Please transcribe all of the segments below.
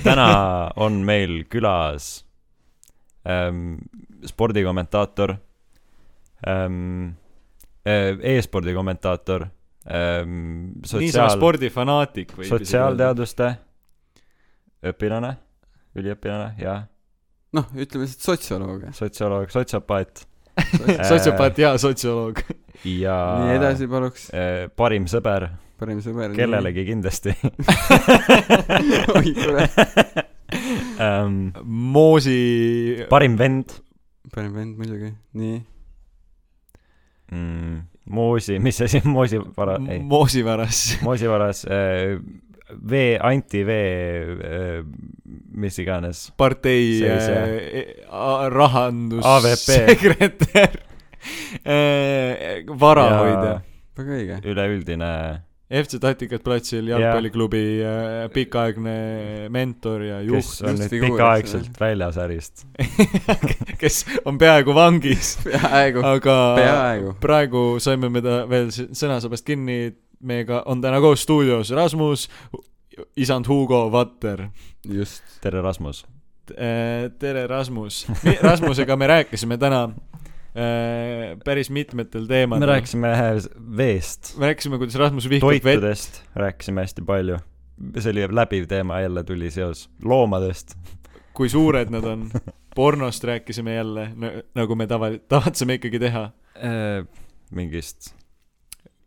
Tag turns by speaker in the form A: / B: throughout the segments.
A: täna on meil külas ähm, spordikommentaator ähm, , e-spordi kommentaator ähm, ,
B: niisama
A: sotsiaal ,
B: spordifanaatik võib isegi öelda.
A: sotsiaalteaduste õpilane , üliõpilane ja
C: noh , ütleme lihtsalt sotsioloog .
A: sotsioloog , sotsiopaat äh,
B: sotsiopaat ja sotsioloog .
A: ja
C: nii edasi paluks ,
A: äh, parim sõber
C: parim sõber .
A: kellelegi kindlasti .
C: Oi, kurat.
A: ähm,
B: moosi ,
A: parim vend
C: parim vend muidugi , nii .
A: mm, , Moosi , mis asi , Moosi vara , ei ,
B: moosivaras .
A: Moosi varas äh, , vee , antivee äh, , mis iganes .
B: partei
A: See oli see.
B: äh, a- rahandus-
A: AVP.
B: sekretär äh, , varahoidja .
C: väga õige .
A: üleüldine ,
B: FC Tatikat platsil
A: Jaa.
B: jalgpalliklubi äh, pikaaegne mentor ja
A: kes
B: juht ,
A: on nüüd
C: kunstfiguur, eks
A: pikaaegselt väljas ärist .
B: kes on peaaegu vangis ,
C: peaaegu ,
B: aga
C: peaaegu .
B: praegu saime me ta veel s- sõnasabast kinni , meiega on täna koos stuudios Rasmus , isand Hugo Vatter .
C: just .
A: tere , Rasmus .
B: tere , Rasmus . Rasmusega me rääkisime täna äh, päris mitmetel teemadel .
A: me . rääkisime veest ,
B: me rääkisime , kuidas Rasmus vihkab vett ,
A: toitudest rääkisime hästi palju . see oli läbiv teema , jälle tuli seos loomadest .
B: kui suured nad on . pornost rääkisime jälle , nagu me tava- , tavatseme ikkagi teha .
A: Äh, mingist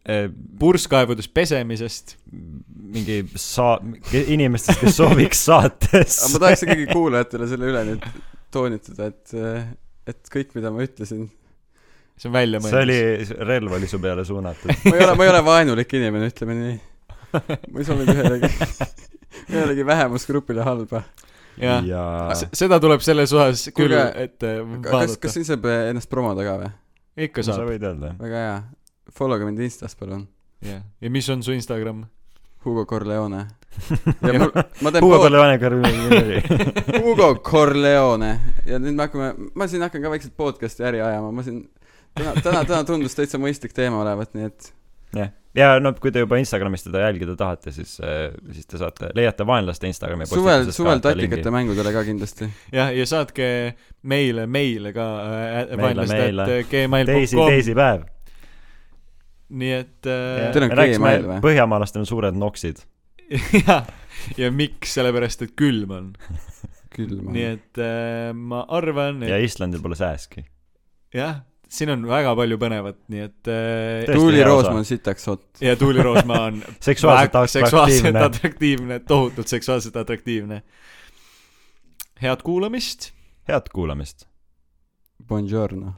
A: äh,
B: purskkaevudes pesemisest .
A: mingi saa- , inimestest , kes sooviks
C: aga
A: saatesse
C: ma . tahaks ikkagi kuulajatele selle üle nüüd toonitada , et , et kõik , mida ma ütlesin ,
B: see on välja
A: see oli
B: mõeldud .,
A: relv oli su peale suunatud .
C: ma ei ole , ma ei ole vaenulik inimene , ütleme nii . ma ei soovi ühelegi , ühelegi vähemusgrupile halba .
B: jah ,
A: ja
C: Ah,
B: seda tuleb selles osas küll
C: Kuulge,
B: ette
C: kas ,
B: vaadata
C: kas . siin saab eh, ennast promoda ka või ?
B: ikka
A: sa
B: saab ,
A: võid öelda .
C: väga hea . Follow ge mind Instas , palun .
B: jah . ja mis on su Instagram ?
C: Hugo Corleone . ja
B: Ja
C: mul , ma teen
A: Hugo
C: pool ,
A: Corleone Carmine .
C: Hugo Corleone ja nüüd me hakkame , ma siin hakkan ka väikselt podcast'i äri ajama , ma siin täna , täna , täna tundus täitsa mõistlik teema olevat , nii et
A: jah , ja no kui te juba Instagramis teda jälgida tahate , siis , siis te saate , leiate vaenlaste Instagrami
C: suvel , suvel tatikate . mängudele ka kindlasti .
B: jah , ja saatke meile , meile ka äh,
A: Meile, meile. teisi ,
B: vaenlased.gmail.com ,
A: teisipäev .
B: nii et äh,
C: Teil on Gmail või?
A: põhjamaalastel on suured noksid .
B: jah , ja miks , sellepärast et külm on .
C: külm on
B: nii . et äh, ma arvan ,
A: ja
B: et
A: Islandil pole sääski .
B: jah , siin on väga palju põnevat , nii et äh,
A: Tõesti
C: Tuuli
A: hea osa.
C: Roosma on sitaks hot .
B: ja Tuuli Roosma on
A: seksuaalselt
B: väg- seksuaalselt
A: atraktiivne .
B: atraktiivne , tohutult seksuaalselt atraktiivne . head kuulamist .
A: head kuulamist .
C: Buongiorno .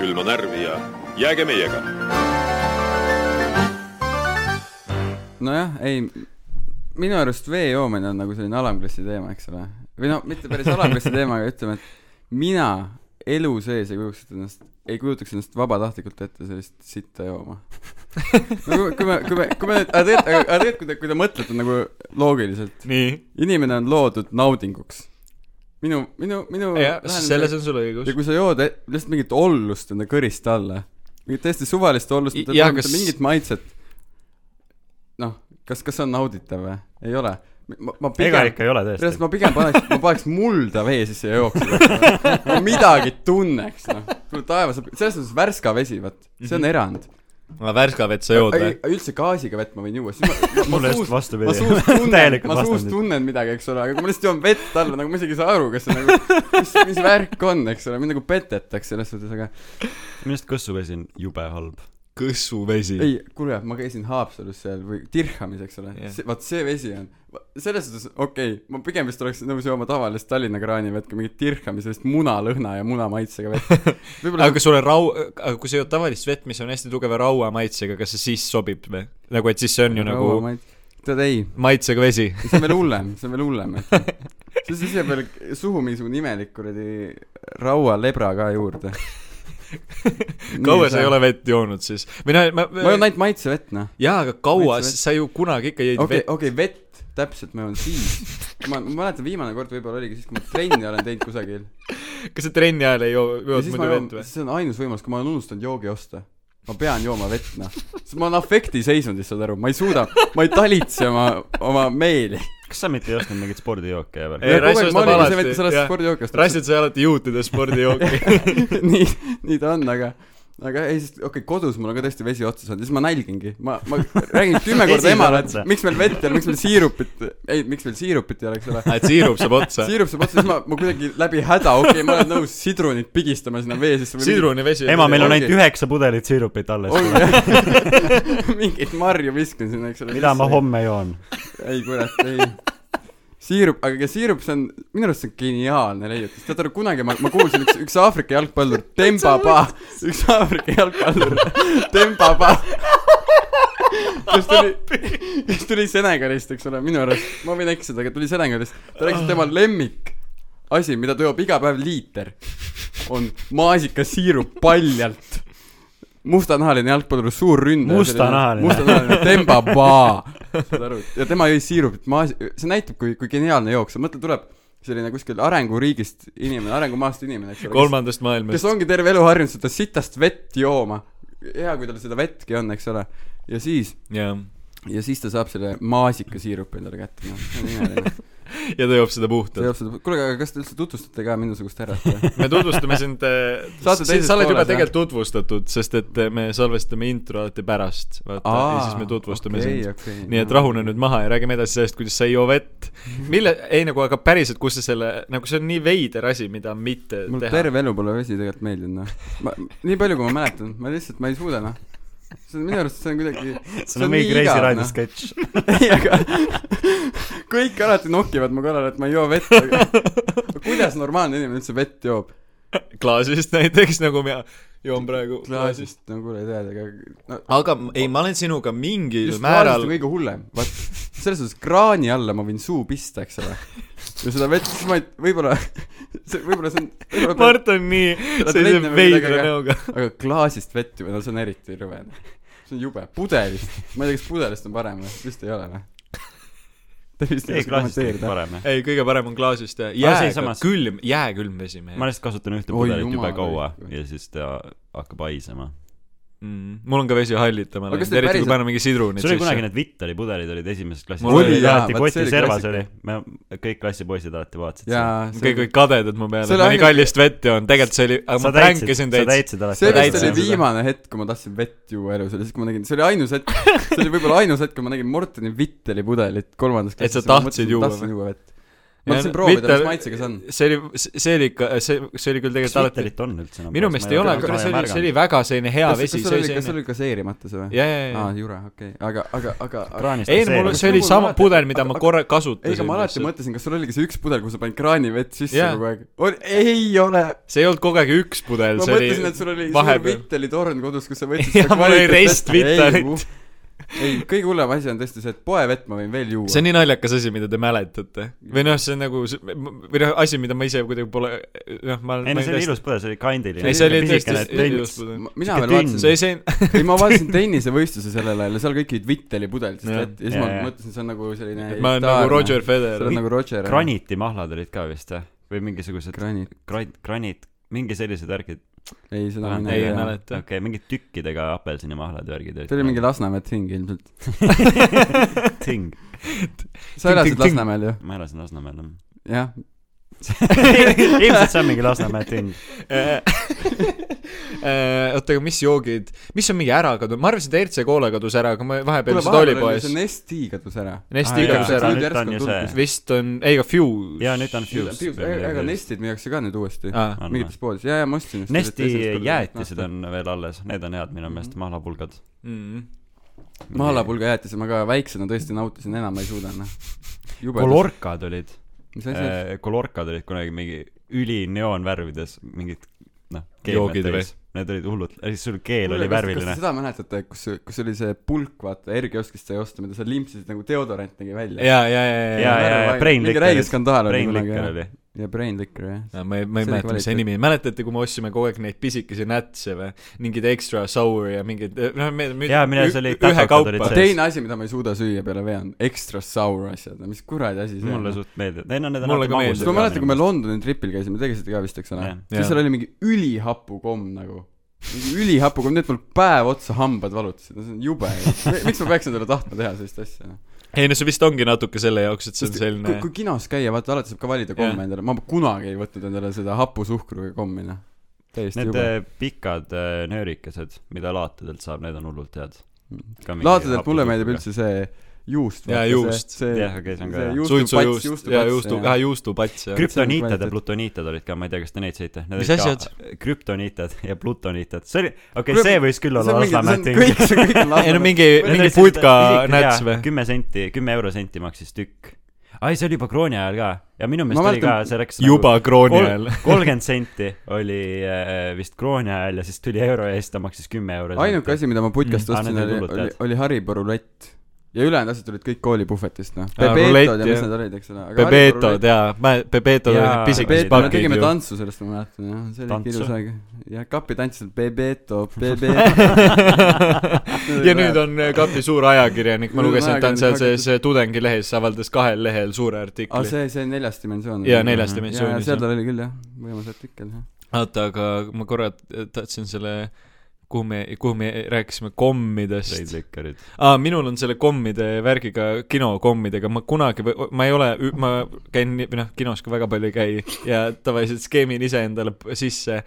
D: külma närvi ja jääge meiega .
C: nojah , ei , minu arust vee joomine on nagu selline alamklassi teema , eks ole . või no mitte päris alamklassi teema , aga ütleme , et mina elu sees ei kujutaks ennast , ei kujutaks ennast vabatahtlikult ette sellist sitta jooma . no kui , kui me , kui me , kui me , aga tegelikult , aga tegelikult , kui te , kui te mõtlete nagu loogiliselt ,
B: nii .
C: inimene on loodud naudinguks . minu , minu , minu
B: jah ,
C: lähenemine-
B: selles on sul õigus
C: ja . kui sa jood e- lihtsalt mingit ollust enda kõrist alla , mingit täiesti suvalist ollust ,
B: I-
C: mida
B: jaa,
C: tähendab
B: kas-
C: mingit maitset , noh , kas , kas see on nauditav või ? ei ole . ma , ma
A: ega
C: pigem ,
A: ikka ei ole
C: sellest
A: tõesti .
C: ma pigem paneks , ma paneks mulda vee sisse ja jookseks . ma midagi tunneks , noh . kuule taevas , selles suhtes värska vesi , vot , see on erand .
B: värska vett Mhm. sa jood või ?
C: üldse gaasiga vett ma võin juua , siis ma , ma,
A: mul
C: ma
A: just
C: suust , ma
A: vastupidi .
C: suust tunnen ,
A: Täielikult
C: ma suust
A: vastandid.
C: tunnen midagi , eks ole , aga kui ma lihtsalt joon vett alla , nagu ma isegi ei saa aru , kas see nagu , mis , mis värk on , eks ole , mind nagu petetakse selles suhtes , aga
A: minu arust kõssuvesi on jube halb .
B: kõssuvesi
C: ei , kuule , ma käisin Haapsalus seal või Tirhamis , eks ole
B: Jah.
C: yeah. , vaat see vesi on , selles suhtes okei okay, , ma pigem vist oleks nõus jooma tavalist Tallinna kraanivett kui mingit Tirhamis sellist munalõhna ja munamaitsega vett . võib-olla
B: aga kas sulle rau- , aga kui sa jood tavalist vett , mis on hästi tugeva rauamaitsega , kas see siis sobib või ? nagu , et siis see on ju nagu
C: tead ei ,
B: maitsega vesi .
C: see on veel hullem , see on veel hullem , et see on sise peal suhu mingisugune imelik kuradi raualebra ka juurde .
B: kaua sa ei ole vett joonud siis ? või noh , ma,
C: ma joon ainult maitsevett , noh .
B: jaa , aga kaua ,
C: Maitse vett.
B: sa ju kunagi ikka jõid
C: okei
B: okay. ,
C: okei , vett , täpselt , ma joon siis . ma , ma mäletan , viimane kord võib-olla oligi siis , kui ma trenni olen teinud kusagil .
B: vett . kas sa trenni ajal ei joo ,
C: ja
B: jood
C: siis ma
B: muidu
C: joon
B: vett , või ?
C: see on ainus võimalus , kui ma olen unustanud joogi osta . ma pean jooma vett , noh . sest ma olen afektiseisundis , saad aru , ma ei suuda , ma ei talitse oma , oma meeli .
A: kas sa mitte ei ostnud mingeid spordijooke ja
B: Ei,
A: värki ?
B: Rass ostab alati,
C: sellest
B: jah.
C: spordijookist .
B: rassid sa ei alati juutida spordijooki .
C: nii , nii ta on , aga , aga ei , sest okei okay, , kodus mul on ka tõesti vesi otsa saanud ja siis ma nälgingi . ma , ma räägin kümme korda
A: Vesi
C: emale ,
A: saab otsa.
C: et miks meil vett ei ole , miks meil siirupit , ei , miks meil siirupit ei ole , eks ole .
B: Ah, et siirup saab otsa .
C: siirup saab otsa , siis ma , ma kuidagi läbi häda , okei okay, , ma olen nõus sidrunit pigistama sinna vee sisse .
B: sidrunivesi .
A: ema , meil on
C: Ongi.
A: ainult üheksa pudelit siirupit alles .
C: mingit marju viskan sinna , eks ole .
A: mida ma ? homme joon ?
C: ei kurat , ei . siirup , aga kes siirup , see on , minu arust see on geniaalne leiutis , tead aru , kunagi ma , ma kuulsin üks , üks Aafrika jalgpallur , Dembaba , üks Aafrika jalgpallur , Dembaba . kes tuli , kes tuli Senegalist , eks ole , minu arust , ma võin eksida , aga tuli Senegalist , ta rääkis , et tema lemmik asi , mida ta joob iga päev liiter , on maasikasiirup paljalt . mustanahaline jalgpallur , suur ründaja .
A: Mustanahaline.
C: mustanahaline , Dembaba , saad aru , ja tema jõi siirupit maas- , see näitab , kui , kui geniaalne jook , sa mõtle , tuleb selline kuskil arenguriigist inimene , arengumaast inimene , eks ole ,
B: kolmandast
C: kes
B: maailmast .
C: ongi terve elu harjunud seda sitast vett jooma . hea , kui tal seda vettki on , eks ole , ja siis ,
B: jah .
C: ja siis ta saab selle maasikasiirupi endale kätte , noh , see on imeline .
B: ja ta joob seda
C: ta
B: puhtalt .
C: joob seda , kuule , aga kas te üldse tutvustate ka minusugust härrat või ?
B: me tutvustame sind äh, ,
C: Saate teises
B: sa oled juba
C: pooles,
B: tegelikult tutvustatud , sest et äh, me salvestame intro alati pärast , vaata , ja siis me tutvustame okay, sind .
C: okay,
B: nii et rahune nüüd maha ja räägime edasi sellest , kuidas sa ei joo vett . mille , ei nagu , aga päriselt , kus sa selle , nagu see on nii veider asi , mida mitte
C: mul
B: teha .
C: terve elu pole vesi tegelikult meeldinud , noh . ma , nii palju , kui ma mäletan , ma lihtsalt , ma ei suuda , noh . see on minu arust , see on kuidagi
A: see on mingi Kreisi raadio . sketš .
C: ei , aga kõik alati nokivad mu kallale , et ma ei joo vett , aga aga kuidas normaalne inimene üldse vett joob ?
B: klaasist näiteks , nagu mina joon praegu klaasist .
C: klaasist , no kuule , tead , aga no,
B: aga m- ei , ma olen sinuga mingil
C: just määral... klaasist
B: määral
C: on kõige hullem , vaat selles suhtes kraani alla ma võin suu pista , eks ole . ja seda vett , siis ma ei , võib-olla , see , võib-olla see on , võib-olla peab-
B: Mart on nii
C: Nad
B: sellise
C: lennevad
B: veidra
C: midagi,
B: näoga .
C: aga klaasist vett juba , no see on eriti rõve . see on jube , pudelist , ma ei tea , kas pudelist on parem või , vist ei ole või ? Te vist ei
A: ei ,
C: oska
A: klaasist on
C: kommenteerida .
A: parem jah .
B: ei , kõige parem on klaasist jah ,
A: Aga see
B: jääga
A: samas- ,
B: külm , jääkülm vesi meil
A: ma . lihtsalt kasutan ühte
C: Oi
A: pudelit jube
C: jumal,
A: kaua
C: õigus.
A: ja siis ta hakkab haisema .
B: Mm, mul on ka vesi hallitama
C: Aga kas
B: läinud ,
C: te
B: eriti kui
C: päriselt-
B: panna mingi sidrunid
A: sul oli kunagi
B: sisse .
A: need Vittali pudelid olid esimeses klassis .
B: Mul oli,
C: jaa,
A: alati
C: vaat see
A: koti
C: oli
A: servas
C: klassika.
A: oli . me kõik klassipoisid alati vaatasid
C: jaa
A: seda .
B: kõik olid kadedad mu peale ,
C: See
B: et
C: oli
B: ma nii
C: ainult-
B: kallist vett joon , tegelikult see oli , aga ma
A: sa
B: pränkisin
A: täitsid , sa
B: teid .
A: täitsid alati .
C: see vist
B: täitsa
C: oli
B: seda.
C: viimane hetk , kui ma tahtsin vett juua elus , oli siis , kui ma nägin , see oli ainus hetk , see oli võib-olla ainus hetk , kui ma nägin Mortoni Vitteli pudelit kolmandas
B: Et
C: ja
B: sa
C: ma
B: tahtsid
C: mõtlesin, et
B: juua
C: tahtsin
B: või?
C: juua vett . ma tahtsin proovida , mis maitsega see on .
B: see oli , see oli ikka , see , see oli küll
A: kas
B: tegelikult alati ,
A: Vittalit on üldse nagu? enam ?
B: minu meelest ei ole , aga see oli , see oli väga selline hea
C: kas
B: vesi ,
C: sul
B: see
C: oli ,
B: oli
C: kas sul
B: selline ,
C: oli kaseerimata see või ?
B: ja , ja , ja
C: aa ,, jura , okei , aga , aga , aga , aga
A: kraanist
B: ei , mul , see oli
C: Mul
B: sama
C: alati-
B: pudel , mida ma
C: aga-
B: korra
C: ei , aga
B: kasutasin
C: ma alati . mõtlesin , kas sul oligi see üks pudel , kuhu sa panid kraanivett sisse
B: Jaa.
C: kogu aeg . ei ole
B: see ei olnud kogu aeg üks pudel ,
C: ma
B: see
C: mõtlesin , et sul
B: oli
C: oli suur
B: vahepeal .
C: Vitteli torn kodus , kus sa võtsid
B: Jaa, mul oli rest Vittelit. .
C: uh. ei , kõige hullem asi on tõesti see , et poevett ma võin veel
B: see
C: juua .
B: on nii naljakas asi , mida te mäletate . või noh , see on nagu , või noh , asi , mida ma ise kuidagi pole , noh , ma
A: ei no
B: ma
A: see oli
B: tõesti-
A: ilus pudel , see oli kandiline .
B: ei , see oli tõesti ilus . pudel .
C: mina veel
A: sihuke tünn.
C: vaatasin ,
B: see , see ,
C: ei ma vaatasin tennisevõistluse sellel ajal ja seal kõik olid Vitteli pudelitest
B: Jah.
C: vett ja siis ma
A: Jaa, jaa.
C: mõtlesin , see on nagu selline
B: ma olen nagu Roger
C: sa
B: Federer .
C: oled nagu Roger .
A: granitimahlad olid ka vist jah , või mingisugused
C: Granit ,
A: gran- , granit , mingi sellised värgid ,
C: ei seda
A: Ah,
C: ma
B: ei
C: Noh, ei mäleta .
A: okei
B: mäleta .
A: okay, , mingid tükkidega apelsinimahlad ja värgid olid .
C: see oli mingi Lasnamäe ting ilmselt .
A: ting ,
C: sa
B: ting,
C: elasid
B: ting.
C: Lasnamäel ju ?
A: ma elasin Lasnamäel jah .
C: jah .
A: ilmselt see on mingi Lasnamäe ting .
B: Äh, oota , aga mis joogid , mis on mingi ära kadunud , ma arvasin , et ERC koola kadus ära , aga ma vahepeal lihtsalt oli poes
C: see . Nesti kadus ära .
B: Nesti
A: Aa,
B: kadus
A: jaa,
B: ära .
A: nüüd
C: Järsku
A: on ju
C: on
A: see
C: tulnud. .
B: vist on , ei , aga Fuse .
A: ja nüüd on Fuse .
C: aga Nestid müüakse ka nüüd uuesti .
B: aa ,
A: On
C: mingites poodides , jaa , jaa , ma ostsin just .
A: Nesti jäätised . on veel alles , need on head minu meelest , mahlapulgad .
B: Mm.
C: mahlapulga jäätise ma ka väiksena tõesti nautisin , enam ma ei suuda , noh . jube .
A: kolorkad olid ,
C: mis
A: Äh,
C: asi see
A: kolorkad olid kunagi mingi ülineoonvärvides mingid noh ,
B: Joogid või? ?
A: Need olid hullud , siis sul keel oli värviline .
C: seda mäletate , kus , kus oli see pulk , vaata , Erki oskis seda osta , mida sa limpsisid nagu deodorant nägi välja .
B: ja , ja , ja ,
A: ja ,
B: ja ,
A: ja , ja Brain
C: mingi
A: Licker .
C: räige skandaal oli
A: Brain
C: kunagi,
A: Licker
C: jah.
A: oli .
C: ja Brain Licker , jah .
B: ja . ma ei , ma
C: See
B: ei
C: oli
B: mäleta , mis see
C: kvaliteet.
B: nimi , mäletate , kui me ostsime kogu aeg neid pisikesi nätse või mingeid extra sour ja mingeid , noh , me , me
A: Jaa, mille see oli,
B: ühe
A: tätakad olid
B: kaupa
A: sees. .
C: teine asi , mida ma ei suuda süüa peale veand , extra sour asjad , no mis kuradi asi see
A: mulle
C: on ?
A: suht meeldib . ei no need
B: Mulle ka
A: magusad
B: meeldib.
C: ma mäletan , kui me
A: minu meelest.
C: Londoni tripil käisime , te käisite ka vist , eks ole
A: Jah. ?
B: Jah.
C: siis seal oli mingi ülihapu komm nagu . mingi ülihapu komm , nii et mul päev otsa hambad valutasid , no see on jube . miks ma peaksin talle tahtma teha sellist asja ?
B: ei no see vist ongi natuke selle jaoks , et see on
C: kui,
B: selline
C: kui kinos käia , vaata alati saab ka valida komme
B: Jah.
C: endale , ma kunagi ei võtnud endale seda hapusuhkruga kommi , noh . täiesti
A: Need
C: jube
A: eh, pikad eh, nöörikesed , mida laatadelt saab , need on hullult head .
C: laatadelt mulle meeldib . üldse see juust .
B: Jaa, juust.
C: see,
A: Jah, okei, see on ka hea.
B: suitsujuust ja juustu ,
C: juustupats .
B: ah juustupats ja .
A: krüptoniitad ja
C: kvaliteet.
A: plutoniitad olid ka , ma ei tea , kas te neid sõite .
B: Mis asjad? ?
A: krüptoniitad ja plutoniitad , see oli , okei
C: Krüp-
A: okay, , see võis küll
C: see
A: olla
C: on mingi , see
A: Lasnamäe
C: on
A: ting .
C: kõik , see on kõik
B: ei no
C: Lasnamäe .
B: mingi , mingi pulka näts või ?
A: kümme senti , kümme eurosenti maksis tükk . ai , see oli juba krooni ajal ka ja minu
C: Ma
A: meelest oli ka
C: mäletan- ,
A: see läks
B: juba krooni ajal
A: nagu . kolmkümmend senti oli äh, vist krooni ajal ja siis tuli euro ja siis ta maksis kümme eurosenti .
C: ainuke asi , mida ma putkast
A: Mm, aa,
C: ostsin ,
A: need on
C: oli ,
A: hullult
C: oli
A: head. ,
C: oli Haribo rulett . ja ülejäänud asjad tulid kõik koolipuhvetist , noh .
B: Aa,
C: Bebetod
B: rulett,
C: ja
B: jah.
C: mis need olid , eks ole .
B: Bebetod . jaa , mä- , Bebetod olid
A: Jaa,
B: need pisikesed
C: Bebeto , me
B: pakid
C: tegime
B: ju .
C: tantsu , sellest ma mäletan , jah , see oli
A: Tantsu.
C: ikka ilus aeg . ja kapi tantsisid Bebeto , Bebeto .
B: ja nüüd on äh, Kapi suur ajakirjanik , ma
C: Nüüd on
B: lugesin , et ta on seal
C: ajakirjanik,
B: sees tudengilehes , avaldas kahel lehel suure
C: aa ,
B: artikli .
C: Ah, see , see neljas dimensioon .
B: Jaa, neljas
C: ja
B: dimensioonis,
C: seal
B: jah.
C: tal oli küll , jah , võimas artikkel , jah .
B: oota , aga ma korra tahtsin selle , kuhu me , kuhu me rääkisime kommidest .
A: Reidlikkerid .
B: aa , minul on selle kommide värgiga , kinokommidega , ma kunagi , ma ei ole , ma käin , või noh , kinos ka väga palju ei käi ja tavaliselt skeemin ise endale p- sisse ,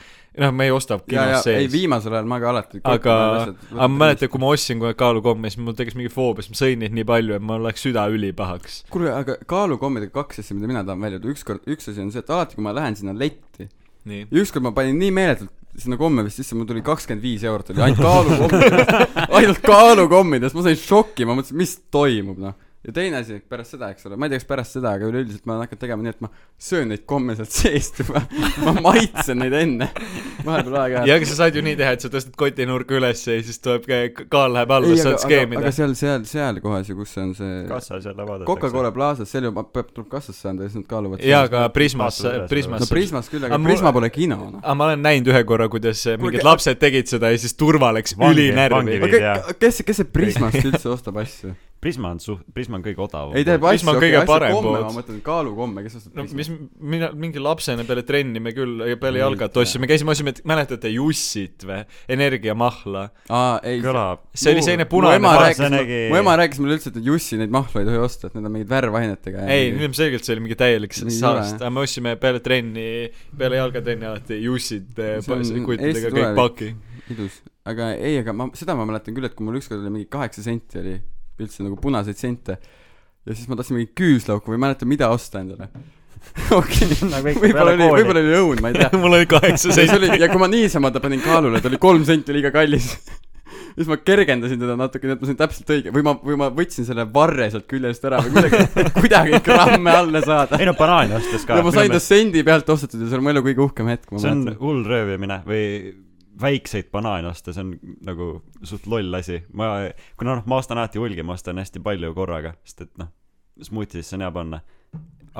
B: noh , ma ei osta
C: ja , ja
B: kinos
C: ei
B: sees .
C: viimasel ajal ma ka alati
B: aga , aga ma mäletan , kui ma ostsin kohe kaalukomme , siis mul tekkis mingi foobia , siis ma sõin neid nii palju , et mul läks süda ülipahaks .
C: kuule , aga kaalukommidega kaks asja , mida mina tahan välja tuua , ükskord , üks asi on see , et alati , kui ma lähen sinna letti ,
B: nii .
C: ja ükskord ma panin nii meeletult sinna komme vist sisse , mul tuli kakskümmend viis eurot oli ainult kaalukommidest , ainult kaalukommidest , ma sain šoki , ma mõtlesin , mis toimub , noh . ja teine asi , pärast seda , eks ole , ma ei tea , kas pärast seda , aga üleüldiselt ma olen hakanud tegema nii , et ma söön neid komme sealt seest juba , ma maitsen neid enne , vahepeal aeg-ajalt
B: ja , aga sa saad ju nii teha , et sa tõstad kotinurka üles ja siis tuleb , kaal läheb alla ,
C: Ei,
B: saad
C: aga- aga,
B: skeemida
C: aga . seal , seal , seal kohas ju , kus on see
A: kassas jälle vaadatakse .
C: Coca-Cola Plaza's , seal juba peab , tuleb kassasse anda ja siis nad kaaluvad .
B: jaa , aga Prismas
A: Vaatad üles, ,
B: Prismas
C: no . Prismas küll , aga
B: Aga mul-
C: Prisma pole kino , noh .
B: aga ma olen näinud ühe korra , kuidas mingid lapsed tegid seda ja siis turva läks
A: Vangi-
B: ülinärvi
A: vangi- .
C: aga
A: jaa.
C: ke- kes , kes see Prismast üldse ostab asju ?
A: Prisma on suht , Prisma on kõige odavam .
C: ei , teeb
B: Prisma
C: asju ,
B: on
C: okei ,
B: kõige
C: asju
B: parem
C: komme ,
B: pood.
C: ma mõtlen kaalukomme , kes ostab
B: no mis
C: Prismast .
B: mina , mingi lapsena peale trenni me küll , peale
C: Ei
B: jalgat
C: tea.
B: ostsime , käisime , ostsime , mäletate , Jussit või , Energiamahla .
C: aa , ei .
A: kõlab .
B: see oli
C: Mu- mu ema
B: selline
A: ma-
B: punane .
A: Paras
C: rääkis
A: nägi- ,
C: mu ema rääkis mulle üldse , et Jussi neid mahla ei tohi osta , et need on mingid värvainetega .
B: ei , ilmselgelt see oli mingi täielik
C: Ei ole.
B: saast , aga me ostsime peale trenni , peale jalgatrenni alati Jussid eh,
C: See on Eesti
B: kuttidega kõik
C: tulevik.
B: paki .
C: ilus . aga ei , aga ma , seda ma mäletan küll , et kui mul ükskord oli mingi kaheksa senti oli , üldse nagu punaseid sente , ja siis ma tahtsin mingit küüslauku või ei mäleta , mida osta endale . okei ,
A: Nagu ikka
C: võib-olla
A: peale
C: oli ,
A: kooli.
C: võib-olla oli õun , ma ei tea .
B: mul oli kaheksa
C: ja siis
B: seitse .
C: oli , ja kui ma niisama ta panin kaalule , ta oli kolm senti liiga kallis . siis ma kergendasin teda natuke , nii et ma sain täpselt õige , või ma , või ma võtsin selle varre sealt küljest ära või kuidagi , kuidagi gramme alla saada .
A: ei no banaani ostes ka .
C: ja ma sain ta sendi pealt ostetud ja see on mu elu kõige uhkem hetk , ma
A: see on
C: mäletan .
A: hull röövimine või väikseid banaane osta , see on nagu suht loll asi . ma , kuna noh , ma ostan alati hulgi , ma ostan hästi palju korraga , sest et noh , smuuti sisse on hea panna .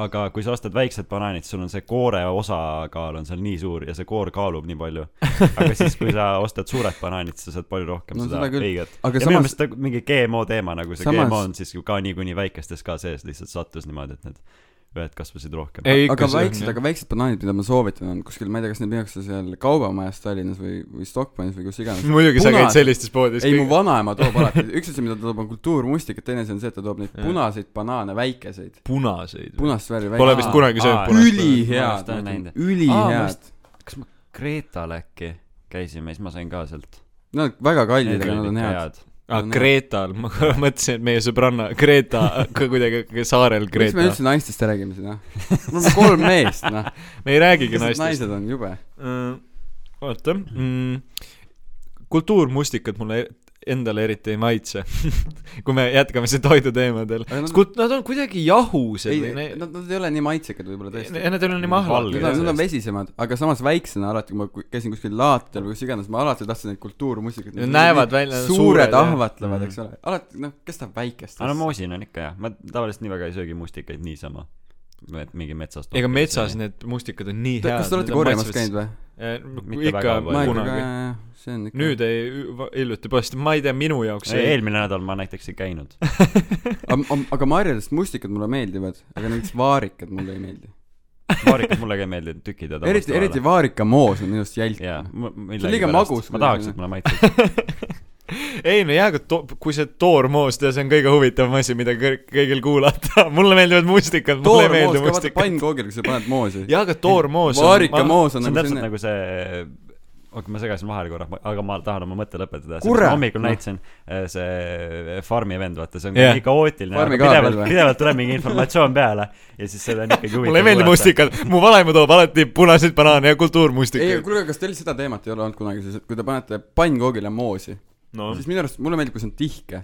A: aga kui sa ostad väiksed banaanid , sul on see koore osakaal on seal nii suur ja see koor kaalub nii palju . aga siis , kui sa ostad suured banaanid , sa saad palju rohkem
C: No
A: no, seda
C: seda küll.
A: õiget . ja
C: Aga
A: minu
C: samas-
A: meelest ta- mingi GMO teema nagu see
C: Samas-
A: GMO on siis ju ka niikuinii väikestes ka sees , lihtsalt sattus niimoodi , et need ühed kasvasid rohkem .
B: Ei, ikka
C: aga
B: see on,
C: väiksed ,
B: jah.
C: aga väiksed banaanid , mida ma soovitan , on kuskil , ma ei tea , kas need müüakse seal kaubamajas Tallinnas või , või Stockmannis või kus iganes .
B: muidugi sa käid
C: Punased.
B: sellistes poodides .
C: ei , mu vanaema toob alati , üks asi , mida ta toob , on kultuurmustikat , teine asi on see , et ta toob neid punaseid banaane , väikeseid ,
B: punaseid .
C: punast värvi
B: Pole vist
A: Aa,
B: kunagi söönud
A: aa,
B: punast .
A: Ma
C: ülihead
A: just olen , näinud. Aa, ma
C: ülihead
A: just- . kas ma Kreetal äkki käisime , siis ma sain ka sealt .
C: Nad on väga kallid , aga nad on head .
B: aa , Kreetal , Ah, ma korra mõtlesin , et meie sõbranna Greta , ka kuidagi ka saarel
C: miks me
B: Greta .
C: üldse naistest räägime siin , noh ? mul on kolm meest , noh .
B: me ei räägigi
C: lihtsalt
B: naistest . Äh,
C: naised on jube .
B: oota mm, . kultuurmustikat mulle endale eriti ei maitse . kui me jätkame siin toiduteemadel .
C: Aga nad-
B: Nad... nad on kuidagi jahused
C: ei
B: või , ne-
C: nad , nad ei ole nii maitsekad võib-olla tõesti .
B: ja nad on nii
A: Valged.
C: Need on , need on
B: mahlad .
C: vesisemad , aga samas väiksena alati , kui ma ku- käisin kuskil laatel või kus iganes , ma alati tahtsin neid kultuurmusikat .
B: Need näevad välja
C: suured,
B: suured,
C: suured
B: jah. Mm.
C: ahvatlevad ,
A: Mhm.
C: eks ole . alati , noh , kes tahab väikest
A: aga no moosin on ikka hea , ma tavaliselt nii väga ei söögi mustikaid niisama . et mingi metsast .
B: ega metsas . need mustikad on nii head .
C: kas te olete korjamas käinud või ?
A: Mitte
B: või ?
A: väga
B: ikka
A: palju.
C: ma
B: kunagi
C: ikkagi ., see on ikka .
B: nüüd ei , hiljuti poest , ma ei tea , minu jaoks ei .
A: eelmine nädal ma näiteks ei käinud .
C: aga, aga marjadest mustikad mulle meeldivad , aga näiteks vaarikad mulle ei meeldi .
A: vaarikad mulle ka ei meeldi , tükid jäävad .
C: eriti , eriti vaarikamoos on minu arust jälk .
A: jaa ,
C: See on liiga magus
A: ma
C: kuidagi.
A: tahaks , et mulle maitseks .
B: ei no jaa , aga to- , kui see toormoos , tead , see on kõige huvitavam asi , mida kõr- kõigil kuulata . mulle meeldivad mustikad , mulle ei
C: toormoos
B: meeldi
C: ka , vaata
B: mustikad .
C: pannkoogil , kui sa paned moosi .
B: jaa , aga toormoos
C: vaarikamoos on
A: see
C: nagu
A: on täpselt
C: selline ,
A: nagu see , okei , ma segasin vahele korra , aga ma tahan oma mõtte lõpetada .
C: Kurat! Noh.
A: hommikul näitasin eh, see Farmi vend , vaata , see on
B: Jah.
A: yeah. nii kaootiline ,
C: Farmi
A: aga
C: kaabel
A: pidevalt ,
C: või?
A: pidevalt tuleb mingi informatsioon peale ja siis seda on ikkagi huvitav .
B: mulle ei meeldi . mustikad , mu vanaema toob alati punaseid banaane ja
C: ei ,
B: kultuurmustikaid .
C: kuulge , kas teil seda teemat ei ole olnud kunagi siis , et kui te panete pannkoogile moosi ,
B: no
C: siis minu arust mulle meeldib , kui see on tihke .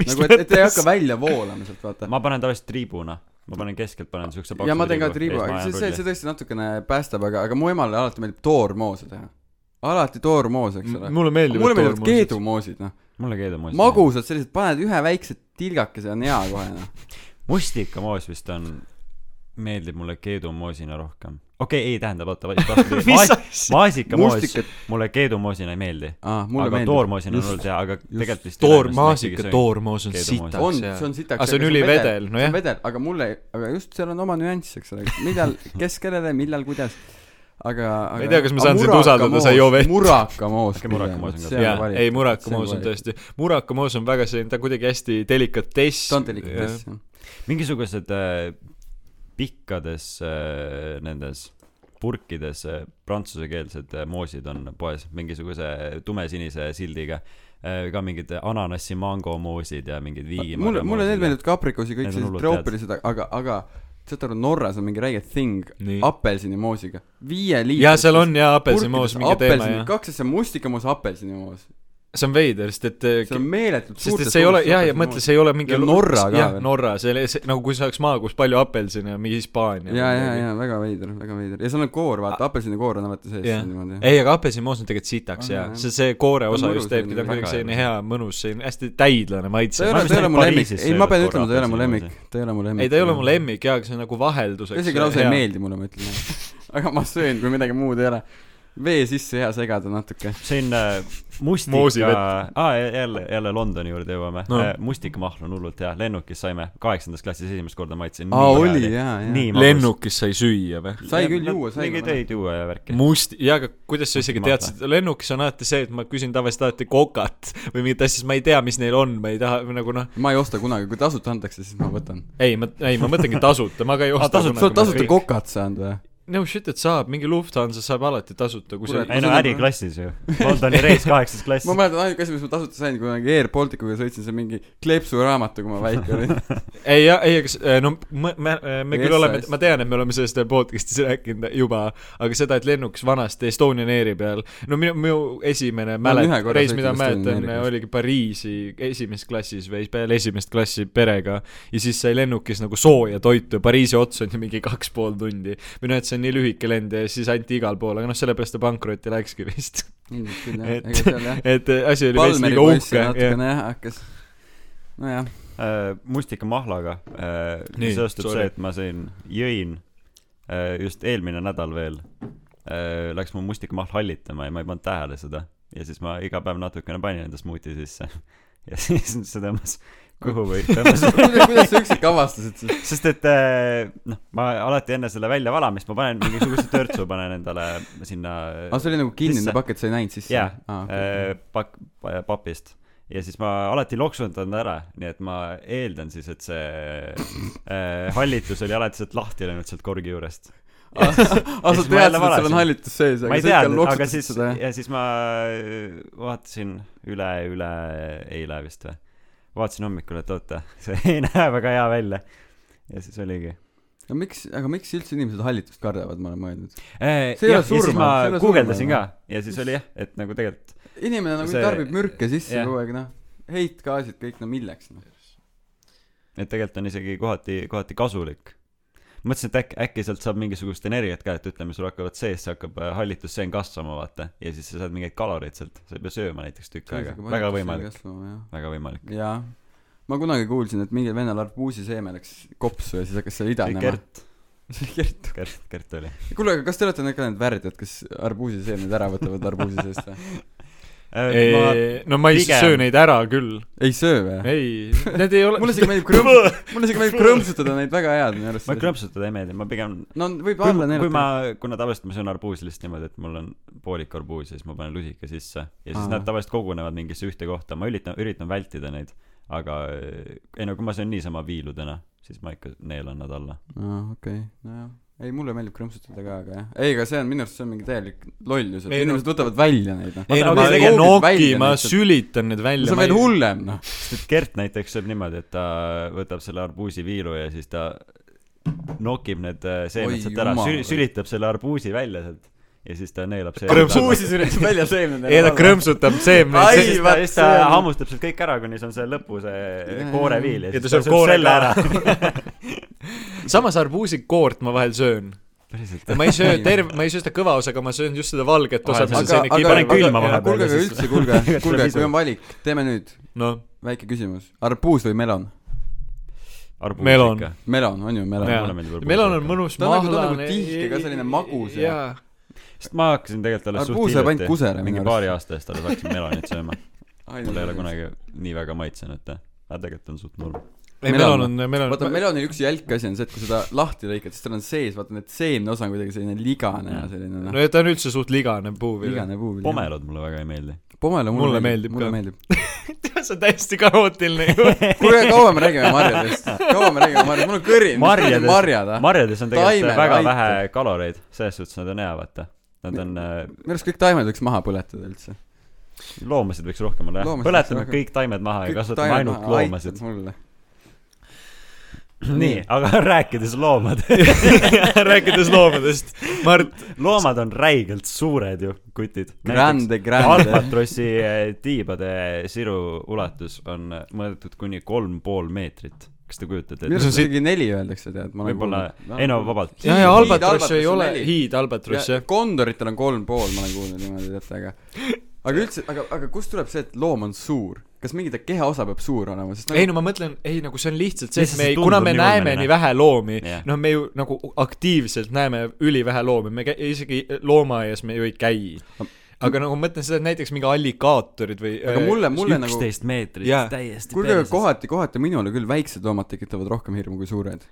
B: mis
C: nagu , et , et ei hakka välja voolama sealt , vaata .
A: ma panen tavaliselt triibuna , ma panen keskelt , panen siukse paksu
C: ja ma teen ka triibu , aga see , see , see tõesti natukene päästab , aga , aga mu emale alati meeldib toormoosi teha . alati toormoos , eks ole .
B: mulle meeldivad
C: mulle meeldivad
B: toormoosid.
C: keedumoosid , noh .
A: mulle keedab must .
C: magusad sellised , paned ühe väikse tilgakese , on hea kohe , noh .
A: mustikamoos vist on , meeldib mulle keedumoosina rohkem . okei okay, , ei tähendab , oota , vastupidi
B: Mis
A: Maas, .
B: asja?
A: maasikamoos
C: Mustikad- ,
A: mulle keedumoosina ei meeldi .
C: aa , Ah, mulle
A: aga
C: meeldib .
A: toormoosina on olnud hea , aga tegelikult vist .
B: toormaasika toormoos on sitaks
C: on ,
B: jaa.
C: see on sitaks .
B: Aa, see on ülivedel, nojah.
C: vedel , aga mulle , aga just seal on oma nüanss , eks ole , millal , kes kellele , millal , kuidas . aga , aga .
B: Ma ei tea, kas ma saan sind usaldada, sa ei joo vett.
C: murakamoos .
A: Okei, murakamoos on ka-
B: jaa , ei Murakamoos on . tõesti , Murakamoos on väga selline , ta kuidagi hästi delikatess .
C: ta on delikaatess , jah .
A: mingisugused äh, pikkades äh, nendes purkides äh, prantsusekeelsed äh, moosid on poes mingisuguse tumesinise sildiga äh, . ka mingid ananassi mangomoosid ja mingid viigi .
C: mulle , mulle need meeldivad kaprikusi , kõik
A: Need on
C: sellised
A: hullult
C: troopilised , aga , aga saad aru , Norras on mingi räige thing
B: Nii.
C: apelsinimoosiga . viie liitri .
B: jaa , seal on jaa apelsinimoos mingi teema jah .
C: kaks asja , mustikamoos , apelsinimoos .
B: see on veider , sest et eh,
C: see on meeletult
B: sest et see ei ole , jaa , ja mõtle , see ei ole mingi
C: Ja Norra ka
B: jah
C: veel. ,
B: Norra , see oli see , nagu kui see oleks maa , kus palju apelsine on , mingi Hispaania .
C: jaa , jaa , jaa , väga veider , väga veider . ja seal on koor , vaata , apelsinikoor on alati sees
B: Jah.
C: seal niimoodi .
B: Ah. ei , aga apelsinimoos on tegelikult sitaks
C: On,
B: jaa
C: jah. ,
B: see , see koore
C: Ta on
B: osa
C: mõnus
B: just teebki , ta on
C: selline,
B: kuidagi
A: väga
B: selline hea , mõnus , selline hästi täidlane
C: ta ei
B: maitse .
C: ole , ta ei ole mu lemmik
A: Pariisis ,
C: ei ma pean
A: söönud korra
C: ütlema , ta ei ole mu lemmik ta ei ole mu lemmik .
A: apelsinimoosi. ,
B: ei , ta ei ole mu . lemmik jaa , aga see on nagu vahelduseks .
C: isegi lausa ei . meeldi mulle , ma ütlen . aga ma söön , kui midagi muud ei ole . vee sisse hea segada natuke .
A: siin äh,
B: Moosivett.
A: mustika , aa jälle , jälle Londoni juurde jõuame
B: No.
A: no. . mustikamahl on hullult hea , lennukis saime , kaheksandas klassis esimest korda maitsin .
C: aa , oli , jaa , jaa .
A: nii magus .
B: lennukis sai süüa või ?
C: sai küll juua , sai .
A: mingeid öid juua ja värki .
B: must , jaa , aga kuidas sa isegi
A: Must
B: teadsid , lennukis on alati see , et ma küsin tavaliselt alati kokat või mingit asja , sest ma ei tea , mis neil on , ma ei taha või nagu noh ,
C: ma ei osta kunagi , kui tasuta antakse , siis ma võtan .
B: ei , ma , ei , ma mõtlengi tasuta , ma ka ei osta .
A: tasuta-
C: sa oled tasuta . kokat saanud või ?
B: no shit , et saab , mingi Lufthansa saab alati tasuta , kui sa
C: Kurat.
A: ei no äriklassis ju , Londoni reis kaheksas klass
C: ma . mäletan , ainuke asi , mis ma tasuta sain , kunagi Air Balticuga sõitsin , see on mingi kleepsuraamatu , kui ma väike olin .
B: ei , ei , aga s- äh, no me , me , me
C: Või
B: küll oleme
C: SAS. ,
B: ma tean , et me oleme sellest podcast'is rääkinud juba , aga seda , et lennukis vanasti Estonian Airi peal , no minu , minu esimene
C: Ma olen ühe
B: mälet- ,
C: korra
B: reis ,
C: sõitnud
B: mida ma
C: Estonian
B: mäletan äh,
C: Airiga. ,
B: oligi Pariisi esimeses klassis või peale esimest klassi perega ja siis sai lennukis nagu sooja toitu ja Pariisi ots on ju mingi kaks pool tundi . või noh , et see on nii lühike lend ja siis anti igal pool , aga noh , sellepärast ta pankrotti läkski vist .
C: ilmselt küll jah , ega
B: Et-
C: seal jah .
B: et eh, asi oli vist
C: Palmeri
B: liiga
C: poiss
B: uhke
C: siin
B: jah.
C: natukene jah hakkas , nojah .
A: mustikamahlaga äh,
B: Nii,
A: seostub
B: sorry.
A: see , et ma siin jõin äh, just eelmine nädal veel äh, . Läks mu mustikamahl hallitama ja ma ei pannud tähele seda ja siis ma iga päev natukene panin enda smuuti sisse ja siis see tõmbas kõhu või tõmbas
C: kuidas , kuidas sa üksik avastasid siis ?
A: sest et äh, noh , ma alati enne selle väljavalamist ma panen mingisuguse törtsu panen endale sinna äh,
C: aa , see oli nagu kinnine
A: Sisse.
C: pakett , sa ei näinud sisse ? Ah,
A: Jaa. äh, pak- , papist . ja siis ma alati loksundan ära , nii et ma eeldan siis , et see äh, hallitus oli alati sealt lahti läinud sealt korgi juurest .
C: aa , Ah, sa
A: siis
C: teadsid ,
A: ma
C: et
A: jälle
C: sul on
A: valasin.
C: hallitus sees ,
A: ma
C: aga
A: ei
C: sa ikka
A: teadnud , aga
C: loksutasid
A: siis ,
C: seda jah ?
A: ja siis ma äh, vaatasin üle , üle eile vist või , vaatasin hommikul , et oota , see ei näe väga hea välja . ja siis oligi .
C: no miks , aga miks üldse inimesed hallitust kardavad , ma olen mõelnud . See ei ole
A: see Äh, ja siis
C: surmav,
A: ma
C: see ei ole
A: guugeldasin ka
C: surmav.
A: ja siis oli jah , et nagu tegelikult
C: inimene nagu
A: See-
C: see... tarbib mürke sisse yeah.
A: jah.
C: kogu aeg , noh , heitgaasid kõik , no milleks , noh .
A: et tegelikult on isegi kohati , kohati kasulik . mõtlesin , et äkki , äkki sealt saab mingisugust energiat ka , et ütleme , sul hakkavad sees , hakkab äh, hallitusseen kasvama , vaata , ja siis sa saad mingeid kaloreid sealt , sa ei pea sööma näiteks tükk aega , väga võimalik , väga võimalik .
C: jaa . ma kunagi kuulsin , et mingil vennal arbuusiseeme läks kopsu ja siis hakkas see idanema .
A: Kert , Kert , Kert oli .
C: kuule , aga kas te olete need ka need värdjad , kes arbuusiseemned ära võtavad arbuusi seest või ?
A: Äh, ma ,
B: no ma ei
A: pigem-
B: söö neid ära küll .
C: ei söö või ?
B: ei , need ei ole
C: mulle isegi meeldib krõmp- , mulle isegi meeldib krõmpsutada neid väga head minu
A: ma
C: arust .
A: krõmpsutada ei meeldi , ma pigem
C: no võib
A: kui,
C: alla
A: kui ma
C: neelata .,
A: kuna tavaliselt ma söön arbuusi lihtsalt niimoodi , et mul on poolik arbuus ja siis ma panen lusika sisse ja siis
C: Aa.
A: Aa. nad tavaliselt kogunevad mingisse ühte kohta , ma üritan , üritan vältida neid , aga äh, ei no kui ma söön niisama viiludena , siis ma ikka neelan nad alla .
C: aa , okei , nojah . ei , mulle meeldib krõmpsutada ka , aga jah . ei , aga see on minu arust , see on mingi täielik lollus , et
B: Ei, no-
C: inimesed võtavad välja neid , noh .
B: ei no
A: Vaata,
B: ma
A: aga
B: tegin
A: see
C: koogib
B: noki
C: välja ,
B: ma
C: lihtsalt.
B: sülitan need välja .
C: see on veel . hullem , noh .
A: sest Gert näiteks sööb niimoodi , et ta võtab selle arbuusi viilu ja siis ta nokib need äh, seemned
C: Oi
A: sealt ära ,
C: jumal.
A: sülitab selle arbuusi välja sealt ja siis ta neelab
B: Krõmpsu-
A: seemned .
C: puusi sürjad välja seemned .
B: ei ta . krõmpsutab
C: Ai,
A: siis
B: seemneid .
A: ta,
C: vaat
A: siis ta
C: see on-
A: hammustab sealt kõik ära , kuni see on see lõpu see
C: Jaa.
A: kooreviil ja
B: ja ta
A: siis
B: sööb koore ka ära . samas arbuusikoort ma vahel söön .
A: päriselt
B: ma ei söö terve , ma ei söö seda kõva osa , aga ma söön just seda valget osa ,
A: Vahel
B: mis on
C: aga ,
B: selline
C: aga ,
A: panen
B: kibedam .
A: külma
C: aga
A: vahepeal
C: kuulge ,
A: ja
C: aga
A: siis-
C: üldse , kuulge , kuulge ,
A: Igatpidi
C: kui on valik , teeme nüüd
B: noh ,
C: väike küsimus . arbuus või melon ?
A: arbuus
B: Melon.
A: ikka .
C: melon on ju melon ?
A: mulle meeldib arbuus
B: melon on
A: rohkem.
B: mõnus ,
C: Ta on nagu- ta on
B: mahlane .
C: nagu tihke ka, selline magus ja-
B: ja .
A: sest ma hakkasin tegelikult alles
C: Arbuus
A: suht
C: jääb ainult
A: hiljuti
C: kusele , minu
A: mingi
C: arust.
A: paari aasta eest alles hakkasin melonit sööma . mul ei ole . kunagi nii väga maitsenud , aga tegelikult on suht norm .
B: ei ,
C: Melon.
B: melon on , melon
C: vaata ,
B: on .
C: melonil üks jälk asi on see , et kui seda lahti lõikad , siis tal on sees , vaata need seemneosa on kuidagi selline ligane ja selline noh ,
B: no ja ta on üldse suht ligane puuvili .
C: ligane puu .
A: pomelod mulle väga ei meeldi .
C: pomelo
B: Mulle
C: mulle
B: meeldib
C: meeldib , mulle
B: ka.
C: meeldib .
B: see on täiesti kaootiline ju .
C: kuule , kaua me räägime marjadest , kaua me räägime marjadest , mul on kõrini ,
A: marjades ,
C: marjad , ah .
A: marjades on tegelikult
C: Taimed
A: väga
C: aitab.
A: vähe kaloreid , selles suhtes nad on hea , vaata . Nad on , äh,
C: minu arust kõik taimed võiks maha põletada üldse .
A: loomasid võiks rohkem olla , jah .
C: Loomasid
A: põletame
C: võiks väga-
A: kõik taimed maha ja
C: Kõik
A: kasvatame
C: taimed
A: ainult
C: maha,
A: loomasid
C: aitab . mulle .
A: nii , aga rääkides loomad ,
B: rääkides loomadest , Mart ,
A: loomad on räigelt suured ju , kutid .
C: Grande , grande .
A: albatrossi eh, tiibade siru ulatus on mõõdetud kuni kolm pool meetrit . kas te kujutate
C: minu
A: ette ?
C: arust isegi neli öeldakse , tead , ma olen
A: võib-olla
C: kuulnud. ,
A: ei no vabalt .
B: ja ,
C: Hiid-
B: ja albatross
C: hiidalbatross
B: ei
C: on
B: ole ,
C: neli.
B: hiidalbatross
C: ja
B: jah .
C: kondoritel on kolm pool , ma olen kuulnud niimoodi , teate , aga aga üldse , aga , aga kust tuleb see , et loom on suur ? kas mingi ta kehaosa peab suur olema , sest
B: ei no ma mõtlen , ei nagu see on lihtsalt see , et
A: Lihtsalt
B: me
A: see
B: ei , kuna
A: tundub
B: me
A: nii
B: näeme
A: ulmeline.
B: nii vähe loomi
A: Jah. ,
B: noh , me ju nagu aktiivselt näeme ülivähe loomi , me kä- isegi loomaaias me ju ei käi . aga nagu ma mõtlen seda , et näiteks mingi alligaatorid või äh,
C: aga mulle , mulle nagu
A: üksteist meetrit
B: Jaa.
A: täiesti
C: kuulge , aga . kohati , kohati minule küll väiksed loomad tekitavad rohkem hirmu kui suured .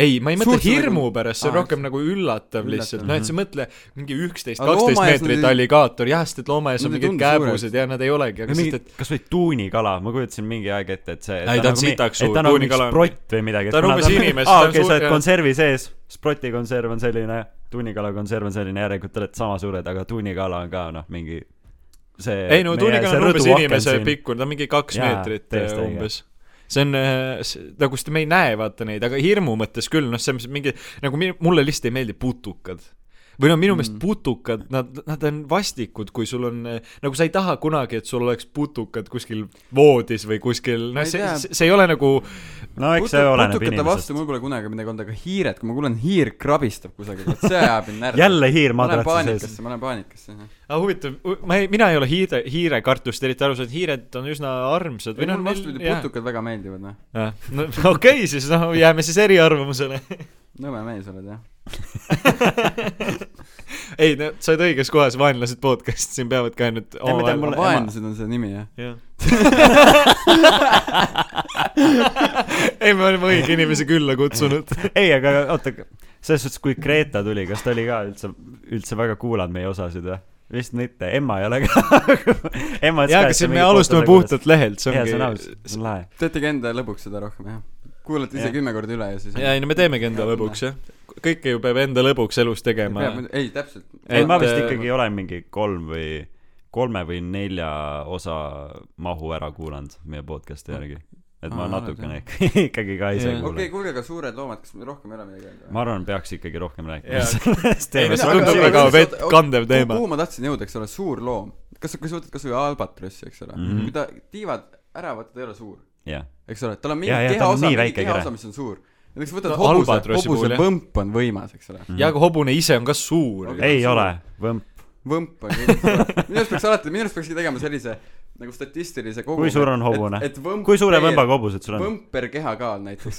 B: ei , ma ei mõtle
C: Suurt-
B: hirmu pärast , see
C: Aa,
B: on rohkem nagu üllatav
C: Üllatav,
B: lihtsalt , noh , et sa mõtle mingi üksteist ,
C: Aga
B: kaksteist
C: loomaaias
B: meetrit
C: nad ei-
B: alligaator , jah , sest et loomaaias on
C: nad ei
B: mingid
C: tundu
B: kääbused
C: suured.
B: ja nad ei olegi , aga
A: mingi
B: lihtsalt , et
A: kasvõi tuunikala , ma kujutasin mingi aeg ette , et see .
B: Ei, ta on sitaks suur,
A: et ta on nagu mingi
B: tuunikala on-
A: sprott või midagi .
B: ta on umbes inimes- ta
A: aa ,
B: on
A: okei ,
B: suur-
A: sa oled
B: jah.
A: konservi sees , sproti konserv on selline , tuunikala konserv on selline , järelikult te olete sama suured , aga tuunikala on ka noh , mingi see .
B: ei no tuunikala on umbes inimese . pikkune , ta on mingi kaks
A: Jaa,
B: meetrit eh,
A: täiesti õige.
B: umbes . see on , nagu sest me ei näe vaata neid , aga hirmu mõttes küll , noh , see on mingi , nagu mi- mulle lihtsalt ei meeldi putukad või no minu meelest mm. putukad , nad , nad on vastikud , kui sul on , nagu sa ei taha kunagi , et sul oleks putukad kuskil voodis või kuskil ,
C: Ma
B: noh ,
C: ei
B: see
C: tea. ,
B: see ei ole nagu
A: no eks see oleneb
C: putukate vastu
A: inimesest .
C: mul pole kunagi midagi olnud , aga hiired , kui ma kuulen , hiir krabistab kusagil , vot see ajab mind närvi .
A: jälle hiir
C: ma lähen
A: madratsi sees .
C: paanikasse , ma lähen paanikasse . ei ,
B: aga huvitav , ma ei , mina ei ole hiire , hiirekartust eriti aru saanud , hiired on üsna armsad või noh ,
C: mulle vastupidi , putukad väga meeldivad , noh .
B: jah , no okei okay, , siis noh , jääme siis eriarvamusele .
C: nõme mees oled , jah .
B: ei , no sa oled õiges kohas , vaenlased podcast siin peavad ka
A: ma
B: nüüd
A: tean,
B: omavahel
A: Mulle-
C: vaenlased on see nimi , jah .
B: jah ei , me oleme õige inimese külla kutsunud .
A: ei , aga oota , selles suhtes , kui Greta tuli , kas ta oli ka üldse , üldse väga kuulanud meie osasid või ? vist mitte , Emma ei ole ka . Emma ütles
B: jaa ,
A: ka,
B: aga siin me alustame . puhtalt lehelt , see
A: jaa , see on aus ,
B: ongi .
A: see on lahe .
C: teetegi enda lõbuks seda rohkem , jah . kuulate ise
A: Jah.
C: kümme korda üle ja siis .
B: jaa , ei no me teemegi enda
C: Jaa,
B: lõbuks , jah . kõike ju peab enda lõbuks elus tegema .
C: ei , täpselt .
A: ei , ma
B: Et,
A: vist
B: äh,
A: ikkagi olen mingi kolm või , kolme või nelja osa mahu ära kuulanud meie podcast'i järgi . et ma
C: Aa,
A: natukene
C: arvad,
A: ikkagi ka ise
B: Jaa.
A: kuulan
C: okei , kuulge , aga suured loomad , kas me rohkem ei ole midagi öelda ?
A: ma arvan , peaks ikkagi rohkem rääkima
B: Jaa.
A: sellest
B: Ei,
A: teemast
B: mina- . tundub väga vett- kandev teema.
C: kuhu ma tahtsin jõuda , eks ole , suur loom . kas , kas sa võtad kasvõi albatrossi , eks ole mm ,
A: Mhm.
C: -hmm. kui ta tiivad ära võtta , ta ei ole suur ,
A: jah ,
C: eks ole , tal on mingi
A: Jaa, jaa, ta on
C: kehaosa
A: nii ,
C: mingi
A: väike
C: kehaosa ,
A: kere.
C: mis on suur . näiteks võtad
B: No
C: no, hobuse ,
B: albatrossi puhul,
C: hobuse
B: jah.
C: võmp on võimas , eks ole .
B: ja aga hobune ise on ka suur
C: Okei.
A: ei ole , võmp ,
C: võmp on võimas . minu arust peaks alati , minu arust peakski tegema sellise nagu statistilise kogu .
A: Kui suur on hobune?
C: et võmp .
A: kui suure võmbaga hobused sul on ?
C: võmp per kehakaal näiteks .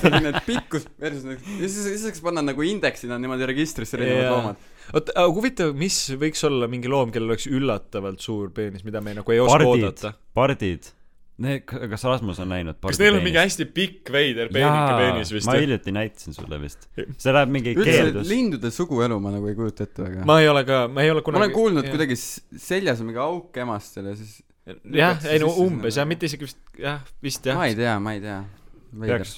C: selline pikkus versus , ja siis , siis saaks panna nagu indeksina niimoodi registrisse erinevad
B: Jaa.
C: loomad .
B: oot , aga huvitav , mis võiks olla mingi loom , kellel oleks üllatavalt suur peenis , mida me nagu ei oska
A: Pardid.
B: oodata ?
A: pardid , kas Rasmus on näinud
B: kas neil on mingi hästi pikk veider peenike peenis vist
A: ma
B: või ?
A: hiljuti näitasin sulle vist . see läheb mingi
C: üldse
A: keeldus .
C: lindude suguelu ma nagu ei kujuta ette väga .
B: ma ei ole ka , ma ei ole
C: ma
B: kunagi
C: olen kuulnud
B: jah.
C: kuidagi s- seljas on mingi auk emastel ja siis
B: jah , ei
C: sisse sinna
B: no umbes
C: või?
B: jah , mitte isegi vist jah , vist jah
C: ma . ei tea , ma ei tea .
A: peaks ,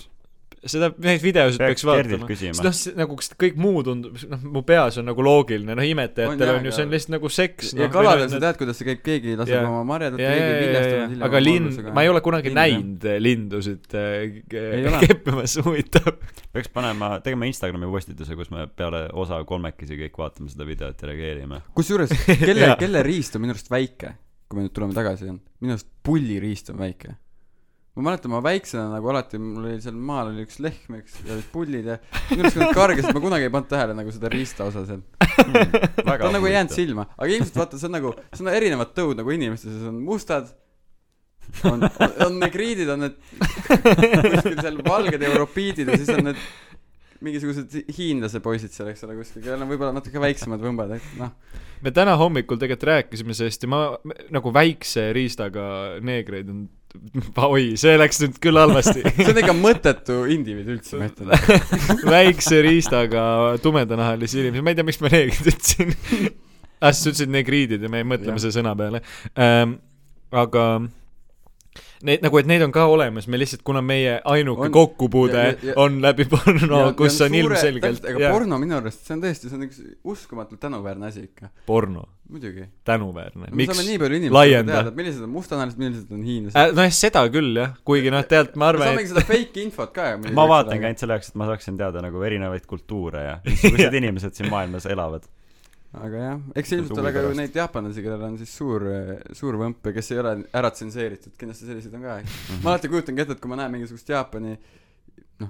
B: seda , neid videosid peaks,
A: peaks
B: peaks
A: Gerdilt
B: vaatama . sest
A: küsima
B: noh , nagu kas kõik muu tundub , noh , mu peas on nagu loogiline , noh ,
C: On
B: imetajatel
C: jah,
B: on ju , see on
C: aga-
B: lihtsalt nagu seks .
C: ja kaladel sa tead , kuidas noh, see käib , keegi laseb
B: Jaa.
C: oma marjadelt ,
B: jaa ,
C: keegi
B: jaa , jaa ,
C: viljastab
B: jaa , aga linn , ma ei ole kunagi
C: Linde.
B: näinud lindusid äh,
C: Ei
B: ke-
C: ole.
B: keppimas , huvitav .
A: peaks panema , tegema Instagrami postituse , kus me peale osa kolmekesi kõik vaatame seda videot ja reageerime .
C: kusjuures , kelle
B: Jaa. ,
C: kelle riist on minu arust väike , kui me nüüd tuleme tagasi , minu arust pulliriist on väike . ma mäletan , ma väiksena nagu alati , mul oli seal maal oli üks lehm , eks , ja olid pullid ja minu arust nad kargesid , ma kunagi ei pannud tähele nagu seda riista osa seal . ta on nagu jäänud silma , aga ilmselt vaata , see on nagu , see on erinevad tõud nagu inimestes , on mustad , on, on , on negriidid , on need kuskil seal valged europiidid ja siis on need mingisugused hiinlase poisid seal , eks ole , kuskil , kellel on võib-olla natuke väiksemad võmbad , et noh ,
B: me täna hommikul tegelikult rääkisime sellest ja ma me- nagu väikse riistaga neegreid on , oi , see läks nüüd küll halvasti .
C: see on ikka mõttetu indiviid üldse , ma ütlen .
B: väikse riistaga tumedanahalisi inimesi , ma ei tea , miks ma neegrid ütlesin . ah , sa ütlesid negriidid ja me mõtleme
C: Jah.
B: selle sõna peale ähm, . aga need nagu , et need on ka olemas , me lihtsalt , kuna meie ainuke
C: On.
B: kokkupuude
C: Ja- ja- ja-
B: on läbi porno , kus on ilmselgelt
C: aga
B: jah,
C: porno minu arust , see on tõesti , see on üks uskumatult tänuväärne asi ikka ,
B: porno ,
C: muidugi .
B: tänuväärne ,
C: me
B: miks
C: saame nii palju inimesi
B: laienda?
C: teada , et millised on mustanahalised , millised on hiinlased
B: äh, . nojah , seda küll jah , kuigi noh , tegelikult ma
C: me
B: arvan ,
C: saamegi
B: et
C: seda fake infot ka ju .
A: ma vaatangi ainult selle jaoks , et ma saaksin teada nagu erinevaid kultuure ja missugused inimesed siin maailmas elavad .
C: aga jah , eks ilmselt
A: huvi
C: ole ka ju
A: pärast.
C: neid jaapanlasi , kellel on siis suur , suur võmp ja kes ei ole ära tsenseeritud , kindlasti selliseid on ka .
A: Mhm.
C: ma alati kujutangi ette , et kui ma näen mingisugust Jaapani noh ,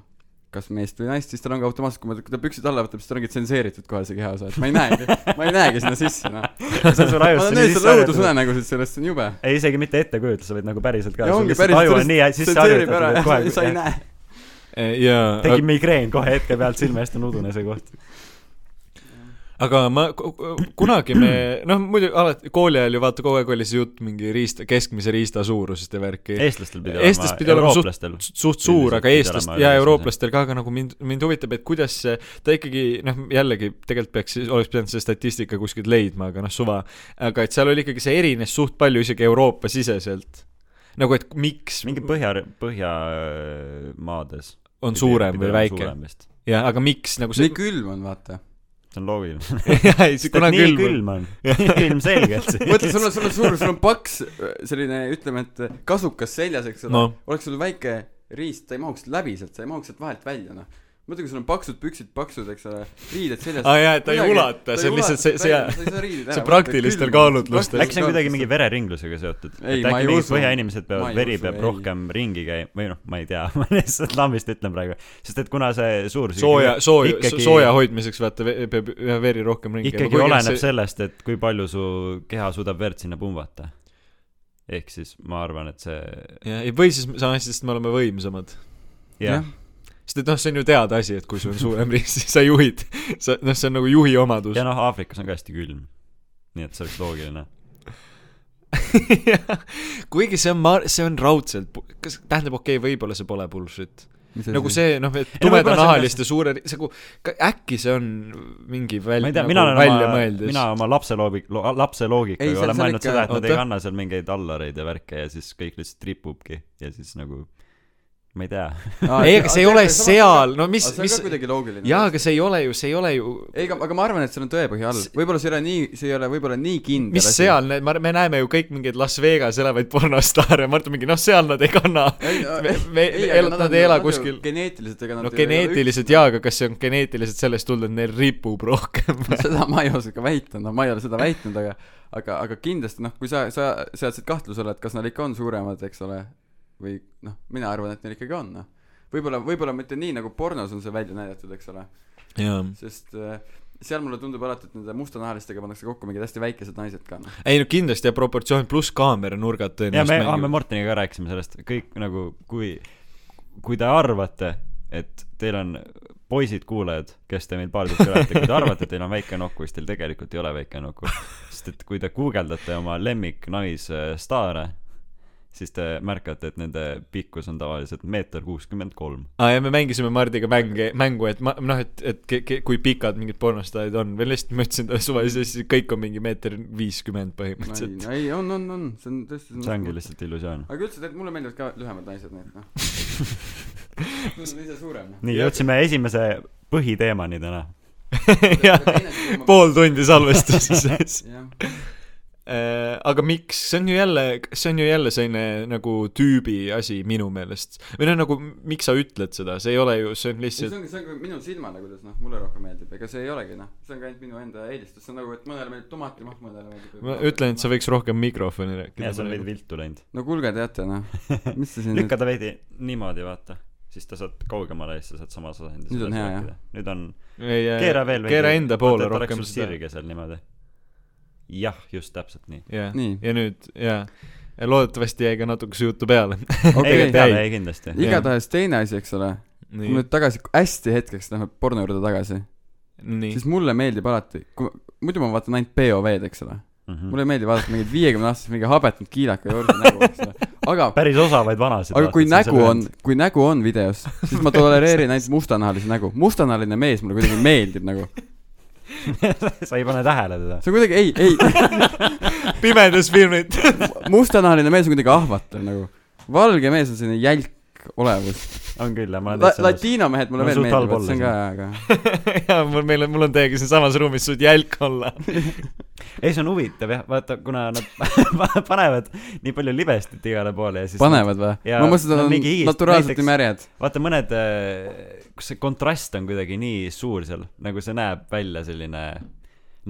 C: kas meest või naist , siis tal on ka automaatselt , kui ma , kui ta püksid alla võtab , siis tal ongi tsenseeritud kohe see kehaosa , et ma ei näegi , ma ei näegi sinna sisse , noh .
A: see on sul
C: ma
A: ajusse
C: olen
A: nii
C: täiesti
A: sisse harjutatud .
C: lõudusunenägusid sellest , see on jube .
A: ei , isegi mitte ettekujutlus , vaid nagu päriselt ka .
C: ja
A: sul
C: ongi
A: lihtsalt
C: päris
A: aju on nii hä- sisse
C: tsenseerib ära
A: harjutatud , et
C: ja sa ei- sa ei
A: nagu kohe
C: näe .
B: jaa .
A: tegi migreen kohe hetke pealt , silme eest on udune see koht .
B: aga ma , kunagi me , noh muidu alati kooli ajal ju vaata kogu aeg oli see jutt mingi riista , keskmise riista suurusest ja värki .
A: eestlastel pidi
B: Eestis pidi olema suht-
A: eurooplastel .
B: suht suur ,
A: Üldiselt
B: aga
A: pidi
B: eestlast
A: olema
B: ja
A: üle-
B: eurooplastel ka , aga nagu mind , mind huvitab , et kuidas see , ta ikkagi noh , jällegi tegelikult peaks , oleks pidanud selle statistika kuskilt leidma , aga noh , suva . aga et seal oli ikkagi , see erines suht palju isegi Euroopa-siseselt . nagu , et miks
A: mingi põhja , põhjamaades .
B: on suurem või väike .
A: see
B: jah , aga miks nagu see
C: nii külm on , vaata .
A: on loogiline .
B: jah , ei see
A: sest et
B: kunagi
A: nii
B: külm on .
A: külm on . ilmselgelt .
C: mõtle , sul on , sul on suur , sul on paks eh, selline , ütleme , et kasukas seljas , eks ole
B: noh ,
C: oleks sul väike riist , ta ei mahuks läbi sealt , sa ei mahuks sealt vahelt välja , noh . mõtle , kui sul on paksud püksid paksud , eks ole , riided seljas .
B: aa Ah, jaa , et ta ei ulata , see on lihtsalt see , see see praktilistel kaalutlustel.
A: äkki see on nagu kuidagi mingi vereringlusega seotud ?
C: Ei,
A: et
C: ma ei
A: äkki mingid
C: usu. Ma
A: põhjainimesed
C: ei
A: peavad , veri
C: usu,
A: peab
C: ei.
A: rohkem ringi käima või noh , ma ei tea , ma lihtsalt lambist ütlen praegu , sest et kuna see suur
B: sooja , sooja , sooja hoidmiseks vaata , peab ühe veri rohkem ringi
A: ikkagi oleneb see... . sellest , et kui palju su keha suudab verd sinna pumbata . ehk siis ma arvan , et see
B: jah , ei või siis samas , sest me oleme võimsamad .
A: jah ,
B: sest et noh , see on ju teada asi , et kui sul on suurem riist , siis sa juhid . sa , noh , see on nagu juhi omadus
A: ja . noh , Aafrikas on ka hästi külm . nii et see oleks loogiline .
B: kuigi see on ma- , see on raudselt , kas , tähendab , okei okay, , võib-olla see pole bullshit . nagu . see , noh ,
A: no võib-olla
B: et
A: see on
B: tumedanahaliste suure , see nagu , äkki see on mingi
A: ma
B: väl- ,
A: ei tea ,
B: nagu
A: mina olen
B: välja
A: oma ,
B: mõeldes .
A: mina oma lapse loobi- , lapse
C: Ei,
A: loogikaga
C: seal-
A: olen
C: seal
A: mõelnud
C: ikka-
A: seda , et nad ei
B: oota.
A: kanna seal mingeid allareid ja värke ja siis kõik lihtsalt ripubki ja siis nagu ma ei tea .
B: ei , aga see ei ole seal , no mis ,
C: aga
B: mis
C: see on ka , kuidagi loogiline .
B: jaa , aga see ei ole ju , see ei ole ju ,
C: ei , aga ma arvan , et seal on tõepõhi all
B: S- ,
C: võib-olla see ei ole nii , see ei ole võib-olla nii kindel .
B: mis seal , me näeme ju kõik mingeid Las Vegas elavaid pornostaare , Mart on mingi , noh , seal nad ei kanna .
C: ei ,
B: me , me , nad ei ela kuskil .
C: geneetiliselt , ega nad
B: no geneetiliselt jaa , aga kas see on geneetiliselt sellest tulnud , et neil ripub rohkem
C: no seda ma ei oska väita , no ma ei ole seda väitnud , aga aga , aga kindlasti noh , kui sa , sa seadsid kahtlusele , et kas nad ikka on suuremad , eks ole , või noh , mina arvan , et neil ikkagi on , noh . võib-olla , võib-olla mitte nii , nagu pornos on see välja näidatud , eks ole ,
B: jaa .
C: sest äh, seal mulle tundub alati , et nende mustanahalistega pannakse kokku mingid hästi väikesed naised ka , noh .
B: ei no kindlasti ja proportsioon pluss kaameranurgad
A: ja me ,
B: tõenäoliselt
A: ah, me . Martiniga ka rääkisime sellest , kõik nagu , kui , kui te arvate , et teil on poisid kuulajad , kes te meil paar tükki olete , kui te arvate , et teil on väike nuku , siis teil tegelikult ei ole väike nuku . sest et kui te guugeldate oma lemmiknaisstaare , siis te märkate , et nende pikkus on tavaliselt meeter kuuskümmend kolm .
B: aa ja me mängisime Mardiga mänge , mängu , et ma , noh , et , et ke, ke, kui pikad mingid pornostaarid on , veel lihtsalt ma ütlesin talle suvaliselt , siis kõik on mingi meeter viiskümmend
C: ei
B: põhimõtteliselt .,
C: ei , on , on , on , see on tõesti
A: see ongi lihtsalt illusioon .
C: aga üldse tegelikult mulle meeldivad ka lühemad naised , nii et noh mul on ise suurem , noh .
A: nii , jõudsime esimese põhiteemani täna .
B: jah , pool tundi salvestuses
C: jah
B: Äh, aga miks , see on ju jälle , see on ju jälle selline nagu tüübi asi minu meelest . või noh , nagu miks sa ütled seda , see ei ole ju , see on
C: ei ,
B: lihtsalt
C: see ongi , see ongi minu silmaga , kuidas noh , mulle rohkem meeldib , ega see ei olegi noh , see on ka ainult minu enda eelistus , see on nagu , et mõnele meeldib tomatimahk , mõnele meeldib
B: ma ütlen , et sa võiks rohkem mikrofoni rääkida
A: ja . see on veidi viltu läinud .
C: no kuulge , teate noh , mis te siin nüüd
A: lükka ta veidi niimoodi , vaata . siis ta saad kaugemale ja siis sa saad samas asendis .
C: Nüüd on hea, jah. Äh,
A: nüüd on keera
B: keera
A: veel veidi .
B: keera enda poole rohkem seda .
A: sirge seal niimoodi . jah , just täpselt nii .
B: jah ,
C: Nii.
B: ja nüüd , jaa . loodetavasti jäi ka natuke su juttu peale .
A: ei ,
C: okei
A: aga peale jäi kindlasti .
B: Jah.
C: igatahes teine asi , eks ole , kui me
B: nii ,
C: nüüd tagasi , hästi hetkeks läheme porno juurde tagasi ,
B: nii .
C: siis mulle meeldib alati , kui muidu ma vaatan ainult POV-d , eks ole ,
B: Hmm.
A: Mhm.
C: mulle ei meeldi vaadata mingeid viiekümne aastast mingi habetanud kiilaka juurde nägu , eks ole , aga
A: päris osavaid vanasid .
C: aga kui nägu on , kui nägu on videos , siis ma tolereerin ainult mustanahalise nägu , mustanahaline mees mulle kuidagi meeldib nagu ,
A: sa ei pane tähele teda .
C: see on kuidagi , ei , ei
B: pimedas filmid .
C: mustanahaline mees on kuidagi ahvatlev nagu . valge mees on selline jälk olevus .
A: on küll , jah , ma olen
C: La- ,
A: täitsa nõus .
C: latiino mehed mulle
A: Mul on
C: veel
A: suht halb
C: meeldivad , see on
A: olla
C: ka hea , aga
B: jaa , mul , meil on , mul on teiega siinsamas ruumis suht jälk olla .
A: ei , see on huvitav jah , vaata , kuna nad panevad nii palju libestit igale poole ja siis .
C: panevad või ?
A: jaa,
C: ma mõtlesin , et
A: no
C: nad
A: mingi
C: on
A: hiigist-
C: naturaalselt
A: näiteks-
C: nii märjad .
A: vaata mõned , kus see kontrast on kuidagi nii suur seal , nagu see näeb välja selline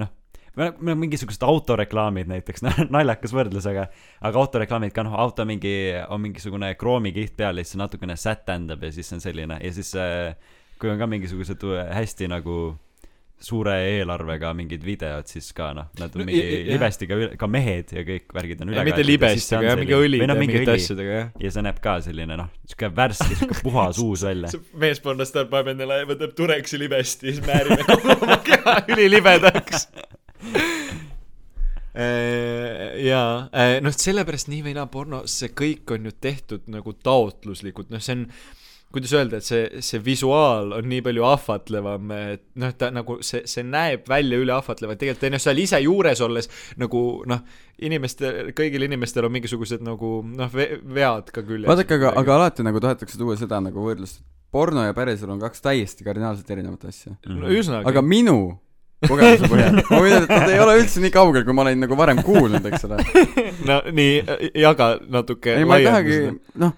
A: noh , meil on mingisugused autoreklaamid näiteks , naljakas võrdlus , aga aga autoreklaamid ka noh , auto mingi , on mingisugune kroomikiht peal ja siis see natukene sätendab ja siis see on selline ja siis äh, kui on ka mingisugused hästi nagu suure eelarvega mingid videod , siis ka noh , nad on
B: No
A: mingi
B: i- i- jah.
A: libestiga , ka mehed ja kõik värgid on noh, üle .
B: mitte libestiga , mingi õliga , mingite asjadega , jah .
A: ja see näeb ka selline noh , sihuke värske , sihuke puhas uus välja .
B: see meeskonnas ta paneb endale , võtab Tureksi libesti ja siis määrime kogu oma keha ülilibedaks . Äh, jaa , noh , sellepärast nii või naa pornos , see kõik on ju tehtud nagu taotluslikult , noh , see on kuidas öelda , et see , see visuaal on nii palju ahvatlevam , et noh , ta nagu see , see näeb välja üle ahvatlev , et tegelikult on ju seal ise juures olles nagu noh , inimestel , kõigil inimestel on mingisugused nagu noh , vead ka küljes .
C: vaadake , aga , aga alati nagu tahetakse tuua seda nagu võrdlust . porno ja päriselu on kaks täiesti kardinaalselt erinevat asja .
A: Mm.
B: no ühesõnaga .
C: aga minu kogemuse põhjal , ma võin öelda , et nad ei ole üldse nii kaugel , kui ma olen nagu varem kuulnud , eks ole .
B: no nii , jaga natuke .
C: ei , ma ei tahagi , noh ,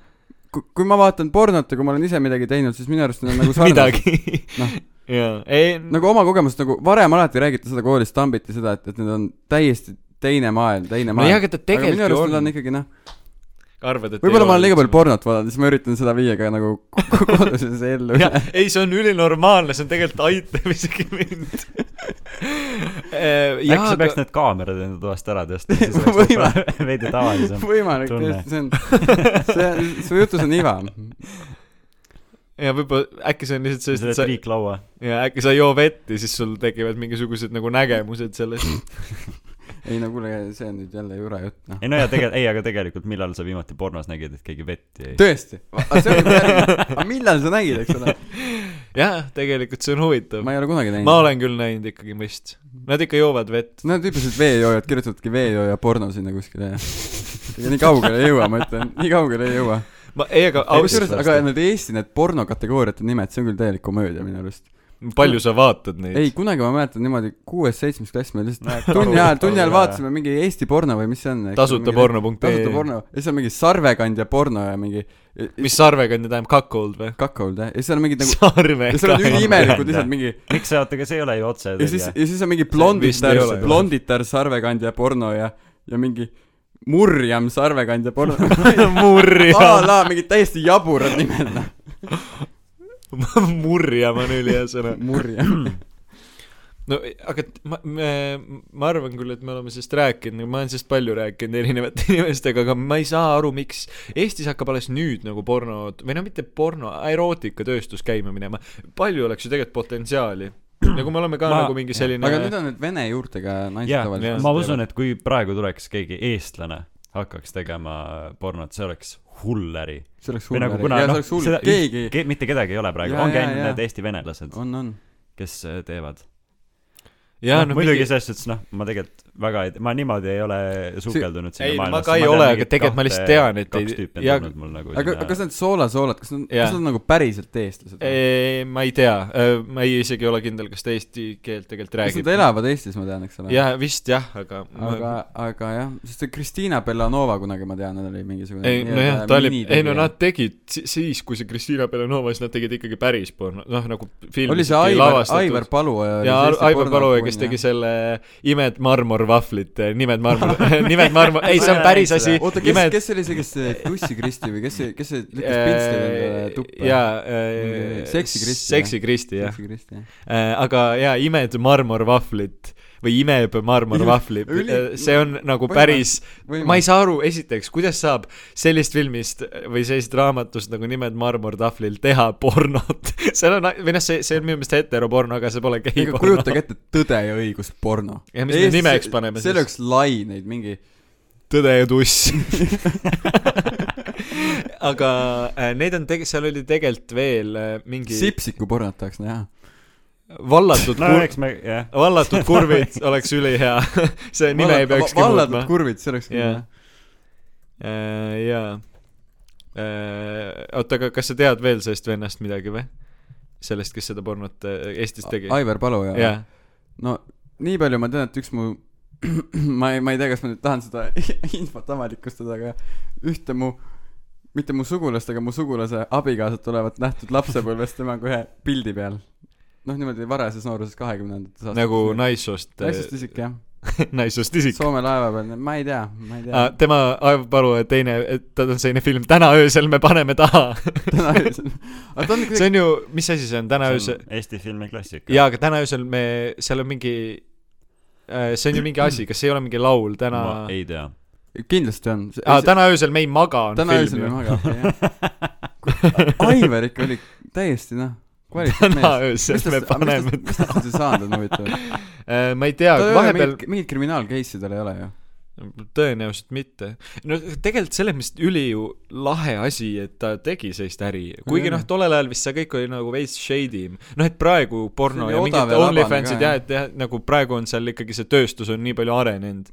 C: kui ma vaatan pornot ja kui ma olen ise midagi teinud , siis minu arust need on nagu sarnased .
B: midagi .
C: Noh.
B: jaa , ei
C: nagu oma kogemust nagu varem alati räägiti seda koolis tambiti seda , et , et need on täiesti teine maailm , teine
B: no
C: maailm .
B: jah , aga ta
C: aga minu
B: tegelikult ju
C: arust
B: on,
C: nad on
B: on .
C: ikkagi noh ,
B: arvad , et
C: võib-olla ma olen liiga palju pornot vaadanud , siis ma üritan seda viia ka nagu koduses ellu .
B: jah , ei , see on ülinormaalne , see on tegelikult aitab isegi mind . Äh,
A: äkki sa peaks need kaamerad enda toast ära tõstma , siis oleks
C: Võivad.
A: võib-olla veidi tavalisem .
C: võimalik ,
A: tunne.
C: tõesti , see on , see on , su jutus on iva .
B: ja võib-olla äkki see on lihtsalt
A: sa
B: sellest ,
A: oled
B: et sa ,
A: triiklaua .
B: ja äkki sa ei joo vett ja siis sul tekivad mingisugused nagu nägemused sellest .
C: ei no kuule , see on nüüd jälle jura jutt , noh .
A: ei no ja tegelikult , ei , aga tegelikult millal sa viimati pornos nägid , et keegi vett jäi ?
C: tõesti , see on , aga millal sa nägid , eks ole ?
B: jah , tegelikult see on huvitav .
C: ma ei ole kunagi näinud .
B: ma olen küll näinud ikkagi vist . Nad ikka joovad vett .
C: Nad tüüpiliselt veejoojad kirjutavadki veejooja porno sinna kuskile ja ega nii kaugele ei jõua , ma ütlen , nii kaugele ei jõua .
B: ma , ei , aga
C: kusjuures ,
B: ausalt ,
C: aga need Eesti need pornokategooriate nimed , see on küll täielik komöödia minu arust .
B: palju sa vaatad neid ?
C: ei , kunagi ma mäletan niimoodi kuues-seitsmes klass me lihtsalt tunni ajal , tunni ajal vaatasime mingi Eesti porno või mis see on .
B: tasuta . porno.ee
C: tasuta . porno , ja siis on mingi sarvekandja porno ja mingi
B: mis sarvekandja tähendab , cuckold või ?
C: kakold jah , ja siis on mingid nagu , ja siis on
B: sarvekandja .
C: üliimelikud lihtsalt mingi
A: miks sa , oota , aga see ei ole ju otse
C: ja siis , ja siis on mingi blonditar
B: ei ole , ju.
C: blonditar sarvekandja porno ja , ja mingi murjam sarvekandja porno . a
B: murjama ,
C: la mingid täiesti jaburad nimed , noh ,
B: murjama on ülihea sõna .
C: murjam .
B: no aga t- ma , me , ma arvan küll , et me oleme sellest rääkinud , ma olen sellest palju rääkinud erinevate inimestega , aga ma ei saa aru , miks Eestis hakkab alles nüüd nagu porno , või no mitte porno , erootikatööstus käima minema . palju oleks ju tegelikult potentsiaali . nagu me oleme ka ma,
A: Ma-
B: nagu mingi selline
C: aga need on need vene juurtega naised
A: jaa ,
C: tavaliselt .
A: ma usun , et kui praegu tuleks keegi eestlane , hakkaks tegema pornot , see oleks hull äri .
C: see oleks
A: või
C: hull
A: nagu
C: äri.
A: kuna
C: Jaa, see
A: noh ,
C: oleks hull ,
A: seda
C: keegi
A: ke, , mitte kedagi ei ole praegu ,
C: Jaa,
A: ongi
C: jaa,
A: ainult
C: jaa.
A: need Eesti venelased ,
C: on , on .
A: kes äh, teevad .
B: jaa ,
A: no,
B: no
A: muidugi
B: mingi
A: mingi... selles suhtes , noh , ma tegelikult väga ei , ma niimoodi ei ole sukeldunud
B: ei,
A: sinna
B: ma
A: maailmasse .
B: ka ei ole, aga tegelikult ma lihtsalt tean, et ei-
A: kaks tüüpi on
B: ja-
A: tulnud mul nagu
C: aga , aga kas need soolasoolad , kas nad ,
B: Jaa.
C: kas nad on nagu päriselt eestlased ?
B: ei , ma ei tea , ma ei isegi ole kindel , kas ta eesti keelt tegelikult
C: kas
B: räägib
C: nad . elavad Eestis , ma tean , eks ole ?
B: jah , vist jah , aga,
C: aga
B: aga... ,
C: aga jah , sest see Kristiina Bellanova kunagi ma tean , oli mingisugune
B: ei
C: nii-öelda
B: nojah , ta oli , ei
C: minitegija.
B: no nad tegid si- siis , kui see Kristiina Belenova , siis nad tegid ikkagi päris porno , noh nagu
C: oli
B: filmis
C: see Aivar , Aivar . Paluoja .
B: ja Ar- Aivar Paluoja , kes tegi selle Imed marmorvahvlit , nimed marmor , nimed marmor , ei , see on päris asi .
C: oota , kes , kes oli see , kes see Tussi Kristi või kes see , kes see lükkas pintsli endale tuppa ?
B: Äh, jaa ,
C: Seksi Kristi, jah.
B: Seksi Kristi , jah .
C: Tussi Kristi , jah .
B: aga jaa , Imed marmorvahvlit või Imeb marmorvahvli ,
C: Üli-
B: see on nagu
C: Põhimõtteliselt-
B: päris
C: võimalik.
B: ma ei saa aru , esiteks , kuidas saab sellest filmist või sellisest raamatust nagu nimed marmortahvlil teha pornot . seal on , või noh , see , see on minu meelest heteroporno , aga see pole gei
C: ega
B: porno .
C: kujutage ette , Tõde ja õigus porno .
B: Ja mis me nimeks paneme
C: siis ? see
B: siis?
C: oleks lai neid mingi ,
B: tõde ja tuss . aga äh, neid on tege- , seal oli tegelikult veel äh, mingi
C: sipsiku pornot tahaks näha .
B: vallatud
A: no
B: kur- ,
A: eks me , jah .
B: vallatud kurvid oleks ülihea . see nime ei peakski muutma
C: vallatud . kurvid , see oleks küll
B: Jaa.
C: jah .
B: Äh, jaa äh, . oota , aga kas sa tead veel sellest vennast midagi või ? sellest , kes seda pornot äh, Eestis tegi ?
C: Aivar Paluoja .
B: jaa .
C: no nii palju ma tean , et üks mu ma ei , ma ei tea , kas ma nüüd tahan seda infot avalikustada , aga ühte mu , mitte mu sugulast , aga mu sugulase abikaasat olevat nähtud lapsepõlves temaga ühe pildi peal . noh , niimoodi varajases nooruses kahekümnendates aastates .
B: nagu naissoost ,
C: naissoost isik jah ,
B: naissoost isik .
C: Soome laeva peal , ma ei tea , ma ei tea
B: Ah, . tema Aivar Paluoja teine , tal on selline film Täna öösel me paneme taha .
C: täna öösel , aga ta on
B: see
C: kuidagi ,
B: on ju , mis asi see on , Täna
A: see
B: öösel
A: on , Eesti filmi klassika .
B: jaa , aga Täna öösel me , seal on mingi , see on ju mingi asi , kas see ei ole mingi laul , täna
A: ma , ei tea .
C: kindlasti on .
B: aa , Täna öösel me ei maga on
C: täna
B: film
C: öösel me
B: ju .
C: magame , jah . Aivar ikka oli täiesti noh ,
B: täna
C: kvaliteetmees .
B: öösel me paneme
C: mis tast üldse saanud on huvitav ?
B: Äh, ma ei tea ,
C: tal ei ole
B: vahepeal
C: mingit , mingit kriminaal case'i tal ei ole ju .
B: tõenäoliselt mitte . no tegelikult selles mõttes üli ju lahe asi , et ta tegi sellist äri , kuigi
C: Jah.
B: noh , tollel ajal vist see kõik oli nagu veits shady im . noh , et praegu porno
C: See oli
B: ja
C: odav
B: mingid
C: ja labane
B: OnlyFansid
C: ka,
B: jah , et jah , nagu praegu on seal ikkagi see tööstus on nii palju arenenud .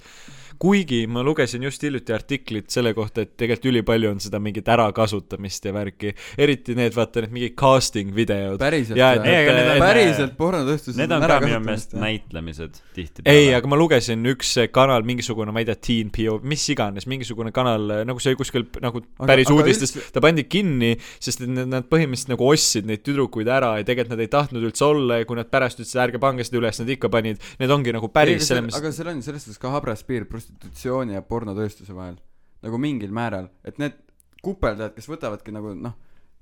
B: kuigi ma lugesin just hiljuti artiklit selle kohta , et tegelikult ülipalju on seda mingit ärakasutamist ja värki , eriti need , vaata need mingid casting videod .
C: päriselt äh,
B: Jaa, et
A: Ei, aga need on-
C: päriselt pornotööstuses
A: Need on ka minu meelest . näitlemised tihtipeale .
B: ei , aga ma lugesin üks kanal , mingisugune , ma ei tea , Teen PO , mis iganes , mingisugune kanal , nagu see oli kuskil p- nagu
C: Aga-
B: päris
C: aga
B: aga uudistes üldse... , ta pandi kinni , sest et nad, nad põhimõtteliselt nagu ostsid neid tüdrukuid ära ja tegelikult nad ei tahtnud üldse olla ja kui nad pärast ütlesid , ärge pange seda üles , nad ikka panid , need ongi nagu päris selles mõttes ,
C: aga seal on selles suhtes ka habras piir prostitutsiooni ja pornotööstuse vahel . nagu mingil määral , et need kupeldajad , kes võtavadki nagu noh ,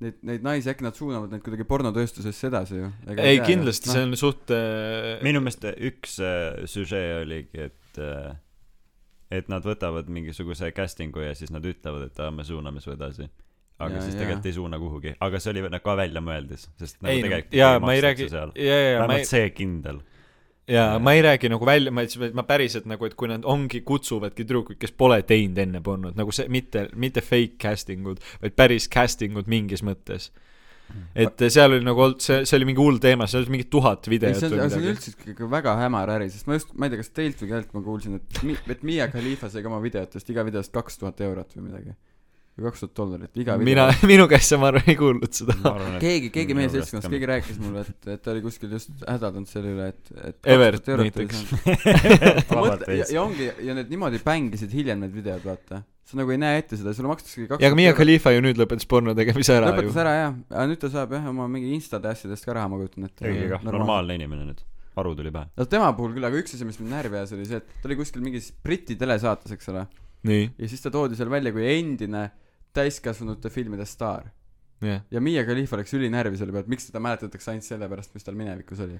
C: neid , neid naisi , äkki nad suunavad neid kuidagi pornotööstusesse edasi ju . Noh,
B: ei kindlasti , see on suht äh,
A: minu meelest üks äh, süžee oligi , et äh, et nad võtavad mingisuguse casting'u ja siis nad ütlevad , et aa , me suuname su edasi . aga
C: Jaa,
A: ja, siis
C: jaa.
A: tegelikult ei suuna kuhugi , aga see oli nagu ka väljamõeldis , sest nagu
B: ei no
A: tegelikult ,
B: jaa , ma ei räägi , jaa ,
A: vähemalt
B: jaa , ma ei ,
A: see kindel .
B: jaa , ma ei räägi nagu välja , ma ütlesin , et ma päriselt nagu , et kui nad ongi , kutsuvadki tüdrukuid , kes pole teinud enne polnud , nagu see , mitte , mitte fake casting ud , vaid päris casting ud mingis mõttes . et seal oli nagu olnud , see , see oli mingi hull teema , seal oli mingi tuhat
C: ei ,
B: videot
C: see on ,
B: või
C: see on
B: midagi .
C: üldse ikka väga hämar äri , sest ma just , ma ei tea , kas teilt või kellelt ma kuulsin , et , et Miia Khalifa sai ka oma videotest iga videost kaks tuhat eurot või midagi . või kaks tuhat dollarit iga video
B: mina , minu käest sa , ma arvan , ei kuulnud
A: ma
B: seda .
A: arvan , et
C: keegi , keegi meie
A: Minu käest
C: seltskonnas ,
A: ka
C: keegi rääkis mulle , et , et ta oli kuskil just hädaldanud selle üle , et , et 2000
B: Evert
C: eurot
B: näiteks.
C: oli saanud. Ma
A: vabalt
C: mõtlen- ja ,
A: veits .
C: ja ongi , ja need niimoodi bängisid hiljem need videod , vaata . sa nagu ei näe ette seda , sulle makstaksegi
B: ja aga
C: kaks
B: Mia Khalifa ju nüüd lõpetas porno tegemise ära
C: lõpetas
B: ju .
C: ära jah , aga nüüd ta saab jah oma mingi instade asjadest ka raha , ma kujutan ette .
A: õige kah , normaalne inimene nüüd . aru tuli pähe .
C: no tema puhul küll , aga üks asi , mis mind närvi ajas , oli see , et ta oli kuskil mingis Briti telesaates , eks ole ,
B: nii ,
C: ja siis ta toodi seal välja kui endine täiskasvanute filmide staar .
B: jah .
C: ja Miia Khalifa läks ülinärvi selle pealt , miks teda mäletatakse ainult selle pärast , mis tal minevikus oli .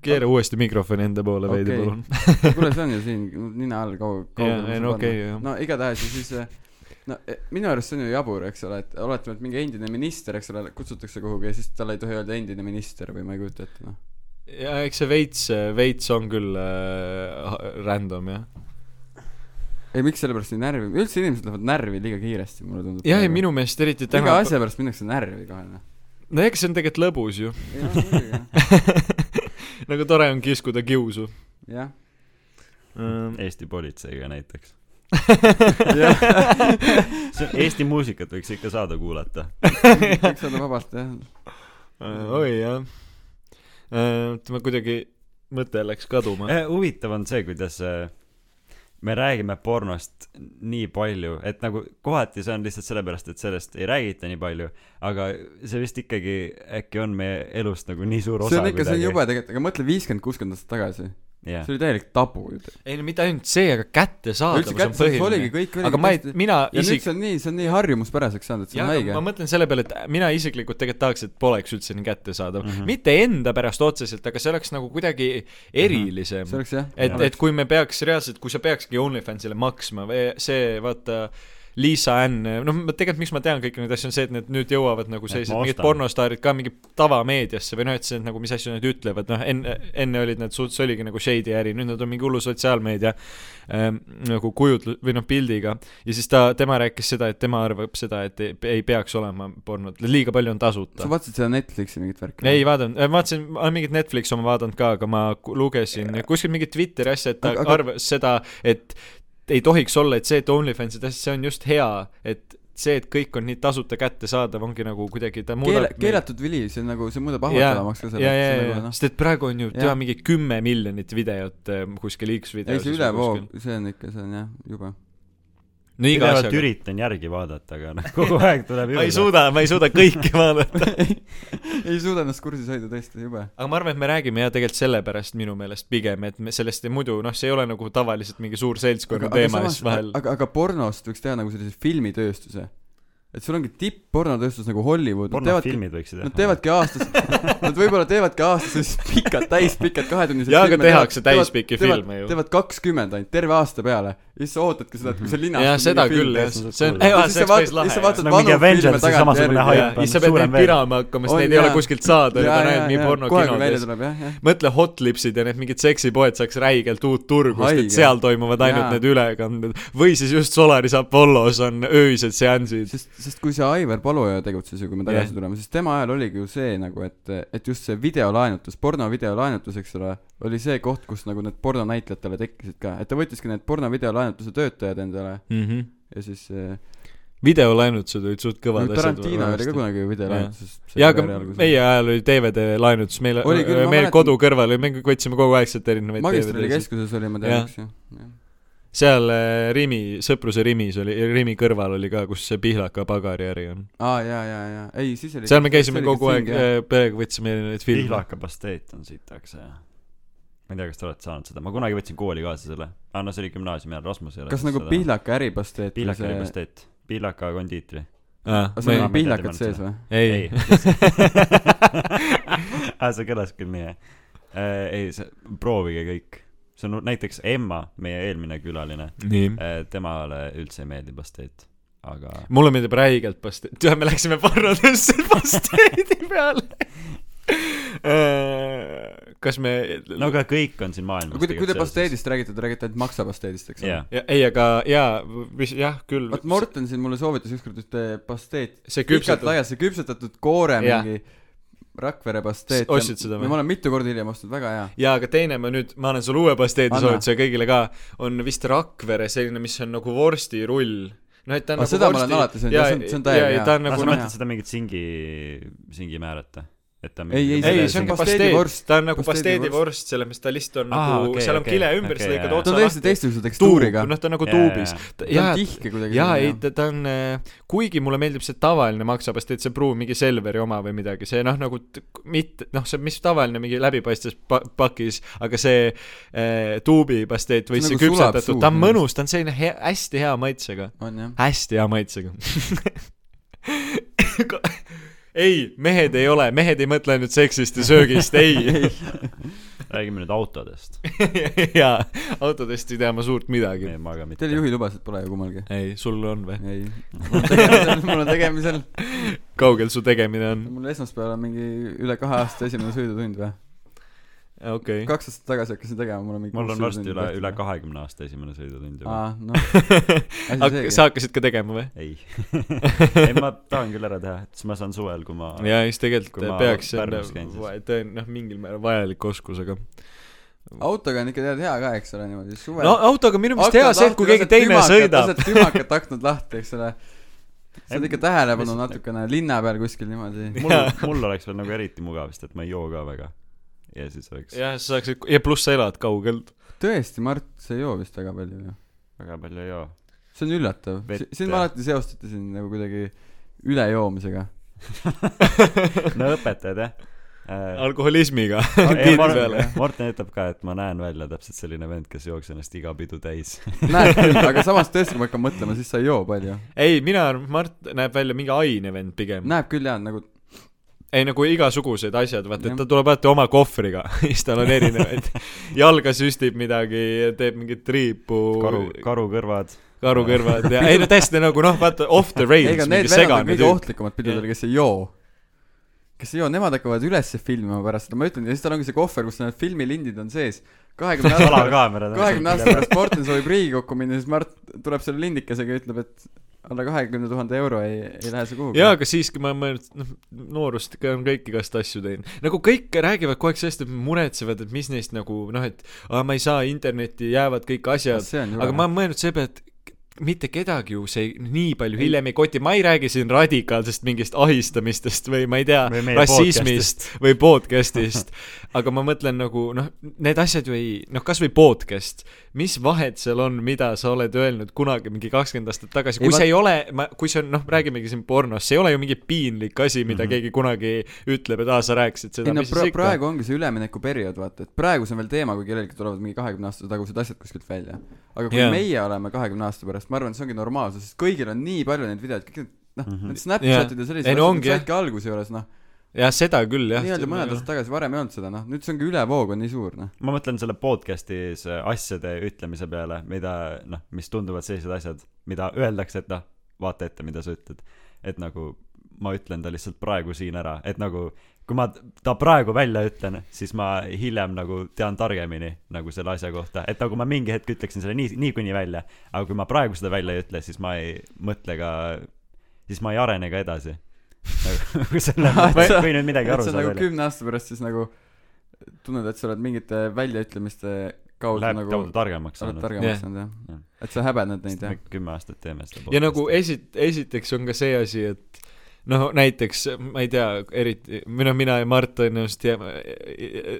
B: keera uuesti mikrofoni enda poole veidi
C: Okei.
B: palun .
C: kuule , see on ju siin nina all kaug- ,
B: Jaa, ei no okei, jah.
C: no igatahes ja siis eh, no eh, minu arust see on ju jabur , eks ole , et oletame , et mingi endine minister , eks ole , kutsutakse kuhugi ja siis talle ei tohi öelda endine minister või ma ei kujuta ette , noh .
B: ja eks see veits , veits on küll äh, ha- random jah .
C: ei , miks selle pärast nii närvi , üldse inimesed lähevad närvi liiga kiiresti , mulle tundub .
B: jah , ja minu meelest eriti
C: iga
B: täna .
C: asja pärast minnakse närvi kohe , noh .
B: no eks see on tegelikult lõbus ju .
C: jah muidugi, jah.
B: nagu tore on kiskuda kiusu .
C: jah , Ähm,
A: Eesti politseiga näiteks .
C: jah ,
A: see on , Eesti muusikat võiks ikka saada kuulata .
C: kõik saada vabalt , jah .
B: Äh, oi jah . oota , ma kuidagi , mõte läks
C: Äh.
B: kaduma .
A: Eh, huvitav on see , kuidas äh, me räägime pornost nii palju , et nagu kohati see on lihtsalt sellepärast , et sellest ei räägita nii palju , aga see vist ikkagi äkki on meie elust nagu nii suur osa .
C: see on ikka , see on jube tegelikult , aga mõtle viiskümmend , kuuskümmend aastat tagasi .
A: jah
C: see , oli täielik tabu ju .
B: ei no mitte ainult see , aga kättesaadavus
C: üldse
B: on
C: kättesaadavus oligi ,
B: põhiline .
C: kõik oligi
B: aga ma ei
C: tõesti- ,
B: mina
C: ja isik... nüüd
B: isik-
C: see , on nii , see on nii harjumuspäraseks saanud , et see
B: jah
C: on ,
B: ma
C: haige .
B: mõtlen selle peale , et mina isiklikult tegelikult tahaks , et poleks üldse nii kättesaadav mm .
A: Mhm.
B: -hmm. mitte enda pärast otseselt , aga see oleks nagu kuidagi
C: Mhm. see
B: erilisem mm . -hmm.
C: oleks jah .
B: et , et kui me peaks reaalselt , kui sa peakski OnlyFansile maksma või see , vaata , Liisa Ann , noh , ma tegelikult , miks ma tean kõiki neid asju , on see , et need nüüd jõuavad nagu sellised
A: ma
B: mingid
A: ostan.
B: pornostaarid ka mingi tavameediasse või noh , et see nagu , mis asju nad ütlevad , noh , enne , enne olid need suht- , see oligi nagu shady äri , nüüd nad on mingi hullu sotsiaalmeedia ähm, nagu kujutlu- või noh , pildiga . ja siis ta , tema rääkis seda , et tema arvab seda , et ei, ei peaks olema pornot , liiga palju on tasuta
C: sa vaatasid seda Netflixi mingit värki ?
B: ei vaadanud , vaatasin , ma olen mingit Netflix oma vaadanud ka , aga ma ku- lugesin kuskil mingit Twitteri asja , et ta
C: Aga-
B: aga...
C: aga-
B: arvas seda , et ei tohiks olla , et see , et OnlyFansid asjad , see on just hea , et see , et kõik on nii tasuta kättesaadav , ongi nagu kuidagi ta
C: keela-
B: muudab ,.
C: keelatud vili , see on nagu , see muudab
B: ja ,
C: ahvatlevamaks ka
B: ja ,
C: selle . nagu,
B: ja , ja , sest et praegu on ju ,
C: Jah.
B: tea , mingi kümme miljonit videot eh, kuskil X-videos .
C: ei , see ülevoog , see on ikka , see on jah , jube .
B: no iga
A: pidevalt
B: asjaga .
A: üritan järgi vaadata , aga noh , kogu aeg tuleb
B: ma ei . suuda , ma ei suuda kõike vaadata .
C: ei suuda ennast kursis hoida , tõesti , jube .
B: aga ma arvan , et me räägime jah , tegelikult sellepärast minu meelest pigem , et me sellest ei muidu , noh , see ei ole nagu tavaliselt mingi suur seltskonna teema ja siis vahel
C: aga , aga pornost võiks teha nagu sellise filmitööstuse . et sul ongi tipp-pornotööstus nagu Hollywood , nad teevadki ,
A: pornofilmid võiksid
C: nad teevadki aastas , nad võib-olla teevadki aastas sellised pikad , täispikad kahetunnised
B: Jaa, aga tehakse täispikki filme ju.
C: teevad kakskümmend ainult , terve aasta peale ja siis sa ootadki seda , et kui see linastus
B: jah , seda küll jah ,
A: film,
B: see on ,
A: see on-
B: jaa ,
C: siis sa
B: see oleks päris
C: vaatad-
B: lahe
C: siis sa
B: jah.
C: vaatad-
A: see on mingi
C: vanu filme
A: Avengersi
C: tagantjärgi
A: samasugune
C: ja-
B: jaa ,
A: haip on ,
B: siis sa pead neid
A: suurem veel .
B: pirama hakkama , sest
C: On,
B: neid ei ole
C: jaa.
B: kuskilt saada , need on ainult mingi
C: kohe kui välja
B: pornokinodes .
C: tuleb jah , jah .
B: mõtle Hotlipsid ja need mingid seksipoed saaks räigelt uut turgu , sest
C: Haige.
B: et seal toimuvad ainult
C: Jaa.
B: need ülekanded . või siis just Solaris Apollos on öised seansid .
C: sest , sest kui see Aivar Paluoja tegutses ju , kui me tagasi
B: Jah.
C: yeah. tuleme , siis tema ajal oligi ju see nagu , et , et just see videolaenutus , pornovideolaenutus , eks ole , oli see koht , kus nagu need pornonäitlejatele tekkisid ka , et ta võttiski need pornovideolaenutuse töötajad endale ja siis äh,
B: Mhm. videolaenutused olid suht
C: no,
B: kõvad
C: Tarantino oli ka . kunagi ju videolaenutuses .
B: jaa , aga meie ajal oli DVD laenutus , meil ,
C: Oli küll, ma
B: meil
C: mäletan-
B: kodu kõrval oli , me kõik võtsime kogu aeg sealt erinevaid DVD-sid .
C: magistralikeskuses oli , ma
B: Jah.
C: tean , eks ju .
B: seal äh, Rimi , Sõpruse Rimis oli , Rimi kõrval oli ka , kus see Pihlaka pagariäri on .
C: aa , jaa , jaa , jaa , ei siis oli
B: seal me käisime kogu aeg , perega võtsime erinevaid filme .
A: pihlaka pasteet on sitaks ja ma ei tea , kas te olete saanud seda , ma kunagi võtsin kooli kaasa selle , aa no see oli gümnaasiumi ajal , Rasmus ei ole
C: kas nagu
A: seda-
C: pihlaka äripasteet või
A: pihlaka oli
C: see ,
A: pasteet , pihlaka kondiitri .
C: kas seal
A: Ma
C: on
A: ei- ma ei
C: pihlakad
A: tea
C: sees või ?
B: ei ,
A: aa , see kõlas küll nii , jah . ei , see , proovige kõik . see on näiteks Emma , meie eelmine külaline ,
B: nii .
A: temale üldse ei meeldi pasteet , aga
B: mulle meeldib räigelt pasteet , tead , me läksime pornodesse pasteedi peale . kas me
A: no aga kõik on siin maailmas
C: aga kui te , kui te . pasteedist räägite , te räägite ainult maksapasteedist , eks ole
A: jaa ,
B: Ja, ei , aga jaa , mis jah , küll .
C: vot Morten siin mulle soovitas ükskord ühte pasteeti ,
B: see
C: pikalt
B: küpsetatud
C: laias , see küpsetatud koore
B: Jah.
C: mingi Rakvere pasteet .
B: S- ostsid seda või?
C: või ? ma olen mitu korda hiljem ostnud , väga hea .
B: jaa , aga teine ma nüüd , ma annan sulle uue pasteedi
C: Anna.
B: soovituse kõigile ka , on vist Rakvere selline , mis on nagu vorstirull . noh , et ta on
C: Aga seda ma olen alati söönud, jah, see on- see on täiega hea.
B: ta on
A: nagu
B: nagu
A: sa
B: noh
C: hea.
A: mõtled seda mingit singi , singi määrat või ? et ta on
C: Ei, ei,
A: mingi-
C: seda-
B: ei , see on
C: mingi
B: pasteedivorst
C: pasteedivorst. ,
B: ta on nagu
C: Pasteedivorst.
B: pasteedivorst , selles mõttes ta lihtsalt on
A: Aa,
B: nagu ,
A: okei,
B: seal on
A: okei,
B: kile ümber , sa
A: okei,
B: lõikad
A: jaa.
C: ta
B: otsa
C: on täiesti
B: lahti .
C: teistsuguse
B: tuub ,
C: tekstuuriga .
B: noh , ta on nagu
A: Jaa, jaa,
B: tuubis
A: jaa. .
C: ta on tihke kuidagi .
B: jaa , ei , ta , ta on , kuigi mulle meeldib see tavaline maksapasteet , see pruun mingi Selveri oma või midagi , see noh , nagu t- k- mitte , noh , see , mis tavaline mingi läbipaistes pa- pakis , aga see eh, tuubipasteet või
C: See
B: see, see
C: nagu sulab
B: küpsetatud ,
C: suhu
B: ta on
C: minu
B: mõnus , ta on selline hea , hästi hea maitsega ,
C: on jah .
B: hästi hea maitsega ei , mehed ei ole , mehed ei mõtle ainult seksist ja söögist , ei .
A: räägime nüüd autodest .
B: jaa , autodest ei tea ma suurt midagi .
A: ei , ma ka mitte
C: Teil . juhilubasid pole ju kummalgi ?
B: ei , sul on või ?
C: ei . mul on tegemisel ,
B: kaugel su tegemine on ?
C: mul esmaspäeval on mingi üle kahe aasta esimene sõidutund või ?
B: okei okay. .
C: kaks aastat tagasi hakkasin tegema , mul on mingi
A: mul on varsti üle , üle . kahekümne aasta esimene sõidutund juba .
C: aa , noh .
B: Hakk- , sa hakkasid ka tegema või ?
A: ei , ei ma tahan küll ära teha , et siis ma saan suvel , kui ma
B: jaa , eks
A: Kui ma
B: tegelikult peaks , see
A: Pärnus käin, siis-
B: on , ta on noh , mingil määral vajalik oskus , aga
C: autoga on ikka tead hea ka , eks ole , niimoodi suvel .
B: no autoga minu meelest hea see , et kui keegi teine sõidab .
C: lased tümakad aknad lahti , eks ole . sa oled ikka tähelepanu
A: Lihtsalt-
C: natukene linna peal kuskil niimoodi .
A: mul , mul oleks veel nagu eriti mugav , sest et ma ei joo ka väga . ja siis oleks
B: jah , sa saaksid , ja pluss sa elad kaugelt .
C: tõesti , Mart , sa ei joo vist väga palju ju .
A: väga palju ei joo .
C: see on üllatav
A: Vett, .
C: sind
A: jah.
C: ma alati seostati siin nagu kuidagi ülejoomisega .
A: no õpetajad jah äh, .
B: alkoholismiga .
A: Ei,
B: tiitli
A: Mor-
B: peale .
A: Morten ütleb ka , et ma näen välja täpselt selline vend , kes jooks ennast iga pidu täis .
C: näed küll , aga samas tõesti , kui ma hakkan mõtlema , siis sa ei joo palju .
B: ei , mina arvan , Mart näeb välja mingi ainevend pigem .
C: näeb küll jaa , nagu
B: ei nagu igasugused asjad , vaata , et
C: Jah.
B: ta tuleb alati oma kohvriga , siis tal on erinevaid . jalga süstib midagi , teeb mingit triipu .
A: karu , karukõrvad .
B: karukõrvad ja , ei no täiesti nagu noh , vaata off the rails ,
C: ega need
B: mingi
C: vennad on
B: segane
C: kõige
B: tüüp .
C: ohtlikumad pidudel , kes ei joo . kes ei joo , nemad hakkavad ülesse filmima pärast seda , ma ütlen , ja siis tal ongi see kohver , kus need filmilindid on sees . kahekümne aasta pärast ,
A: salakaamerad .
C: kahekümne aasta pärast Morten soovib Riigikokku minna , siis Mart tuleb selle lindikesega ja ütleb , et alla kahekümne tuhande euro ei , ei lähe see kuhugi .
B: jaa , aga siiski ma mõelnud , noh , noorust ikka on kõik igast asju teinud . nagu kõik räägivad kogu aeg sellest , et muretsevad , et mis neist nagu noh , et aa , ma ei saa internetti , jäävad kõik asjad .
C: see on
B: aga ma olen mõelnud selle peale , et k- mitte kedagi ju see nii palju hiljem ei koti , ma ei räägi siin radikaalsest mingist ahistamistest või ma ei tea
A: Või meie ,
B: rassismist või podcast'ist , aga ma mõtlen nagu noh , need asjad ju ei , noh , kasvõi podcast , mis vahet seal on , mida sa oled öelnud kunagi mingi kakskümmend aastat tagasi ,
C: Ei,
B: kui
C: ma-
B: see ei ole , ma , kui see on , noh , räägimegi siin pornost , see ei ole ju mingi piinlik asi , mida keegi kunagi ütleb , et aa , sa rääkisid seda ,
C: Mhm. ei no
B: mis
C: pra-
B: siis , ikka .
C: praegu ongi see üleminekuperiood , vaata , et praegu see on veel teema , kui kellelgi tulevad mingi kahekümne aasta tagused asjad kuskilt välja . aga kui
B: Jaa.
C: yeah. meie oleme kahekümne aasta pärast , ma arvan , see ongi normaalsus , sest kõigil on nii palju neid videoid , kõik need noh mm
A: Mhm.
C: -hmm. , need Snapchatid ja sellised
B: Ei, no ongi, jah.
C: saidki alguse juures noh ,
B: jah , seda küll , jah .
C: nii-öelda mõned aastad tagasi varem ei olnud seda noh , nüüd see ongi ülevoog on nii suur noh .
A: ma mõtlen selle podcast'is äh, asjade ütlemise peale , mida noh , mis tunduvad sellised asjad , mida öeldakse , et noh , vaata ette , mida sa ütled . et nagu ma ütlen ta lihtsalt praegu siin ära , et nagu kui ma ta praegu välja ütlen , siis ma hiljem nagu tean targemini nagu selle asja kohta , et nagu ma mingi hetk ütleksin selle nii , niikuinii välja , aga kui ma praegu seda välja ei ütle , siis ma ei mõtle ka , siis ma ei arene ka edasi . nagu selle , ma ei võinud midagi
C: et
A: aru
C: sa
A: saada
C: nagu
A: veel .
C: kümne aasta pärast siis nagu tunned , et sa oled mingite väljaütlemiste kaudu
A: Läheb
C: nagu
A: nagu... targemaks
C: oled
A: saanud .
C: targemaks
B: Jah.
C: saanud
A: Jah. nagu
C: jah , et sa häbened neid jah
A: me . kümme aastat teeme seda
B: ja nagu esi- , esiteks on ka see asi , et noh , näiteks ma ei tea , eriti , või noh , mina ja Mart tõenäoliselt jääme ,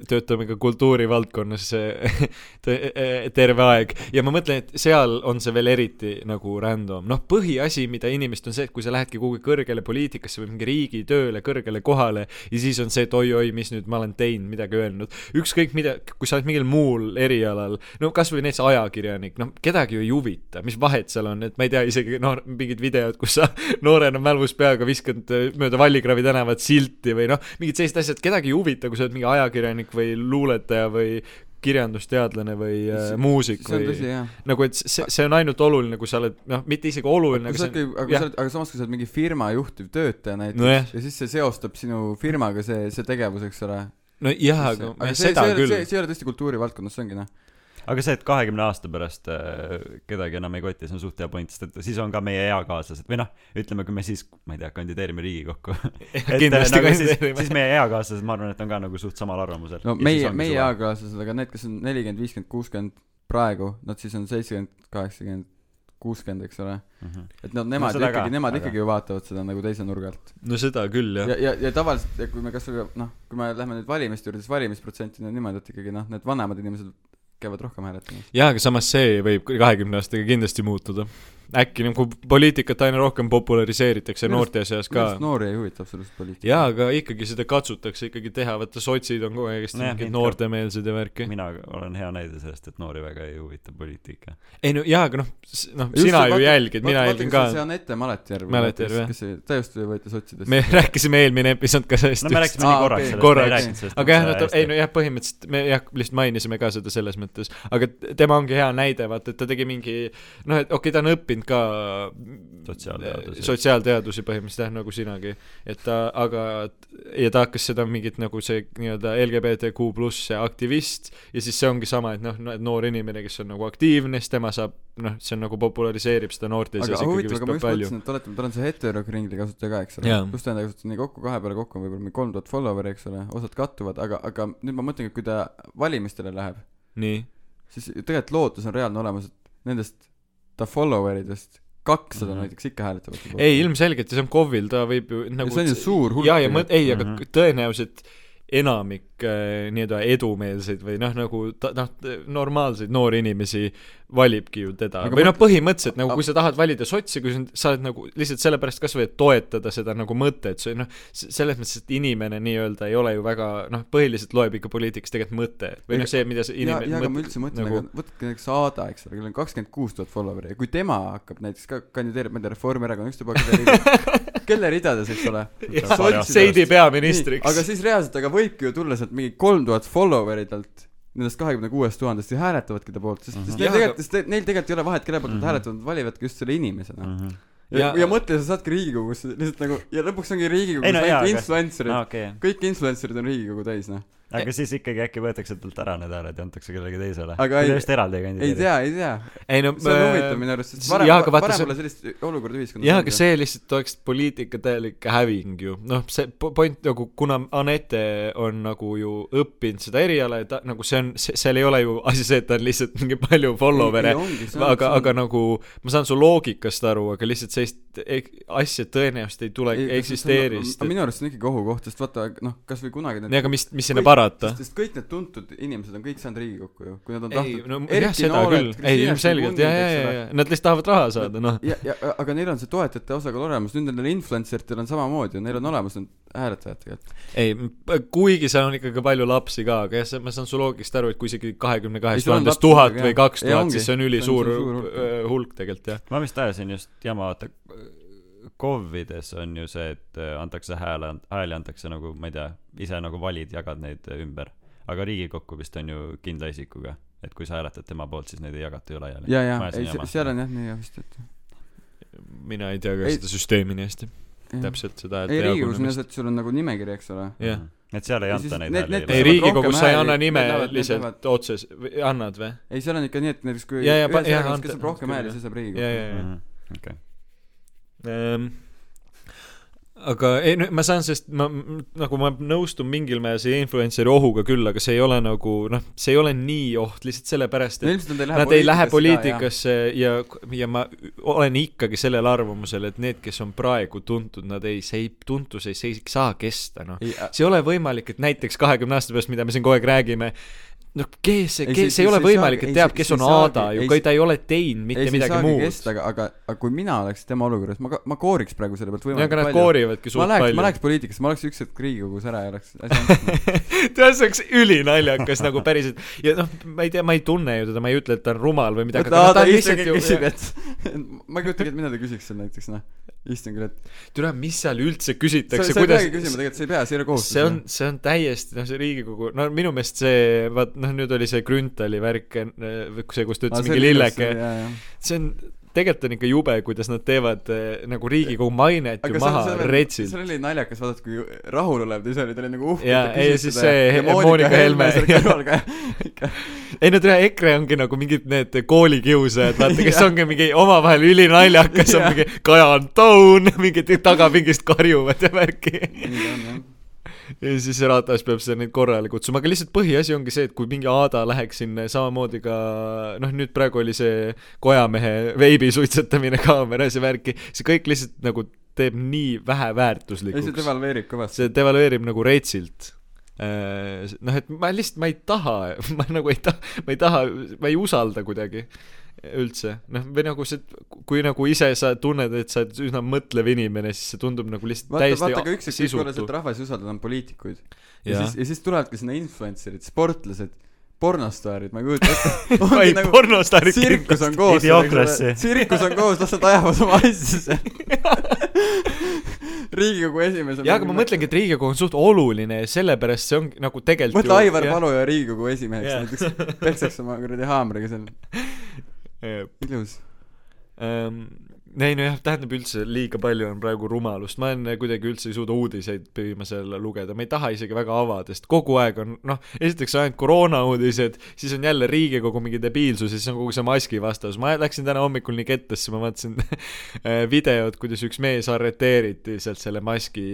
B: töötame ka kultuurivaldkonnas eh, te- eh, terve aeg ja ma mõtlen , et seal on see veel eriti nagu random , noh , põhiasi , mida inimesed on see , et kui sa lähedki kuhugi kõrgele poliitikasse või mingi riigitööle , kõrgele kohale ja siis on see , et oi-oi , mis nüüd ma olen teinud , midagi öelnud . ükskõik mida , kui sa oled mingil muul erialal , no kasvõi näiteks ajakirjanik , noh , kedagi ju ei huvita , mis vahet seal on , et ma ei tea isegi noor , mingid videod , kus sa noorena mälvus peaga viskad äh, mööda Vallikraavi tänavat silti või noh , mingid sellised asjad , kedagi ei huvita , kui sa oled mingi ajakirjanik või luuletaja või kirjandusteadlane või äh,
C: See-
B: muusik
C: see on tõsi
B: või
C: jah
B: nagu , et see , see on ainult oluline , kui sa oled , noh , mitte isegi
C: aga
B: oluline , aga
C: sa
B: see
C: oledki ,
B: on ,
C: aga sa
B: jah ,
C: oled , aga samas , kui sa oled mingi firma juhtivtöötaja näiteks no,
B: Nojah.
C: ja siis see seostab sinu firmaga see , see tegevus , eks ole .
B: no jah , aga, aga
C: see,
B: seda
C: see, ei ole-
B: küll
C: see , see ei ole tõesti kultuurivaldkonnas , see ongi noh .
A: aga see , et kahekümne aasta pärast äh, kedagi enam ei koti , see on suht hea point , sest et siis on ka meie eakaaslased või noh , ütleme , kui me siis , ma ei tea , kandideerime Riigikokku .
B: kindlasti
A: siis,
B: kandideerime.
A: siis meie eakaaslased , ma arvan , et on ka nagu suht samal arvamusel .
C: no meie , meie . eakaaslased , aga need , kes on nelikümmend , viiskümmend , kuuskümmend praegu , nad siis on seitsekümmend , kaheksakümmend , kuuskümmend , eks ole .
A: mhmh.
C: et nad , nemad
A: seda
C: no, ikkagi ,
A: ka,
C: nemad
A: aga-
C: ikkagi ju vaatavad seda nagu teise nurga alt .
B: no seda küll jah
C: ja , ja , ja tavaliselt , kui me kasvõi noh , kui me lähme nüüd valimiste juurde , siis valimisprotsentid on niimoodi , et ikkagi noh , need vanemad inimesed käivad rohkem hääletamas .
B: jaa , aga samas see võib kahekümne aastaga kindlasti muutuda . äkki nagu poliitikat aina rohkem populariseeritakse
C: Millest-
B: noorte seas ka .
C: minust noori ei huvita absoluutselt poliitika .
B: jaa , aga ikkagi seda katsutakse ikkagi teha , vaata sotsid on kogu aeg hästi
A: Nojah,
B: mingid
A: mind ka.
B: noortemeelsed ja värki .
A: mina olen hea näide sellest , et noori väga ei huvita poliitika .
B: ei no jaa , aga noh , noh , sina ju jälgid , mina jälgin ka .
C: see on ette Mäleti järv .
B: Mäleti Järv, jah.
C: kes see , ta just võeti sotsidest .
B: me rääkisime eelmine episood ka sellest
A: no me
B: just .
A: rääkisime nii
C: Aa,
A: korraks
C: okei.
A: sellest , me
B: Korraks.
A: ei rääkinud sellest .
B: aga jah , no ta , ei no jah , põhimõtteliselt me jah , lihtsalt mainisime ka seda selles mõttes , aga t- tema ongi hea näide , vaata , et ta tegi mingi noh , et okei okay, , ta on õppinud ka mm,
A: Sotsiaalteadusi.
B: sotsiaalteadusi põhimõtteliselt jah , nagu sinagi , et ta , aga ja ta hakkas seda mingit nagu see nii-öelda LGBTQ pluss see aktivist ja siis see ongi sama , et noh , noor inimene , kes on nagu aktiivne , siis tema saab noh , see on nagu populariseerib seda noorte
C: aga
B: seas ikkagi
C: huvitav ,
B: vist
C: aga ma just
B: palju .
C: mõtlesin , et oletame , tal on see heterokringli kasutaja ka , eks ole
B: Jaa. ,
C: kus ta enda kasutas nii kokku , kahe peale kokku on võib-olla mingi kolm tuhat follower'i , eks ole , osad kattuvad , aga , aga nüüd ma mõtlengi , et kui ta valimistele läheb ,
B: nii ,
C: siis tegelikult lootus on reaalne olemas , et nendest ta follower idest kakssada mm
A: Mhm.
C: -hmm. näiteks ikka hääletavad .
B: ei ilmselgelt ja see on KOV-il , ta võib ju
C: nagu
B: nagu
C: see on ju suur hulk .
B: jaa , ja ma , ei , aga
A: Mhm.
B: k- tõenäoliselt enamik äh, nii-öelda edumeelseid või noh , nagu ta- , noh , normaalseid noori inimesi valibki ju teda .
C: Aga
B: või
C: ma-
B: noh , põhimõtteliselt nagu kui sa tahad valida sotsi , kui sa nüüd- sa oled nagu lihtsalt sellepärast kas või , et toetada seda nagu mõtet , see noh , selles mõttes , et inimene nii-öelda ei ole ju väga noh , põhiliselt loeb ikka poliitikas tegelikult mõte või noh , see , mida see
C: ja ,
B: inimene
C: ja aga ma üldse mõtlen nagu... , aga võtke näiteks Aada , eks ole , kellel on kakskümmend kuus tuhat follower'i ja kui tema hakkab näiteks ka kandideerib , ma ei tea , Reformierakonna ükstapuha kelle ridades , kelle ridades , eks ole .
A: Paari aasta
B: Seidi peaministriks .
C: aga siis reaalselt , aga võibki ju tulla sealt mingi kolm tuhat follower'i talt , nendest kahekümne kuuest tuhandest ja hääletavadki ta poolt , sest mm , -hmm. sest
B: Jah,
C: neil
B: Mhm. aga- Mhm.
C: tegelikult , sest neil tegelikult ei ole vahet , kelle poolt nad hääletavad , nad valivadki just selle inimesena .
A: Mhm.
C: ja,
B: Ja-
C: ja mõtle , sa saadki Riigikogusse lihtsalt nagu ja lõpuks ongi Riigikogus
A: Ei, no
C: ainult
A: jaa,
C: no,
A: aga-
C: influencer'id
A: aa ,
C: no. ,
A: okei ,
C: kõik influencer'id on Riigikogu täis , noh .
A: aga siis ikkagi äkki võetakse talt ära need hääled ja antakse kellelegi teisele .
C: Aga
A: kui
C: ei-
A: ta just eraldi ei
C: ei
A: kandideeri .
C: tea , ei tea .
B: ei no äh,
C: see on
B: me-
C: huvitav minu arust , sest
B: jaa,
C: varem ,
B: aga vaata,
C: varem
B: see-
C: pole sellist olukorda ühiskonnas
B: jah , aga see lihtsalt oleks poliitika täielik häving ju , noh , see po- point nagu , kuna Anette on nagu ju õppinud seda eriala ja ta nagu see on , seal ei ole ju asi see , et ta on lihtsalt mingi palju follower'e , aga , aga nagu ma saan su loogikast aru , aga lihtsalt sellist ek- asja tõenäoliselt ei tule , ei eksisteeri , sest et
C: minu arust see on ikkagi ohukoht , sest vaata , noh , kasvõi kunagi need
B: nii , aga mis , mis sinna parata
C: sest , sest kõik need tuntud inimesed on kõik saanud Riigikokku ju , kui nad on
B: ei
C: tahtnud .
B: no jah , seda küll , ei ilmselgelt , jaa , jaa , jaa , jaa , nad lihtsalt tahavad raha saada , noh .
C: ja , ja aga neil on see toetajate osakaal olemas , nüüd nendel influencer itel on samamoodi ja neil on olemas need hääletajad tegelikult .
B: ei , kuigi seal on ikkagi palju lapsi ka , aga jah , ma saan su loogikast aru , et kui isegi kahekümne
C: Ei,
B: kahest
C: sul on
B: tuhandest
C: lapsi
B: tuhat
C: muidugi,
B: või
C: jah.
B: kaks
C: Ei,
B: tuhat ,
C: ongi.
B: siis see on ülisuur
C: See on suur hulk.
B: äh, hulk tegelikult jah .
A: ma vist ajasin just jama , vaata , KOV-ides on ju see , et äh, antakse hääle , hääli antakse nagu , ma ei tea , ise nagu valid , jagad neid äh, ümber . aga Riigikokku vist on ju kindla isikuga , et kui sa hääletad tema poolt , siis neid ei jagata ju laiali .
C: ja , ja , ei , seal on jah nii jah vist , et .
B: mina ei tea ka
C: Ei-
B: seda süsteemi nii hästi , täpselt seda ,
C: ei ,
B: et
C: Riigikogus on jah see , et sul on nagu nimekiri , eks ole .
B: jah .
A: et seal ei
C: Ja
A: anta
C: siis
A: neid
C: need- need
B: ei ,
C: saavad
A: hääli .
C: riigi-
B: Riigikogus
C: rohkem
B: sa ei
C: hääli,
B: anna
C: need lähevad- need
B: nimeliselt
C: lähevad-
B: otses , annad või ?
C: ei , seal on ikka nii , et näiteks kui
B: Ja, ja,
C: ühes
B: pa- ja,
C: erakonnas , kes
B: ante-
C: saab rohkem
B: küll,
C: hääli ,
B: jah.
C: see saab
B: ja ,
C: Riigikokku .
B: ja , ja .
A: okei .
B: Ehm, aga ei no ma saan , sest ma m- nagu ma nõustun mingil määral selle influencer'i ohuga küll , aga see ei ole nagu noh , see ei ole nii oht lihtsalt sellepärast , et
C: ilmselt nad ei lähe
B: Nad ei lähe
C: poliitikasse ka,
B: poliitikasse ja , ja ma olen ikkagi sellel arvamusel , et need , kes on praegu tuntud , nad ei , see ei , tuntus ei , see ei saa kesta , noh .
C: jah.
B: see ei ole võimalik , et näiteks kahekümne aasta pärast , mida me siin kogu aeg räägime , no kes see ,
C: Ei,
B: kes ,
C: see-
B: see ei ole
C: see ei
B: võimalik ,
C: saagi-
B: et
C: ei,
B: teab ,
C: see-
B: kes
C: see
B: on
C: ei saagi-
B: Aada ju
C: ei, ,
B: ka ta ei ole teinud
C: ei ,
B: mitte
C: see ei
B: midagi
C: saagi
B: muud
C: kesta ,. aga , aga , aga kui mina oleks tema olukorras , ma ka , ma kooriks praegu selle pealt
B: aga
C: võimalikult
B: nad
C: palju .
B: koorivadki
C: ma
B: suht
C: läheks , ma
B: palju .
C: läheks poliitikasse , ma oleks üks hetk Riigikogus ära ja oleks asi
B: tead , see oleks ülinaljakas nagu päriselt ja noh , ma ei tea , ma ei tunne ju teda , ma ei ütle , et ta on rumal või midagi ,
C: vaata
B: aga no ta
C: Aada
B: on
C: ise
B: lihtsalt ju
C: küsib , et ma ei kujutagi ette , mida ta küsiks seal näiteks noh , istungil , et
B: türa , mis seal üldse
C: sa,
B: küsitakse ,
C: sa ei peagi
B: kuidas
C: küsima tegelikult , sa ei pea , see ei ole kohustus . noh.
B: see on , see on täiesti , noh , see Riigikogu , no minu meelest see , vaat noh , nüüd oli see Grünthali värk , see , kus ta ütles mingi lilleke , see on , tegelikult on ikka jube , kuidas nad teevad eh, nagu Riigikogu mainet ju maha retsilt .
C: seal oli naljakas , vaadata kui rahulolev ta ise oli , ta oli nagu uhke .
B: Jaa, ei, siis see Monika Helme- ei no tere , EKRE ongi nagu mingid need koolikiusajad , vaata , kes
C: Jah.
B: ongi mingi omavahel ülinaljakas , on
C: Jah.
B: mingi Kaja on down , mingid tagapingist karjuvad ja värki . ja siis see ratas peab seal neid korrale kutsuma , aga lihtsalt põhiasi ongi see , et kui mingi Aada läheks sinna samamoodi ka noh , nüüd praegu oli see kojamehe veibi suitsetamine kaameras ja värki , see kõik lihtsalt nagu teeb
C: ei ,
B: nii
C: see
B: väheväärtuslikuks .
C: devalveerib kõvasti .
B: see devalveerib nagu reitsilt . noh , et ma lihtsalt , ma ei taha , ma nagu ei taha , ma ei taha , ma ei usalda kuidagi üldse , noh , või nagu see , kui nagu ise sa tunned , et sa oled üsna mõtlev inimene , siis see tundub nagu lihtsalt
C: vaata ,
B: täiesti
C: vaata ka üks hetk korras , et rahvas ei usalda enam poliitikuid . ja
B: Jaa.
C: siis , ja siis tulevadki sinna influencer'id , sportlased , pornostaarid , ma ei kujuta ette .
B: ei nagu, , pornostaarid
C: tsirkus on koos .
A: Idiokrassi.
C: tsirkus on koos , las nad ajavad oma asja seal . riigikogu esimees on
B: jaa , aga ma mõtlengi , et Riigikogu on suht oluline ja sellepärast see ongi nagu tegelikult
C: mõtle Aivar
B: jah,
C: Paluja Riigikogu esimeheks
B: Jaa.
C: yeah. näiteks , peksaks oma kuradi haamriga seal ,
B: eh,
C: ilus .
B: ähm, ei nojah , tähendab üldse liiga palju on praegu rumalust , ma olen kuidagi üldse ei suuda uudiseid viimasel ajal lugeda , ma ei taha isegi väga avada , sest kogu aeg on noh , esiteks ainult koroona uudised , siis on jälle Riigikogu mingi debiilsus ja siis on kogu see maski vastus , ma läksin täna hommikul nii kettesse , ma vaatasin eh, videot , kuidas üks mees arreteeriti sealt selle maski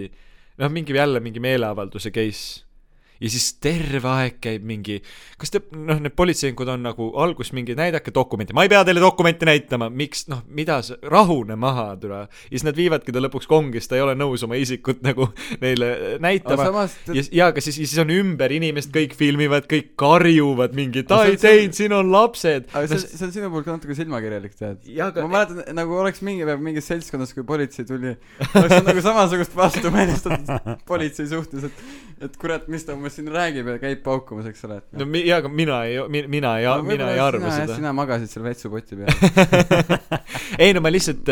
B: noh , mingi jälle mingi meeleavalduse case ja siis terve aeg käib mingi , kas te , noh , need politseinikud on nagu alguses mingi näidake dokumenti , ma ei pea teile dokumenti näitama , miks , noh , mida sa , rahune maha , türa . ja siis nad viivadki ta lõpuks kongi , sest ta ei ole nõus oma isikut nagu neile
C: aga
B: näitama .
C: samas
B: ja , ja aga siis , siis on ümber inimesed , kõik filmivad , kõik karjuvad mingi , ta
C: Aga see
B: ei
C: on-
B: teinud , siin on lapsed .
C: aga see on , see on sinu poolt ka natuke silmakirjalik , tead .
B: Jaa, aga- e-
C: ma mäletan , nagu oleks mingi päev mingis seltskonnas , kui politsei tuli , oleks olnud nagu samasugust vastumeelestatud politsei suhtes , et , et kurat , mis ta umbes siin räägib ja käib paukumas , eks ole .
B: no mi- jaa , aga mina ei , mina ei , mina ei arva seda .
C: sina magasid seal vetsupoti peal .
B: ei no ma lihtsalt ,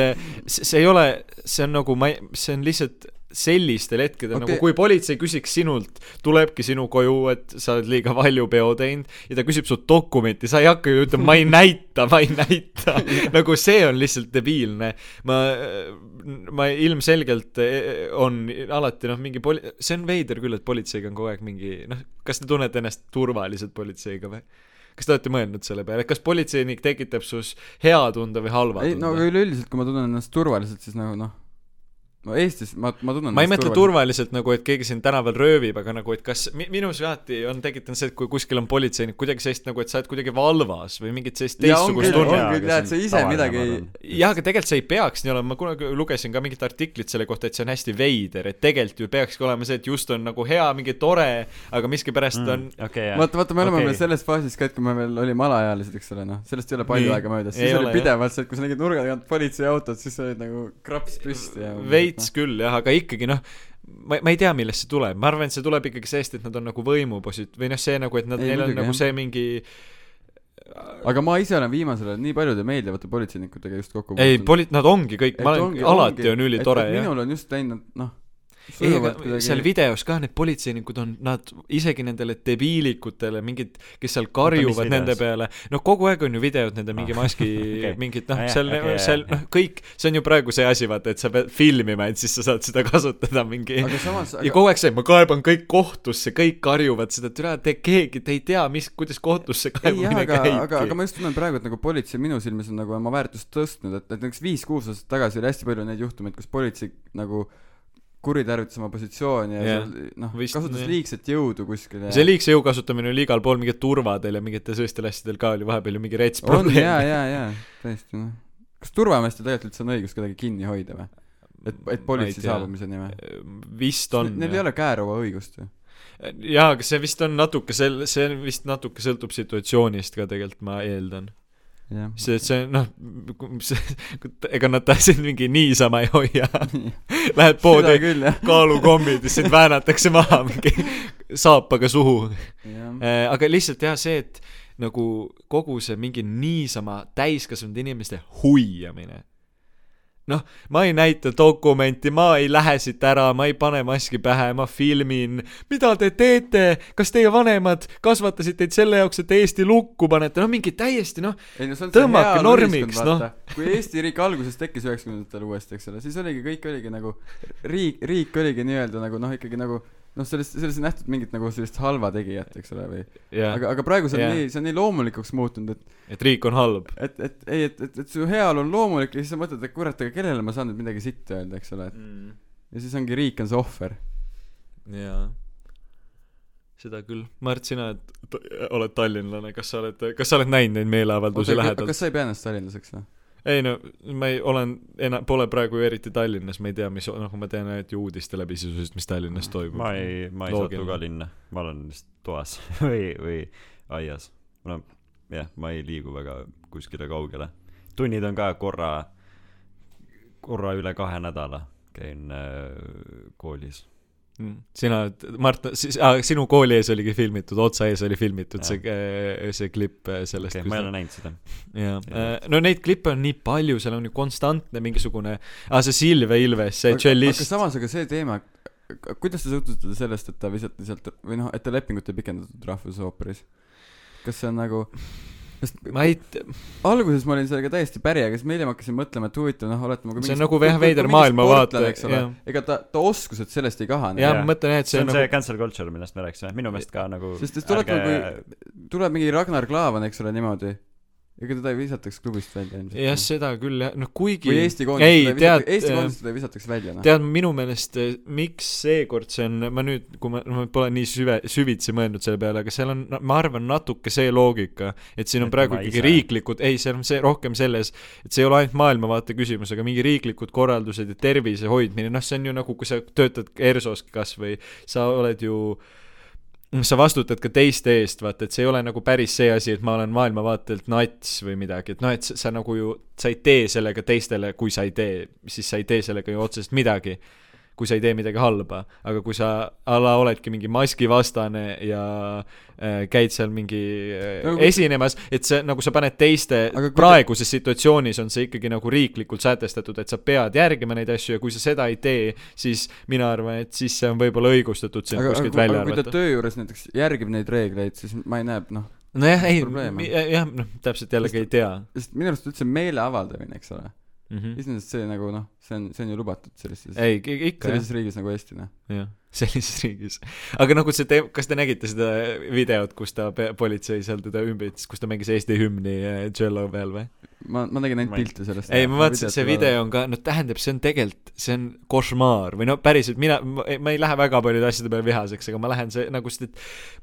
B: see see ei ole , see on nagu ma , see on lihtsalt sellistel hetkedel okay. ,
C: Okei.
B: nagu kui politsei küsiks sinult , tulebki sinu koju , et sa oled liiga valju peo teinud ja ta küsib sult dokumenti , sa ei hakka ju ütlema , ma ei näita , ma ei näita . nagu see on lihtsalt debiilne . ma , ma ilmselgelt eh, on alati noh , mingi poli- , see on veider küll , et politseiga on kogu aeg mingi noh , kas te tunnete ennast turvaliselt politseiga või ? kas te olete mõelnud selle peale , kas politseinik tekitab sinus hea tunde või halva
C: ei , no
B: tunde ?
C: aga üleüldiselt , kui ma tunnen ennast turvaliselt , siis nagu noh , no Eestis ma , ma tunnen
B: ma ei mõtle . turvaliselt nagu , et keegi sind tänaval röövib , aga nagu , et kas mi, minus alati on tekitanud see , et kui kuskil on politseinik kuidagi sellist nagu , et sa oled kuidagi valvas või mingit sellist
C: ja on
B: teistsugust
C: küll , on
B: tunnet .
A: aga
C: küll ,
A: see
C: jah ,
A: on
C: et sa ise
A: tavaline,
C: midagi
A: ma
C: ei
A: arvan.
B: jah , aga tegelikult see ei peaks nii olema , ma kunagi lugesin ka mingit artiklit selle kohta , et see on hästi veider , et tegelikult ju peakski olema see , et just on nagu hea , mingi tore , aga miskipärast mm. on
A: okei , jah .
C: vaata , vaata , me oleme
A: Okei.
C: okay. veel selles faasis ka , et kui me veel olime alaealised , eks ole , noh , sellest ei ole palju
B: Nii.
C: Nii. aega möödas ,
B: Ei
C: siis
B: ole,
C: oli
B: jah.
C: pidevalt see , et kui sa nägid nurga tagant politseiautot , siis sa olid nagu kraps püsti ja
B: veits küll jah , aga ikkagi noh , ma , ma ei tea , millest see tuleb , ma arvan , et see tuleb ikkagi sellest , et nad on nagu võimuposit- või noh , see nagu , et nad ,
C: Ei,
B: neil on
C: muidugi,
B: nagu
C: jah.
B: see mingi
C: noh. aga ma ise olen viimasel ajal nii paljude meeldivate politseinikutega just kokku
B: ei , poli- , nad ongi kõik , ma olen , alati on ülitore
C: jah .
B: jah .
C: minul on just läinud , noh ,
B: ei , aga seal videos ka need politseinikud on , nad isegi nendele debiilikutele mingid , kes seal karjuvad
A: mis
B: nende
A: videos?
B: peale , noh , kogu aeg on ju videod nende mingi
A: Ah,
B: maski
A: okei.
B: mingid
A: Ah, ,
B: noh
A: jah,
B: seal
A: okei, , jah,
B: seal
A: jah.
B: noh , kõik , see on ju praegu see asi , vaata , et sa pead filmima , et siis sa saad seda kasutada mingi
C: aga samas ,
B: ja
C: aga
B: kogu aeg see , ma kaeban kõik kohtusse , kõik karjuvad seda , et üle te keegi , te ei tea , mis , kuidas kohtusse
C: ei jah ,
B: kaebamine
C: aga , aga , aga
B: käibki .
C: ma just tunnen praegu , et nagu politsei minu silmis on nagu oma väärtust tõstnud , et , et näiteks viis-kuus aastat tagasi oli hästi palju neid juhtumeid , kus politsei nagu kuritarvitas oma positsiooni ja
B: Jah.
C: yeah. noh ,
B: Vist-
C: kasutas
B: jah.
C: liigset jõudu kuskil ja
B: see liigse jõu kasutamine oli igal pool , mingid turvadel ja mingitel sellistel asjadel ka oli vahepeal ju mingi rets
C: on jaa ,
B: probleem .
C: jaa , jaa , täiesti noh . kas turvameestel tegelikult üldse on õigus kedagi kinni hoida või ? et , et politsei saabumiseni või ?
B: vist on
C: Neil ei
B: jah ,
C: ole käeroa õigust ju .
B: jaa , aga see vist on natuke sel- , see on vist natuke sõltub situatsioonist ka tegelikult , ma eeldan .
C: jah .
B: see , see noh , ega nad tahtsid mingi niisama ei hoia , lähed
C: seda
B: poodi ,
C: küll jah .
B: kaalukommid ja sind väänatakse maha mingi saapaga suhu Eh, aga lihtsalt jah , see , et nagu kogu see mingi niisama täiskasvanud inimeste huiamine . noh , ma ei näita dokumenti , ma ei lähe siit ära , ma ei pane maski pähe , ma filmin . mida te teete , kas teie vanemad kasvatasid teid selle jaoks , et te Eesti lukku panete , noh mingi täiesti noh ,
C: ei no see on
B: Tõmmake
C: see hea
B: normiks,
C: ühiskond , vaata . kui Eesti riik alguses tekkis üheksakümnendatel uuesti , eks ole , siis oligi , kõik oligi nagu riik , riik oligi nii-öelda nagu noh , ikkagi nagu noh , sellest , sellest ei nähtud mingit nagu sellist halva tegijat , eks ole , või aga , aga praegu see on
B: Jah.
C: nii , see on nii loomulikuks muutunud , et
B: et riik on halb .
C: et , et ei , et , et , et su heaolu on loomulik ja siis sa mõtled , et kurat , aga kellele
B: Mm.
C: ma saan nüüd midagi sitta öelda , eks ole , et ja siis ongi riik on see ohver .
B: jaa . seda küll . Mart , sina et, t- oled tallinlane , kas sa oled , kas sa oled näinud neid meeleavaldusi lähedalt ?
C: kas sa ei pea ennast tallinlaseks noh? või ?
B: ei no ma ei , olen ena- , pole praegu ju eriti Tallinnas , ma ei tea , mis , noh , ma tean ainult ju uudiste läbi sisuliselt , mis Tallinnas
A: Mm,
B: toimub .
A: ma ei , ma ei satu
B: Loogiline.
A: ka linna , ma olen vist toas või , või aias . no jah , ma ei liigu väga kuskile kaugele . tunnid on ka korra , korra üle kahe nädala käin äh, koolis .
B: Mm. sina , Mart , siis ah, , sinu kooli ees oligi filmitud , otsa ees oli filmitud
A: Jah.
B: ja. see , see klipp äh, sellest
A: okei , ma ei ole näinud seda .
B: jaa Eh,
A: Jah. ,
B: no neid klippe on nii palju , seal on ju konstantne mingisugune , aa see Silve Ilves , see
C: aga
B: tšellist ,
C: samas , aga see teema , kuidas te suhtute sellest , et ta visati sealt või noh , et ta lepingut ei pikendatud rahvusooperis ? kas see on nagu ,
B: ma ei ,
C: alguses ma olin sellega täiesti päri , aga siis ma hiljem hakkasin mõtlema , et huvitav , noh , oletame kui
B: See on
C: mingi-
B: nagu veh-
C: kui- kui
B: veider
C: mingi
B: maailmavaate,
C: sportlane, eks ole
B: jah. ,
C: ega ta , ta oskused sellest ei kahane .
B: jah ,
A: Jaa.
B: ma mõtlen jah , et
A: see on see
B: nagu ,
A: cancel culture , millest me rääkisime , minu meelest ka nagu
C: sest , sest oletame ,
B: nagu
C: kui tuleb mingi Ragnar Klavan , eks ole , niimoodi , ega teda ei visataks klubist välja ilmselt .
B: jah , seda küll jah , noh kuigi
C: või Eesti
B: ei ,
C: koondist ,
B: tead , eh,
C: Eesti koondist teda ei visataks välja , noh .
B: tead , minu meelest , miks seekord see on , ma nüüd , kui ma , ma pole nii süve , süvitsi mõelnud selle peale , aga seal on , ma arvan , natuke see loogika , et siin on
A: Et
B: praegu
A: tema
B: ikkagi
A: ise-
B: riiklikud , ei , see on see rohkem selles , et see ei ole ainult maailmavaate küsimus , aga mingi riiklikud korraldused ja tervise hoidmine , noh , see on ju nagu , kui sa töötad ERSO-s kas või sa oled ju Noh, sa vastutad ka teiste eest , vaata , et see ei ole nagu päris see asi , et ma olen maailmavaatelt nats või midagi , et noh , et sa, sa nagu ju , sa ei tee sellega teistele , kui sa ei tee , siis sa ei tee sellega ju otseselt midagi kui sa ei tee midagi halba , aga kui sa a la oledki mingi maskivastane ja äh, käid seal mingi äh,
C: Aga kui-
B: esinemas , et see nagu sa paned teiste
C: Aga , kui-
B: praeguses situatsioonis on see ikkagi nagu riiklikult sätestatud , et sa pead järgima neid asju ja kui sa seda ei tee , siis mina arvan , et siis see on võib-olla õigustatud sind
C: aga , aga
B: kuskilt
C: kui-
B: välja
C: aga kui ta
B: arvata .
C: töö juures näiteks järgib neid reegleid , siis ma ei näe , noh ,
B: nojah , ei
C: probleem on. ,
B: jah , noh , täpselt jällegi ei tea
C: sest minu arust üldse meele avaldamine , eks ole ,
B: mm . -hmm.
C: iseenesest see nagu noh , see on , see on ju lubatud sellises ,
B: ei , ikka jah ,
C: sellises riigis nagu Eesti , noh .
B: jah , sellises riigis . aga nagu see te- , kas te nägite seda videot , kus ta , politsei seal teda ümbritses , kus ta mängis Eesti hümni äh, Jello peal või ?
C: ma , ma nägin ainult
A: Ma ei-
C: pilte sellest .
B: ei , ma vaatasin , see video on ka , no tähendab , see on tegelikult , see on košmaar või no päriselt mina , ma ei lähe väga paljude asjade peale vihaseks , aga ma lähen see nagu sest , et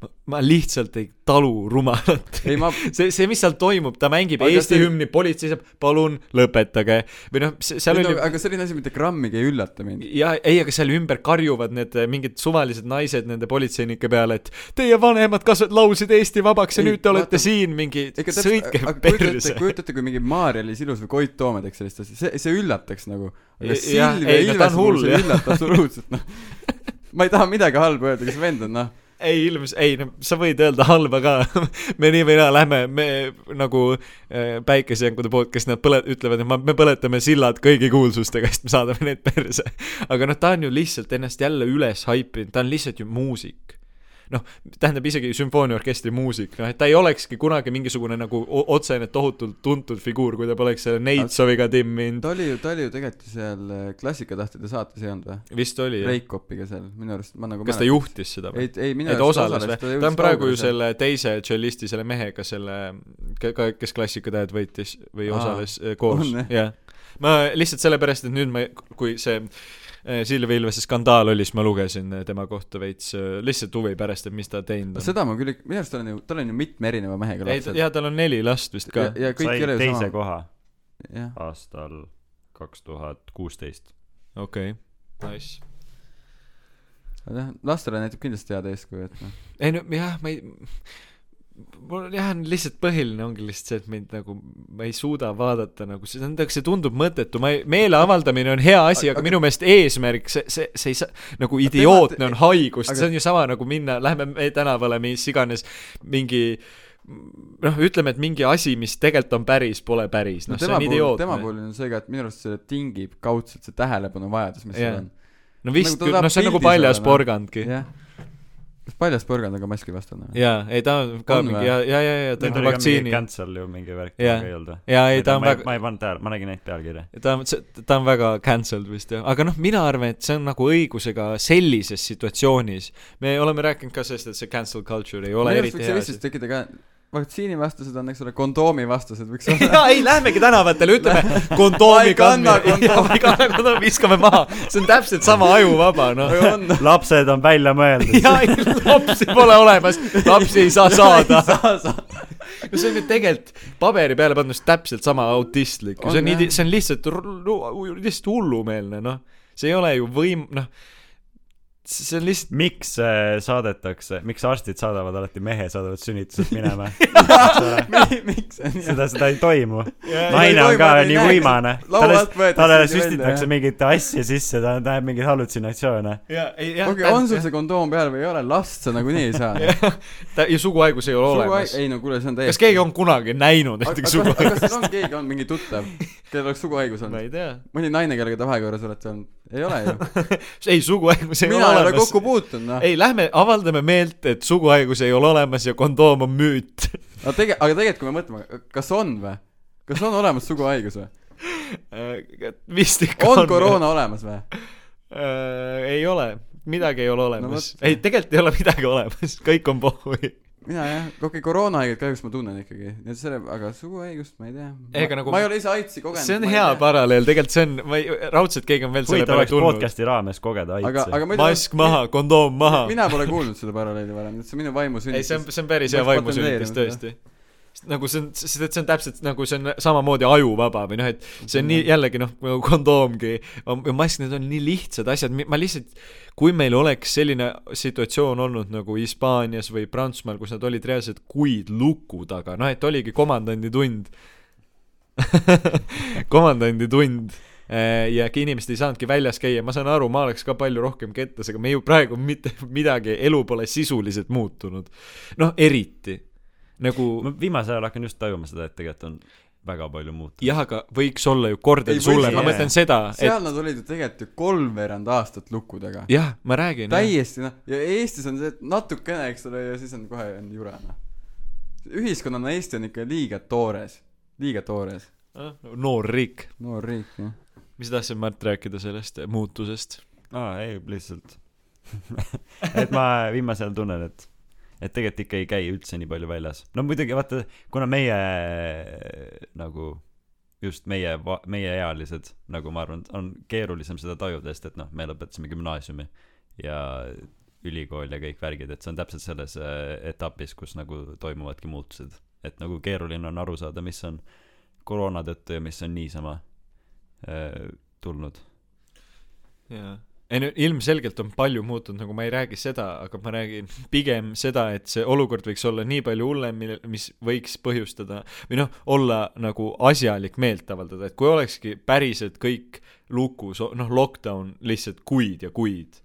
B: ma, ma lihtsalt ei talu rumalat .
C: ei , ma ,
B: see , see , mis seal toimub , ta mängib
C: Aga
B: aga Eesti
C: see-
B: see... hümni , politsei saab , palun lõpetage või noh , seal oli
C: aga selline asi mitte grammigi ei üllata mind .
B: ja ei , aga seal ümber karjuvad need eh, mingid suvalised naised nende politseinike peale , et teie vanemad kasv- , laulsid Eesti vabaks ja
C: Ei,
B: ei, nüüd te olete
C: vaata-
B: vaata, siin mingi ,
C: ega
B: sõitke
C: aga kujutate ,
B: perse .
C: kujutate , kui mingi Maarja-Liis Ilus või Koit Toome teeks sellist asja , see , see üllataks nagu . aga
B: Ja- jah,
C: Silvia
B: ei, no ta
C: Ilves
B: on
C: mul
B: hull,
C: see ei
B: jah.
C: üllata absoluutselt , noh . ma ei taha midagi halba öelda , kes vend on , noh .
B: ei ilms- , ei no sa võid öelda halba ka , me nii või naa lähme , me nagu eh, päikesejänkude poolt , kes nad põle- , ütlevad , et ma, me põletame sillad kõigi kuulsustega , sest me saadame neid perse . aga noh , ta on ju lihtsalt ennast jälle üles haipinud , ta on lihtsalt ju muusik noh , tähendab isegi sümfooniaorkestri muusik , noh et ta ei olekski kunagi mingisugune nagu o- otsene tohutult tuntud figuur , kui ta poleks selle Neitsoviga timminud .
C: ta oli ju , ta oli ju tegelikult ju seal äh, Klassikatahtjate saates ei olnud või ?
B: vist oli jah ?
C: Reikopiga seal , minu arust , ma nagu
B: kas ta juhtis seda või ?
C: ei , ei minu
B: ei ta osales või ? ta on praegu ju . selle teise tšellisti , selle mehega , selle , kes klassikatähed võitis või
C: Aa,
B: osales äh, koos
C: on, jah. ,
B: jah . ma lihtsalt sellepärast , et nüüd ma , kui see äh, Silvia Ilvese skandaal oli , siis ma lugesin äh, tema kohta veits äh, lihtsalt huvi pärast , et mis ta teinud on .
C: seda ma küll , minu arust tal on ju , tal on ju mitme erineva mehega
B: ei ,
C: lapsed .
B: jaa , tal on neli last vist
C: ja
B: ka .,
C: ja kõik
A: sai
C: ei ole ju
A: teise
C: sama .
A: koha
C: jah ,
A: aastal kaks tuhat kuusteist .
B: okei okay. , nice .
C: aga jah , lastele näitab kindlasti head eeskuju , et noh .
B: ei no jah , ma ei , mul jah , lihtsalt põhiline ongi lihtsalt see , et mind nagu , ma ei suuda vaadata nagu see , see tundub mõttetu , ma ei , meele avaldamine on hea asi , aga
C: Aga-
B: minu meelest eesmärk , see , see , see ei saa , nagu idiootne on haigus ,
C: aga-
B: see on ju sama nagu minna , lähme me tänavale , mis iganes , mingi noh , ütleme , et mingi asi , mis tegelikult on päris , pole päris ,
C: no
B: noh , see
C: tema
B: on
C: puhul , tema
B: idiootne .
C: puhul on see ka , et minu arust see tingib kaudselt see tähelepanuvajadus , mis
B: Jah.
C: seal on .
B: no vist
C: nagu ta
B: küll ,
C: tahab
B: noh , see on nagu
C: pildis
B: paljas
C: olla, noh.
B: porgandki .
C: jah . kas paljas põrgand on ka maski vastane või ?
B: jaa , ei ta on ka
C: On
B: mingi
C: või?
B: ja , ja , ja , ja ta
A: Need oli ka
B: on nagu
A: mingi
B: vaktsiini .
A: cancel ju mingi värk
B: Jah.
A: ei olnud või ?
B: jaa , ei ta on väga ,
A: ma ei pannud tähele , ma nägin neid pealkirja .
B: ta on , ta on väga cancelled vist jah , aga noh , mina arvan , et see on nagu õigusega sellises situatsioonis . me oleme rääkinud ka sellest , et see cancel culture ei ole
C: minu arust võiks
B: eriti
C: see
B: hea
C: Eestis
B: asi .
C: tekkida ka vaktsiinivastased on , eks ole , kondoomivastased võiks olla .
B: jaa , ei , lähmegi tänavatele , ütleme kondoomi
C: Ma ei kanna
B: kandme , ei kanna kondoomi , viskame maha , see on täpselt sama ajuvaba , noh .
A: lapsed on välja mõeldud .
B: ja ei, lapsi pole olemas , lapsi ei saa saada . no see on ju tegelikult paberi peale pandud täpselt sama autistlik ,
C: On,
B: see on
C: jah.
B: nii , see on lihtsalt , lihtsalt hullumeelne , noh . see ei ole ju võim- , noh , see on lihtsalt
A: miks äh, saadetakse , miks arstid saadavad alati mehe , saadavad sünnituselt minema ?
C: miks see on nii ?
A: seda , seda ei toimu .
C: ei
A: naine on
C: toimu,
A: ka
C: ta ei
A: nii
C: näe,
A: võimane .
C: laua
A: talle
C: alt , võetakse
A: talle
C: isegi välja,
A: süstitakse
C: jah.
A: mingit asja sisse , ta näeb mingeid hallutsinatsioone .
B: ja , ei , jah
C: okei , on sul see kondoom peal või ei ole , last sa nagunii ei saa .
B: ta , ja suguhaigus ei ole olemas .
C: ei no kuule , see on
B: kas
C: täiesti
B: keegi on kunagi näinud
C: aga
B: näiteks
C: kas aga
B: suguhaigust ?
C: kas sul on keegi on mingi tuttav , kellel oleks suguhaigus
B: ma ei
C: olnud ?
B: tea .
C: mõni naine , kellega te vahekorras olete olnud ? ei ole ju .
B: ei , suguhaigus ei
C: mina
B: ole
C: ei ole
B: olemas
C: kokku . puutunud , noh .
B: ei , lähme avaldame meelt , et suguhaigus ei ole olemas ja kondoom on müüt .
C: aga tege- , aga tegelikult , kui me mõtleme , kas on või ? kas on olemas suguhaigus või ?
B: Äh, vist ikka on .
C: on koroona olemas või ?
B: Äh, ei ole , midagi ei ole olemas
C: vot.
B: no, . ei , tegelikult ei ole midagi olemas , kõik on pohhui .
C: mina jah , okei , koroonahaiget kahjuks ma tunnen ikkagi , nii et selle , aga suguhaigust ma ei tea .
B: Ega nagu-
C: ma ei ole ise AIDSi kogenud .
B: see on hea paralleel , tegelikult see on , ma ei , raudselt keegi on veel selle
A: huvitav
B: peale
A: oleks
B: tulnud .
A: podcast'i raames kogeda
C: aga ,
A: aitse .
C: aga ma
B: mask maha , kondoom maha .
C: mina pole kuulnud seda paralleeli varem , et see minu vaimu
B: ei , see on ,
C: sünnitas .
B: see on päris hea
C: Peaks
B: vaimusünnitus
C: patenteerima
B: tõesti . nagu see on , sest et see on täpselt nagu see on samamoodi ajuvaba või noh , et see on nii jällegi noh , kondoomgi , mask , need on nii lihtsad asjad , ma lihtsalt , kui meil oleks selline situatsioon olnud nagu Hispaanias või Prantsusmaal , kus nad olid reaalselt kuid luku taga , noh et oligi komandandi tund , komandandi tund Eh, ja ka inimesed ei saanudki väljas käia , ma saan aru , ma oleks ka palju rohkem kettas , aga me ju praegu mitte midagi , elu pole sisuliselt muutunud . noh , eriti nagu
A: ma viimasel ajal hakkan just tajuma seda , et tegelikult on väga palju muutunud .
B: jah , aga võiks olla ju kordades
C: Ei, võiks
B: hullem , ma
A: olla.
B: mõtlen seda , et
C: seal nad olid ju tegelikult ju kolmveerand aastat luku taga .
B: jah , ma räägin .
C: täiesti noh , ja Eestis on see et natukene , eks ole , ja siis on kohe on jura noh . ühiskonnana Eesti on ikka liiga toores , liiga toores ,
B: Ah, noor riik ,
C: noor riik jah .
B: mis sa tahtsid , Mart , rääkida sellest muutusest ?
A: aa , ei , lihtsalt . et ma viimasel ajal tunnen , et , et tegelikult ikka ei käi üldse nii palju väljas . no muidugi vaata , kuna meie nagu , just meie , meieealised , nagu ma arvan , on keerulisem seda tajuda , sest et noh , me lõpetasime gümnaasiumi ja ülikool ja kõik värgid , et see on täpselt selles äh, etapis , kus nagu toimuvadki muutused . et nagu keeruline on aru saada , mis on koroona tõttu ja mis on niisama äh, tulnud .
B: jaa . ei no ilmselgelt on palju muutunud , nagu ma ei räägi seda , aga ma räägin pigem seda , et see olukord võiks olla nii palju hullem , mille , mis võiks põhjustada või noh , olla nagu asjalik meelt avaldada , et kui olekski päriselt kõik lukus , noh , lockdown lihtsalt kuid ja kuid ,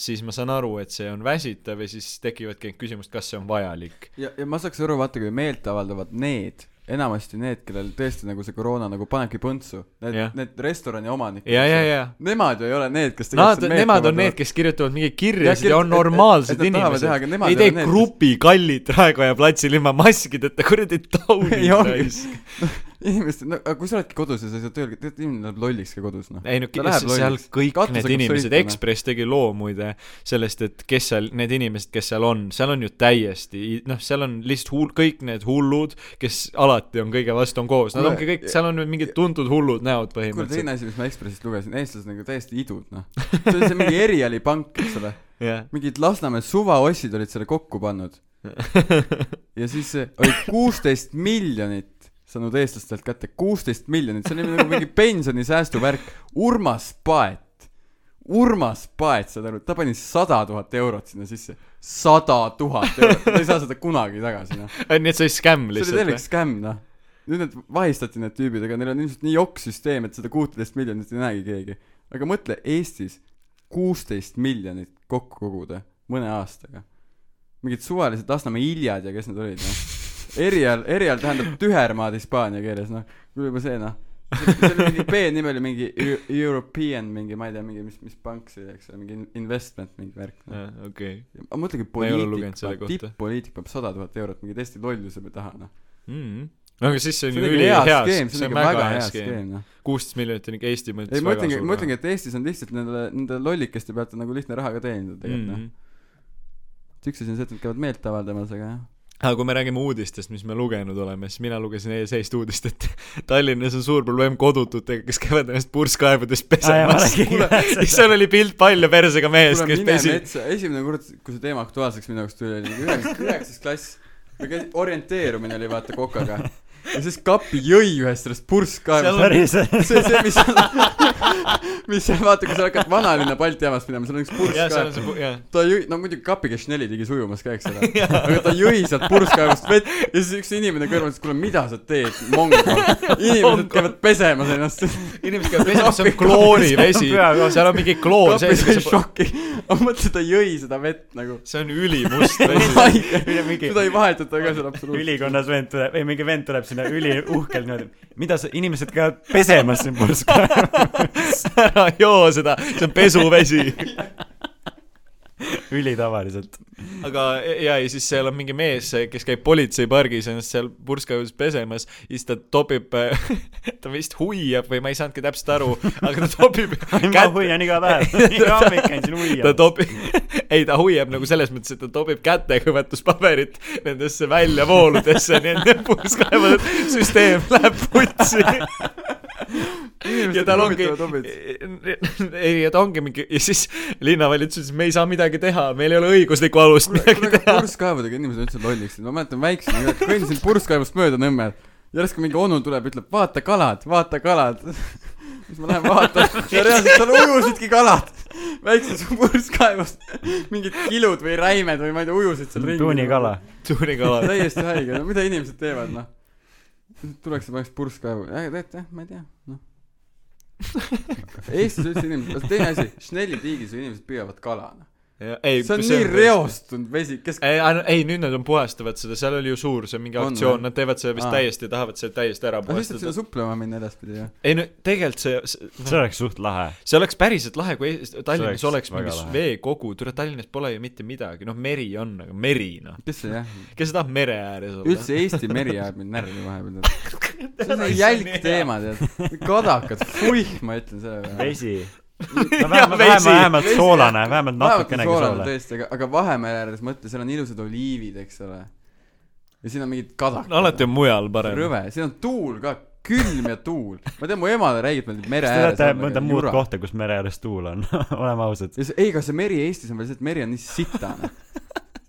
B: siis ma saan aru , et see on väsitav ja siis tekivadki need küsimused , kas see on vajalik .
C: ja , ja ma saaks aru , vaata , kui meelt avaldavad need , enamasti need , kellel tõesti nagu see koroona nagu panebki põntsu , need ,
B: Jah.
C: need restorani omanikud .
B: ja , ja , ja .
C: Nemad ju ei ole need , kes
B: Nad ,
C: meelt
B: nemad on
C: avaldavad.
B: need , kes kirjutavad mingeid kirjasid
C: Ja
B: ja,
C: kirjut-
B: on
C: et-
B: normaalsed
C: et- et nad tahavad teha, aga
B: inimesed .
C: nemad
B: ei
C: ei
B: tee
C: ole need, kes-
B: grupi kallid Raekoja platsil ilma maskideta , kuradi taunid
C: Ei ongi.
B: raisk .
C: inimesed , no aga kui sa oledki kodus ja sa ei saa tööl , tead inimene läheb lolliks ka kodus noh .
B: ei no
C: Ta
B: ki-
C: läheb
B: seal
C: lolliks.
B: kõik
C: Katusega
B: need
C: saab
B: inimesed ,
C: sõita, noh.
B: Ekspress tegi loo muide sellest , et kes seal , need inimesed , kes seal on , seal on ju täiesti , noh , seal on lihtsalt hull , kõik need hullud , kes alati on kõige vastu , on koos , nad
C: No,
B: ongi kõik ,
C: ja-
B: seal on mingid tuntud hullud näod
C: kuule ,
B: põhimõtteliselt .
C: teine asi , mis ma Ekspressist lugesin , eestlased nagu täiesti idud noh . see oli see mingi erialipank , eks ole .
B: jah .
C: mingid Lasnamäe suvaossid olid selle kokku pannud . ja siis eh, oli kuusteist miljonit saanud eestlastelt kätte , kuusteist miljonit , see oli nagu mingi pensionisäästuvärk . Urmas Paet , Urmas Paet , saad aru , ta pani sada tuhat eurot sinna sisse . sada tuhat eurot , ta ei saa seda kunagi tagasi noh .
B: nii et see oli skämm
C: see oli
B: lihtsalt
C: täielik skämm noh nüüd need vahistati need tüübid aga neil on ilmselt nii jokk-süsteem et seda kuuteist miljonit ei näegi keegi aga mõtle Eestis kuusteist miljonit kokku koguda mõne aastaga mingid suvalised Lasnamäe hiljad ja kes need olid noh erial erial tähendab tühermaad hispaania keeles noh kuule juba see noh see see oli mingi B-nimi oli mingi Eu- European mingi ma ei tea mingi mis mis pank see oli eks ole mingi in- investment mingi värk noh
B: või ? okei .
C: aga mõtlegi
B: Ma ei ole
C: poliitik
B: lugenud selle
C: paneb-
B: kohta.
C: tipp-poliitik paneb sada tuhat eurot mingi täiesti lolluse peale taha noh
B: mm. . no aga siis see on
C: see
B: ju
C: on ikka hea
B: ülihea
C: skeem , see on ikka väga hea skeem , noh .
B: kuusteist miljonit on ikka Eesti mõttes
C: ei , ma
B: väga
C: ütlengi ,
B: suur
C: ma ütlengi , et Eestis on lihtsalt nendele , nende lollikeste pealt on nagu lihtne raha ka teenida tegelikult ,
B: mm .
C: noh . üks asi on see , et nad käivad meelt avaldamas , aga jah .
B: aga kui me räägime uudistest , mis me lugenud oleme , siis mina lugesin ees eest uudist , et Tallinnas on suur probleem kodututega , kes käivad ennast purskkaevudes
A: Aa, jaa, ma
B: pesemas .
A: räägin ka seda.
B: seal oli pilt palja persega mehest ,
C: kuule
B: kes
C: mine
B: pesi ,
C: metsa , esimene kord , kui see teema aktuaalseks minu jaoks tuli , oli üheksas , üheksas klass . me käisime , orienteerumine oli vaata kokaga . ja siis kapi jõi ühest sellest purskkaevust .
A: päriselt .
C: see , see , mis , mis see , vaata , kui sa hakkad vanalinna Balti jaamas minema , seal on üks
B: jah , seal on
C: purskkaev
B: see , jah .
C: ta jõi , no muidugi kapiga Schnelli tegi sujumas ka , eks ole . aga ta jõi sealt purskkaevust vett ja siis üks inimene kõrval ütles , kuule , mida sa teed , mongo . inimesed käivad pesemas ennast .
B: inimesed käivad pesemas , see on kloorivesi , seal on mingi kloor
C: kapis
B: sees ,
C: oli šoki . ma mõtlesin , ta jõi seda vett nagu .
B: see on ülimust vesi .
A: mingi
C: seda ei vahetata ka seal absoluutselt .
A: ülikonnas vend tuleb , ei mingi vend tuleb sinna üliuhkelt niimoodi , mida sa , inimesed käivad pesemas siin purskkaevus .
B: ära joo seda , see on pesuvesi .
A: ülitavaliselt .
B: aga ja , ja siis seal on mingi mees , kes käib politseipargis ennast seal purskkaevus pesemas , siis ta topib , ta vist huiab või ma ei saanudki täpselt aru , aga ta topib
A: ma hoian iga päev , iga hommik käin siin
B: ta
A: huiamas .
B: topib , ei ta hoiab nagu selles mõttes , et ta topib kätekõvetuspaberit nendesse väljavooludesse , nii et need purskkaevude süsteem läheb putsi . ja tal ongi , ei ja ta ongi mingi ja siis linnavalitsus ütles , me ei saa midagi teha , meil ei ole õiguslikku alust midagi
C: kuidagi
B: teha .
C: purskkaevudega inimesed üldse lolliks , ma mäletan väiksena , kõndisin purskkaevust mööda Nõmmel , järsku mingi onu tuleb , ütleb vaata kalad , vaata kalad . siis ma lähen vaatan , ja reaalselt seal ujusidki kalad , väikses purskkaevus , mingid kilud või räimed või ma ei tea , ujusid seal ringi .
A: tuunikala ..
B: tuunikala .
C: täiesti haige , no mida inimesed teevad , noh . tuleks ja paneks purskkaevu , tead jah , ma ei tea , noh . Eestis üldse inimesed , teine asi , Schnelli tiigis ju inimesed püüavad kala , noh . see on nii . reostunud vesi , kes
B: ei , ei nüüd nad on puhastavad seda , seal oli ju suur , see on mingi
C: On
B: aktsioon ,
C: või?
B: nad teevad seda vist
C: Aa.
B: täiesti , tahavad selle täiesti ära
C: aga Noh, lihtsalt
B: puhastada
C: sinna . suplema minna edaspidi jah
B: ei no tegelikult see, see ,
A: see oleks suht lahe .
B: see oleks päriselt lahe , kui Eestis- Tallinnas
A: See
B: oleks
A: oleks
B: mingi
A: väga lahe.
B: veekogu , tule Tallinnas pole ju mitte midagi , noh meri on , aga meri noh ,
C: kes see jah
B: kes tahab mere ääres olla ?
C: üldse Eesti meri ajab mind närvi vahepeal tead see on see jälk teema tead kadakad fuih ma ütlen selle peale
A: vesi . no vähemalt , vähemalt ,
B: vesi.
A: vähemalt soolane ,
C: vaevalt on
A: vähemalt natukenegi
C: soolane
A: soolane .
C: tõesti aga aga Vahemere ääres mõtle seal on ilusad oliivid eks ole ja siin on mingid kadakad
B: no alati on mujal parem .
C: rõve siin on tuul ka külm ja tuul ma tean mu emale räägib meeldib mere
A: kas te
C: ääres
A: teate
C: olla,
A: mõnda
C: aga
A: muud
C: jura.
A: kohta , kus mere ääres tuul on ? oleme ausad ,
C: ja see ei aga see meri Eestis on veel see et meri on nii sitane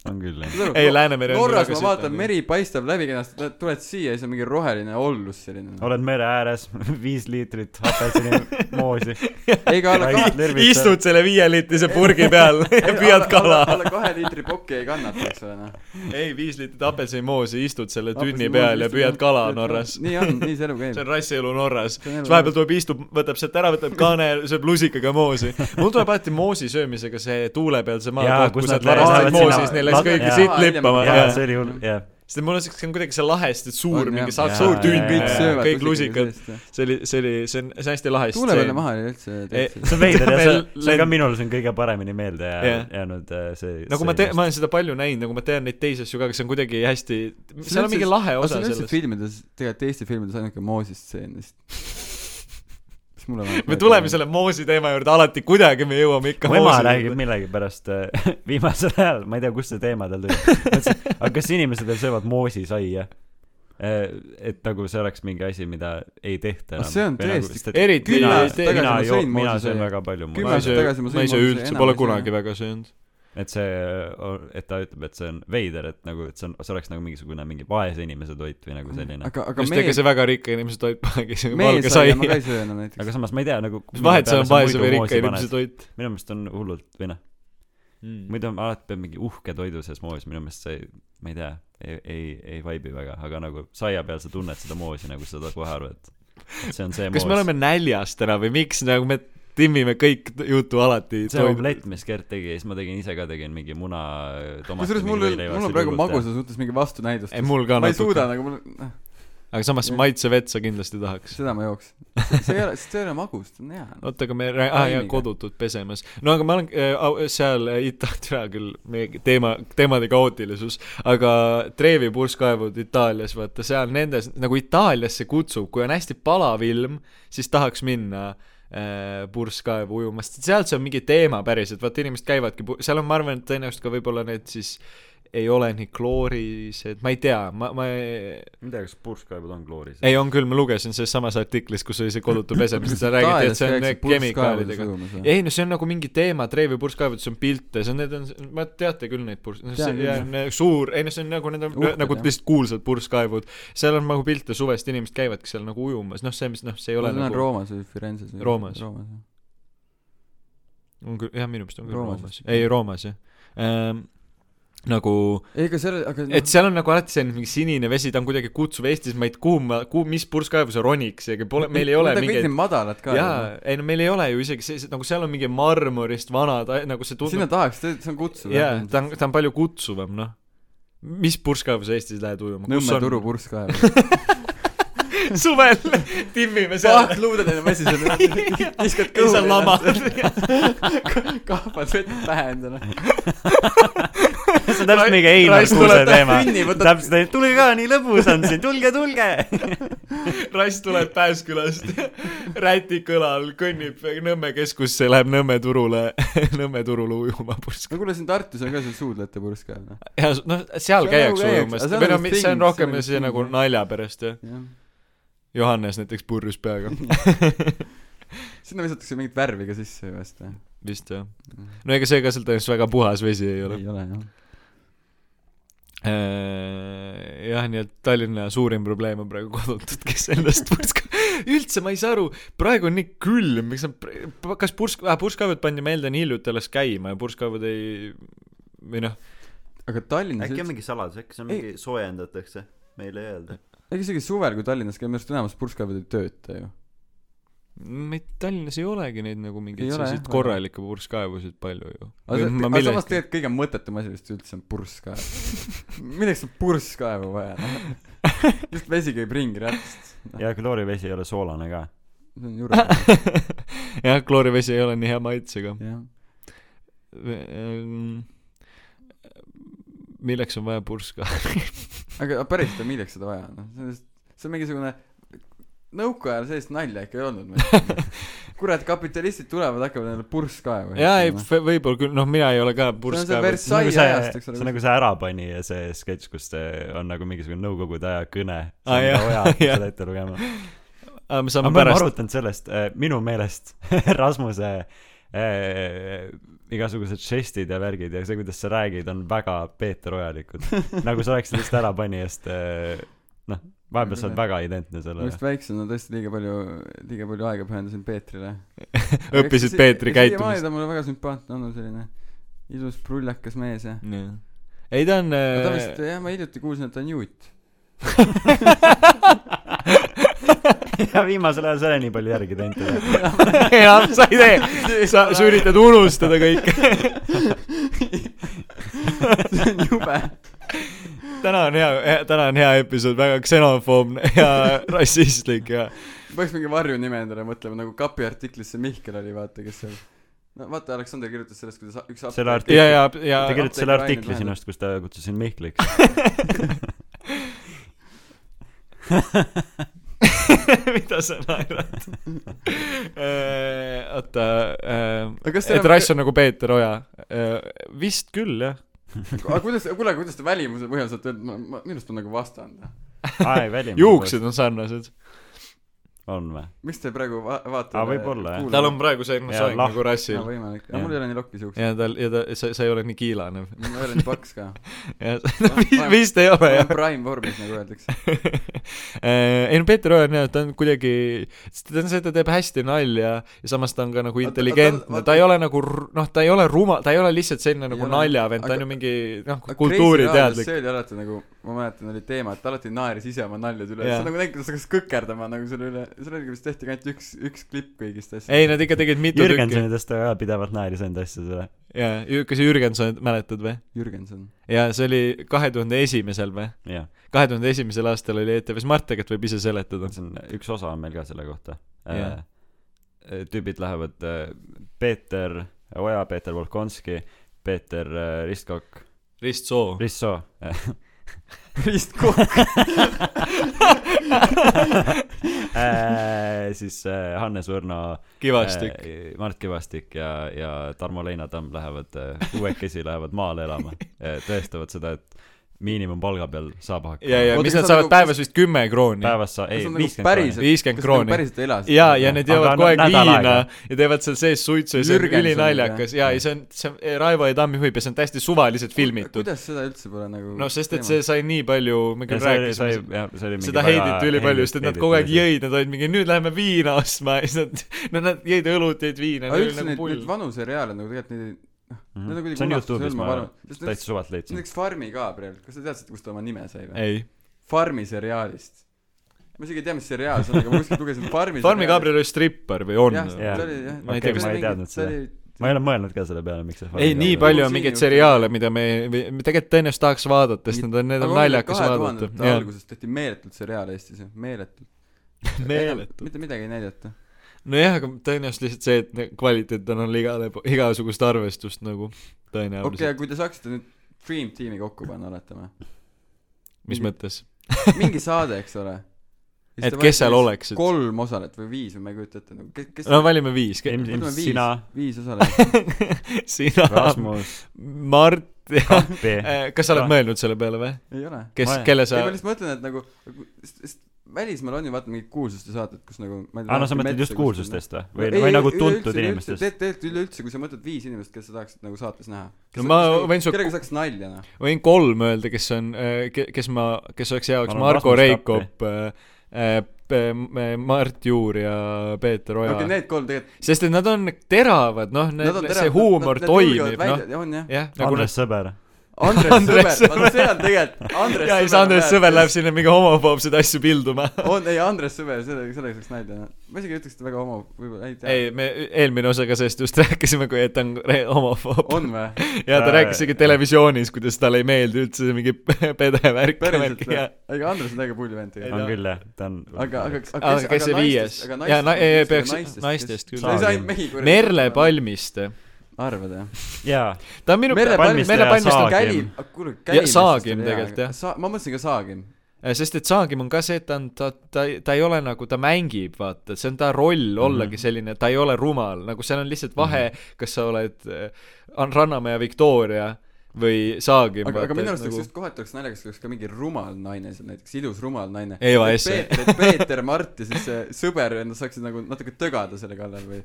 A: on küll jah .
C: Saad aru,
B: ei ,
C: no-
B: Läänemeri on
C: Norras ma vaatan , meri paistab läbi kenasti , tuled siia ja siis on mingi roheline ollus selline .
A: oled mere ääres , viis liitrit hapelsini moosi .
C: ei , aga alla kahe ,
B: istud selle viieliitrise purgi peal ja püüad kala .
C: alla kahe liitri pokki ei kannata , eks ole noh .
B: ei , viis liitrit apelsinimoosi , istud selle tünni peal ja püüad kala Norras .
C: nii on , nii see elu
B: see on
C: käib .
B: rassielu Norras ,
C: See on elu
B: siis vahepeal tuleb , istub , võtab sealt ära , võtab kaane , sööb lusikaga moosi . mul tuleb alati moosi söömisega see tuule peal see
A: Jaa,
B: maakoht ,
A: kus
B: kus
A: nad
B: nad varem
A: lähevad
B: said moosi ,
A: sinna-
B: siis neil läks
A: nad-
B: kõik
A: jaa.
B: siit lippama .
A: jaa , see oli hull , jah .
B: sest mul on siukene , see on kuidagi see lahesti suur ,
C: On,
B: mingi
C: jah.
B: saab
A: Jaa,
B: suur
A: jaa,
B: tünn
A: jaa, ,
B: kõik
A: jaa.
B: söövad , kõik lusikad .. see oli , see oli , see on , see on hästi lahe .
C: tuule peale maha oli üldse
B: Ei,
A: see on veider ja see
B: Meil ,
A: see on ka
B: lend-
A: minul siin kõige paremini meelde jää-
B: Jah.
A: jäänud äh, see .
B: nagu ma tean , ma olen seda palju näinud , nagu ma tean neid teisi asju ka , aga see on kuidagi hästi , seal on mingi lahe osa
C: selles .
B: selles .
C: filmides , tegelikult Eesti filmides ainuke Mooses stseen vist . mis mulle
B: me tuleme . selle moosi teema juurde alati , kuidagi me jõuame ikka
A: mu ema
B: moosi
A: räägib
B: juurde.
A: millegipärast äh, viimasel ajal , ma ei tea , kust see teema tal tuli . ma ütlesin , aga kas inimesed veel söövad moosisaia ? et nagu see oleks mingi asi , mida ei tehta
C: Ah,
A: enam .
C: see on tõesti-
B: eriti
A: mina
B: ei , tee-
A: mina
C: tagasi ma
A: joo-
C: sõin ,
A: mina
C: moosisaia.
A: söön väga
C: Kümme
A: palju
B: ma ei
A: moosi .
C: aastat
B: söö
C: tagasi ma , sõin
B: ma ei söö
C: moosi,
B: üldse ,
C: enam
B: pole
C: ei söö.
B: kunagi väga söönud .
A: et see , et ta ütleb , et see on veider , et nagu , et see on , see oleks nagu mingisugune mingi vaese inimese toit või
B: Mm,
A: nagu selline .
C: aga , aga
B: just , ega
C: meie ,
B: see väga rikka inimese toit polegi , see on
C: meie
B: valge sai
C: saia . ma ka ei söö enam näiteks .
A: aga samas ma ei tea nagu .
B: mis vahet seal on vaese või rikka inimese toit ?
A: minu meelest on hullult , või noh , muidu ma alati pean mingi uhke toidu sees moos , minu meelest see , ma ei tea , ei , ei , ei vaibi väga , aga nagu saia peal sa tunned seda moosi nagu sa saad kohe aru , et et see on see
B: kas me oleme näljas täna või miks nagu me timmime kõik t- jutu alati
A: see omelett , mis Gert tegi , siis ma tegin ise ka , tegin mingi muna , tomat .
C: kusjuures mul , mul on praegu . magusa suhtes mingi vastunäidustus .
B: Ei, mul ka
C: ma ei
B: natuke.
C: suuda nagu , mul ,
B: aga samas maitsevett sa kindlasti tahaks .
C: seda ma jooks . see ei ole , see ei ole magus , ta on hea .
B: oota , aga me rää- , aa jaa ,
C: Taimiga.
B: kodutud pesemas . no aga ma olen äh, au- seal äh, Ita- , türa küll , meie teema , teemade kaootilisus , aga Trevi purskkaevud Itaalias , vaata seal nendes , nagu Itaaliasse kutsub , kui on hästi palav ilm , siis tahaks minna äh, purskkaevu ujumast , sealt see on mingi teema päriselt , vaata inimesed käivadki , seal on , ma arvan , et tõenäoliselt ka võib-olla need siis ei ole nii kloorised , ma ei tea , ma ,
A: ma
B: ma
A: ei tea , kas purskkaevud on klooris .
B: ei , on küll , ma lugesin selles samas artiklis , kus oli see kolutu pesemine , seal räägiti , et see on kemikaalidega . ei no see on nagu mingi teema , treevipurskkaevudus on pilte , see on , need on , ma teate küll neid purs- , see
C: Tean küll, jah.
B: on suur , ei no see on nagu need on
C: Uhked,
B: Uhked, nagu
C: jah.
B: lihtsalt kuulsad purskkaevud , seal on nagu pilte suvest , inimesed käivadki seal nagu ujumas , noh , see , mis noh , see ei ole
C: see on
B: nagu
C: Roomas või Firenzes või
B: Roomas.
C: Roomas jah.
B: on küll , jah , minu meelest on küll
C: Roomas
B: Roomas
C: vist. ,
B: ei Roomas jah ehm, , nagu
C: ei , aga seal , aga
B: et seal on nagu alati see mingi sinine vesi , ta on kuidagi kutsuv Eestis , ma ei tea , kuhu ma , kuhu , mis purskkaevu sa roniks , ega pole , meil ei ole
C: kõik
B: mingeid
C: need madalad noh. ka .
B: jaa , ei no meil ei ole ju isegi sellised , nagu seal on mingi marmorist vanad , nagu see tundub
C: sinna tahaks , see on kutsuv .
B: jaa , ta on , ta on palju kutsuvam , noh . mis purskkaevu sa Eestis lähed ujuma ?
C: Nõmme turu purskkaev .
B: suvel timmime seal .
C: pahtluudele vesi sinna , viskad
B: ei saa lama .
C: kahvad vett pähe endale .
A: see on täpselt mingi Einar
B: Raisk
A: Kuuse
B: tuleb-
A: teema .
C: Kõnni võtab-
A: täpselt , et tulge ka , nii lõbus on siin , tulge , tulge .
B: rass tuleb Pääskülast , Rätikõla all , kõnnib Nõmme keskusse , läheb Nõmme turule , Nõmme turule ujuma purskkaevu .
C: no kuule , siin Tartus on ka see suudlate purskkaev .
B: ja noh , seal
C: See
B: käiakse
C: nagu
B: ujumas ,
C: käiakse, aga see on
B: või noh
C: nagu ,
B: see on
C: thing, see on
B: rohkem
C: nagu
B: see
C: thing,
B: nagu
C: jah.
B: nalja pärast jah .
C: jah .
B: Johannes näiteks purjus peaga ,
C: sinna visatakse mingit värvi ka sisse ju vast või ?
B: vist jah . no ega see ka seal tõenäoliselt väga puhas vesi ei ole .
C: ei ole jah .
B: Äh, jah , nii et Tallinna suurim probleem on praegu kodutud , kes ennast purska- , üldse ma ei saa aru , praegu on nii külm , miks nad , kas pursk- , purskkaevud pandi meelde nii hiljuti alles käima ja purskkaevud ei , või noh ,
C: aga Tallinnas
A: äkki on
C: üldse ,
A: mingi saladus , äkki see on
C: Ei.
A: mingi soojendatakse , meile ei öelda .
C: ega isegi suvel , kui Tallinnas käib , minu arust enamus purskkaevad ei tööta ju .
B: meid Tallinnas ei olegi neid nagu
C: Ei
B: mingeid
C: ole,
B: selliseid
C: jah.
B: korralikke purskkaevusid palju ju .
C: aga see- aga samas tegelikult kõige mõttetum asi vist üldse on purskkaev . milleks on purskkaevu vaja ? just vesi käib ringi rattast .
A: ja kloorivesi ei ole soolane ka .
C: see on jura .
B: jah , kloorivesi ei ole nii hea maitsega .
C: jah .
B: milleks on vaja purska ?
C: aga päriselt , milleks seda vaja on ? see on just , see on mingisugune , nõukaajal sellist nalja ikka ei olnud meil . kurat , kapitalistid tulevad , hakkavad endale purskkaevu
B: jaa , ei ,. võib-olla küll , noh , mina ei ole ka purskkaev .
A: see on
C: Sai
A: nagu see
C: ajast, , eks ole,
A: see on nagu see Ärapanija see sketš , kus see on nagu mingisugune Nõukogude aja kõne .
B: Aa, Ah, jah,
A: oja hakkab
B: jah.
A: seda ette lugema .
B: aga
A: aga me
B: me saame
A: oleme
B: Ah, pärast
A: arutanud sellest , minu meelest Rasmuse eh, igasugused žestid ja värgid ja see , kuidas sa räägid , on väga Peeter Ojalikud . nagu sa oleksid lihtsalt Ärapanijast , noh , vahepeal sa oled väga identne
C: ma
A: sellele
C: just . väiksena tõesti liiga palju , liiga palju aega pühendasin Peetrile .
B: õppisid Peetri
C: siiamaani
B: käitumist .
C: ta on mulle väga sümpaatne olnud , selline ilus prullakas mees ja .
B: ei , ta on . äh,
C: aga ta vist , jah , ma hiljuti kuulsin , et ta on juut .
A: ja viimasel ajal sa ei ole nii palju järgi teinud teda .
B: jah , sa ei tee , sa , sa üritad unustada kõike .
C: see on jube .
B: täna on hea , täna on hea episood , väga ksenofoobne ja rassistlik ja
C: peaks mingi varjunime endale mõtlema , nagu kapi artiklis see Mihkel oli , vaata , kes seal no vaata , Aleksander kirjutas sellest , kuidas a- üks
A: Selle
C: apteek-
A: artikli-
B: ja , ja , ja
A: ta kirjutas selle
C: apteegilained
A: artikli sinust , kus ta kutsus sind Mihkliks .
B: mida sa naerad ? oota ,
C: Aga kas teil
B: et
C: on-
B: rass on nagu Peeter Oja . vist küll , jah .
C: aga kuidas , kuule , kuidas te välimuse põhjal saate öelda , ma , ma , minu arust on nagu vastand .
A: aa , ei välimus .
B: juuksed on sarnased .
A: on või ?
C: miks te praegu va- vaatate
A: Aa, võib-olla, jah.
B: tal on praegu see mosaik
A: lahk-
B: nagu rassil
C: jah . võimalik , aga
B: jah.
C: mul ei ole nii lokkis juuksed ,
B: ja tal , ja ta , sa , sa ei ole nii kiilane .
C: mul ei ole nii paks ka .
B: jah ,
C: ma-
B: vist ei
C: ma
B: ole , jah
C: olen . prime vormis , nagu öeldakse .
B: Eh, ei no Peeter Oja on jah , ta on kuidagi , ta on see , ta teeb hästi nalja ja samas ta on ka nagu
C: ta-
B: intelligentne , ta ei ole nagu r- noh , ta ei ole ruma- , ta ei ole lihtsalt selline nagu
C: ole.
B: naljavend , ta
C: Aga-
B: on ju mingi noh , kultuuriteadlik .
C: see oli alati nagu , ma mäletan , oli teema , et ta alati naeris ise oma naljade üle ,
B: Jaa.
C: see on nagu näinud , kuidas ta hakkas kõkerdama nagu selle üle , seal oligi vist tehti ainult üks , üks klipp kõigist asjadest .
B: ei , nad ikka tegid mitu tükki .
A: Jürgensonidest ta ka pidevalt naeris enda asjadele .
B: jaa , kas Jürgenson , mäletad või ?
C: Jürgenson .
B: jaa , see oli kahe tuhande esimesel või ?
A: jah ,
B: kahe tuhande esimesel aastal oli ETV-s , Mart tegelikult võib ise seletada .
A: see on , üks osa on meil ka selle kohta Äh,
B: Jah. .
A: tüübid lähevad , Peeter Oja , Peeter Volkonski , Peeter äh, Ristkokk ,
B: Rist Soo .
A: Rissoo .
C: Krist Kokk .
A: siis äh, Hannes Võrno
B: kivastik .
A: äh, , Mart Kivastik ja , ja Tarmo Leinatamm lähevad äh, , kuuekesi lähevad maale elama , tõestavad seda , et miinimumpalga peal saab
B: ja ,
A: hakkama .
B: ja
C: Oota,
B: mis
C: kas
B: nad
C: nad
B: saavad
C: nagu-
B: päevas vist kümme krooni .
A: päevas sa , ei
C: Kas nad , nagu
A: viiskümmend
C: päriselt-
B: 50
C: kas nad
B: krooni.
C: päriselt elasid
B: ja , ja need
A: Aga
B: joovad
A: no
B: kogu aeg
A: nädal
B: viina
A: aega.
B: ja teevad seal sees suitsu ja see on
C: Jürgenson
B: ülinaljakas
C: või?
B: ja , ja see on , see on eh, Raivo ja Tammi hüpp ja see on täiesti suvaliselt filmitud .
C: kuidas seda üldse pole nagu
B: no sest , et see sai nii palju , me küll rääkisime siin- nagu seda
A: seda
B: heiditi ülipalju , sest et nad kogu aeg . jõid , nad olid mingi nüüd lähme viina ostma ja siis nad , no nad jõid õlut , jõid viina ,
C: aga üldse need ,
B: neil oli nagu
C: need
B: pull . Mm.
C: vanusereaalid nagu tegelikult neid ei noh need on
A: Mhm.
C: nagu-
A: see
C: kuidagi
A: on Youtube'is , ma
C: sest
A: täitsa
C: näiteks
A: suvalt leidsin .
C: näiteks Farmi ka praegu kas te teadsite kust ta oma nime sai või
B: ei .
C: Farmi seriaalist ma isegi ei tea mis seriaal see on aga ma kuskilt lugesin Farmi
B: Farmi Gabriel oli strippar või on
C: jah ?
A: Jaa.
C: ta oli jah
B: Ma ei tea, kas-
A: ma ei teadnud seda. ma ei ole mõelnud ka selle peale , miks see
B: ei , nii palju on mingeid seriaale , mida me , me tegelikult tõenäoliselt tahaks vaadata , sest nad on , need on naljakas
C: jah
B: vaadata .
C: alguses tehti meeletult seriaal Eestis ju meeletult
B: meeletu .
C: mitte midagi ei näidata
B: nojah , aga tõenäoliselt lihtsalt see , et ne- kvaliteet on all igale , igasugust arvestust nagu
C: okei
B: tõenäoliselt
C: aga kui te saaksite nüüd Dream tiimi kokku panna oletame
B: okay, , mis mõttes ,
C: mingi saade eks ole Ja siis
B: et
C: te
B: kes seal
C: valite
B: oleksid .
C: kolm osalet või viis või ma ei kujuta ette nagu kes kes
B: no valime viis ,
C: Võtame
A: ilmselt
C: viis.
A: sina ,
C: viis osalejat
B: sina ,
A: Rasmus ,
B: Mart ja
A: Kappi .
B: kas sa oled
A: Ka-
B: mõelnud selle peale või ?
C: ei ole
B: kes
A: Ma Ah. ei- ,
B: kelle
C: ei
B: sa
C: ma , lihtsalt mõtlen et nagu nagu- sest- sest välismaal on ju vaata mingid kuulsuste saated kus nagu ma ei
B: Ah,
A: aa , Ah, no sa
C: lähebki
A: mõtled
C: metsa
A: just
C: kuskile.
A: kuulsustest või ? või , või nagu tuntud inimestest ?
C: tegelikult tegelikult üleüldse kui sa mõtled viis inimest kes sa tahaksid nagu saates näha
B: No ma võin su-
C: kellega saaks nalja noh
B: võin kolm öelda , kes on , kes ma , kes oleks hea oleks ,
A: Ma arvan,
B: Margo
A: Rasmus
B: Reikop , äh, Mart Juur ja Peeter
C: okei
B: Oja
C: okay,
B: okay, .
C: need kolm tegelikult
B: sest et nad on teravad , noh ,
C: nad on
B: see huumor toimib , noh ,
C: noh on jah
B: jah , nagu nad
A: Andres Sõber .
C: Andres,
B: Andres
C: Andres Sõber vaata
B: Sõber.
C: see on tegelikult Andres
B: ja siis Andres
C: on
B: Sõber
C: väärtus. Oh,
B: läheb sinna mingi homofoobseid asju pilduma .
C: on ei Andres Sõber sellega sellega saaks nalja noh ma isegi ei ütleks et väga homo võibolla ei tea
B: ei , me eelmine osaga sellest just rääkisime , kui et ta on re- homofoob .
C: on vä
B: ja ta
A: Ta-
B: rääkis isegi televisioonis , kuidas talle ei meeldi üldse see mingi pede värk .
C: päriselt vä aga Andres on väga pulli vend tegelikult
A: on küll jah , ta on .
C: aga , aga ,
B: aga kes, see viies ? jaa , na- , ei , peaks naistest küll
A: Sa ei . saa-
B: Merle . Palmiste .
C: arvad jah ?
A: jaa ,
B: ta on minu ,
C: Merle
B: Merle
A: Palmiste ja
B: Palmiste on
A: Saag- Saagim.
C: kälim , kuule ,
B: Ja
C: kälim .
B: Saagim tegelikult, jah.
C: sa- , ma mõtlesin ka Saagim .
B: kä- , sest et Saagim on ka see , et ta on , ta , ta , ta ei ole nagu , ta mängib , vaata , see on ta roll ollagi selline , ta ei ole rumal , nagu seal on lihtsalt vahe , kas sa oled äh, Ann Rannamäe Victoria või Saagim . nagu-
C: aga , aga minu arust oleks just kohati oleks naljakas , kui oleks ka mingi rumal naine seal näiteks , ilus rumal naine .
B: Eva Esse.
C: Peeter , Peeter Mart ja siis see sõber ja nad saaksid nagu natuke tögada selle kallal või .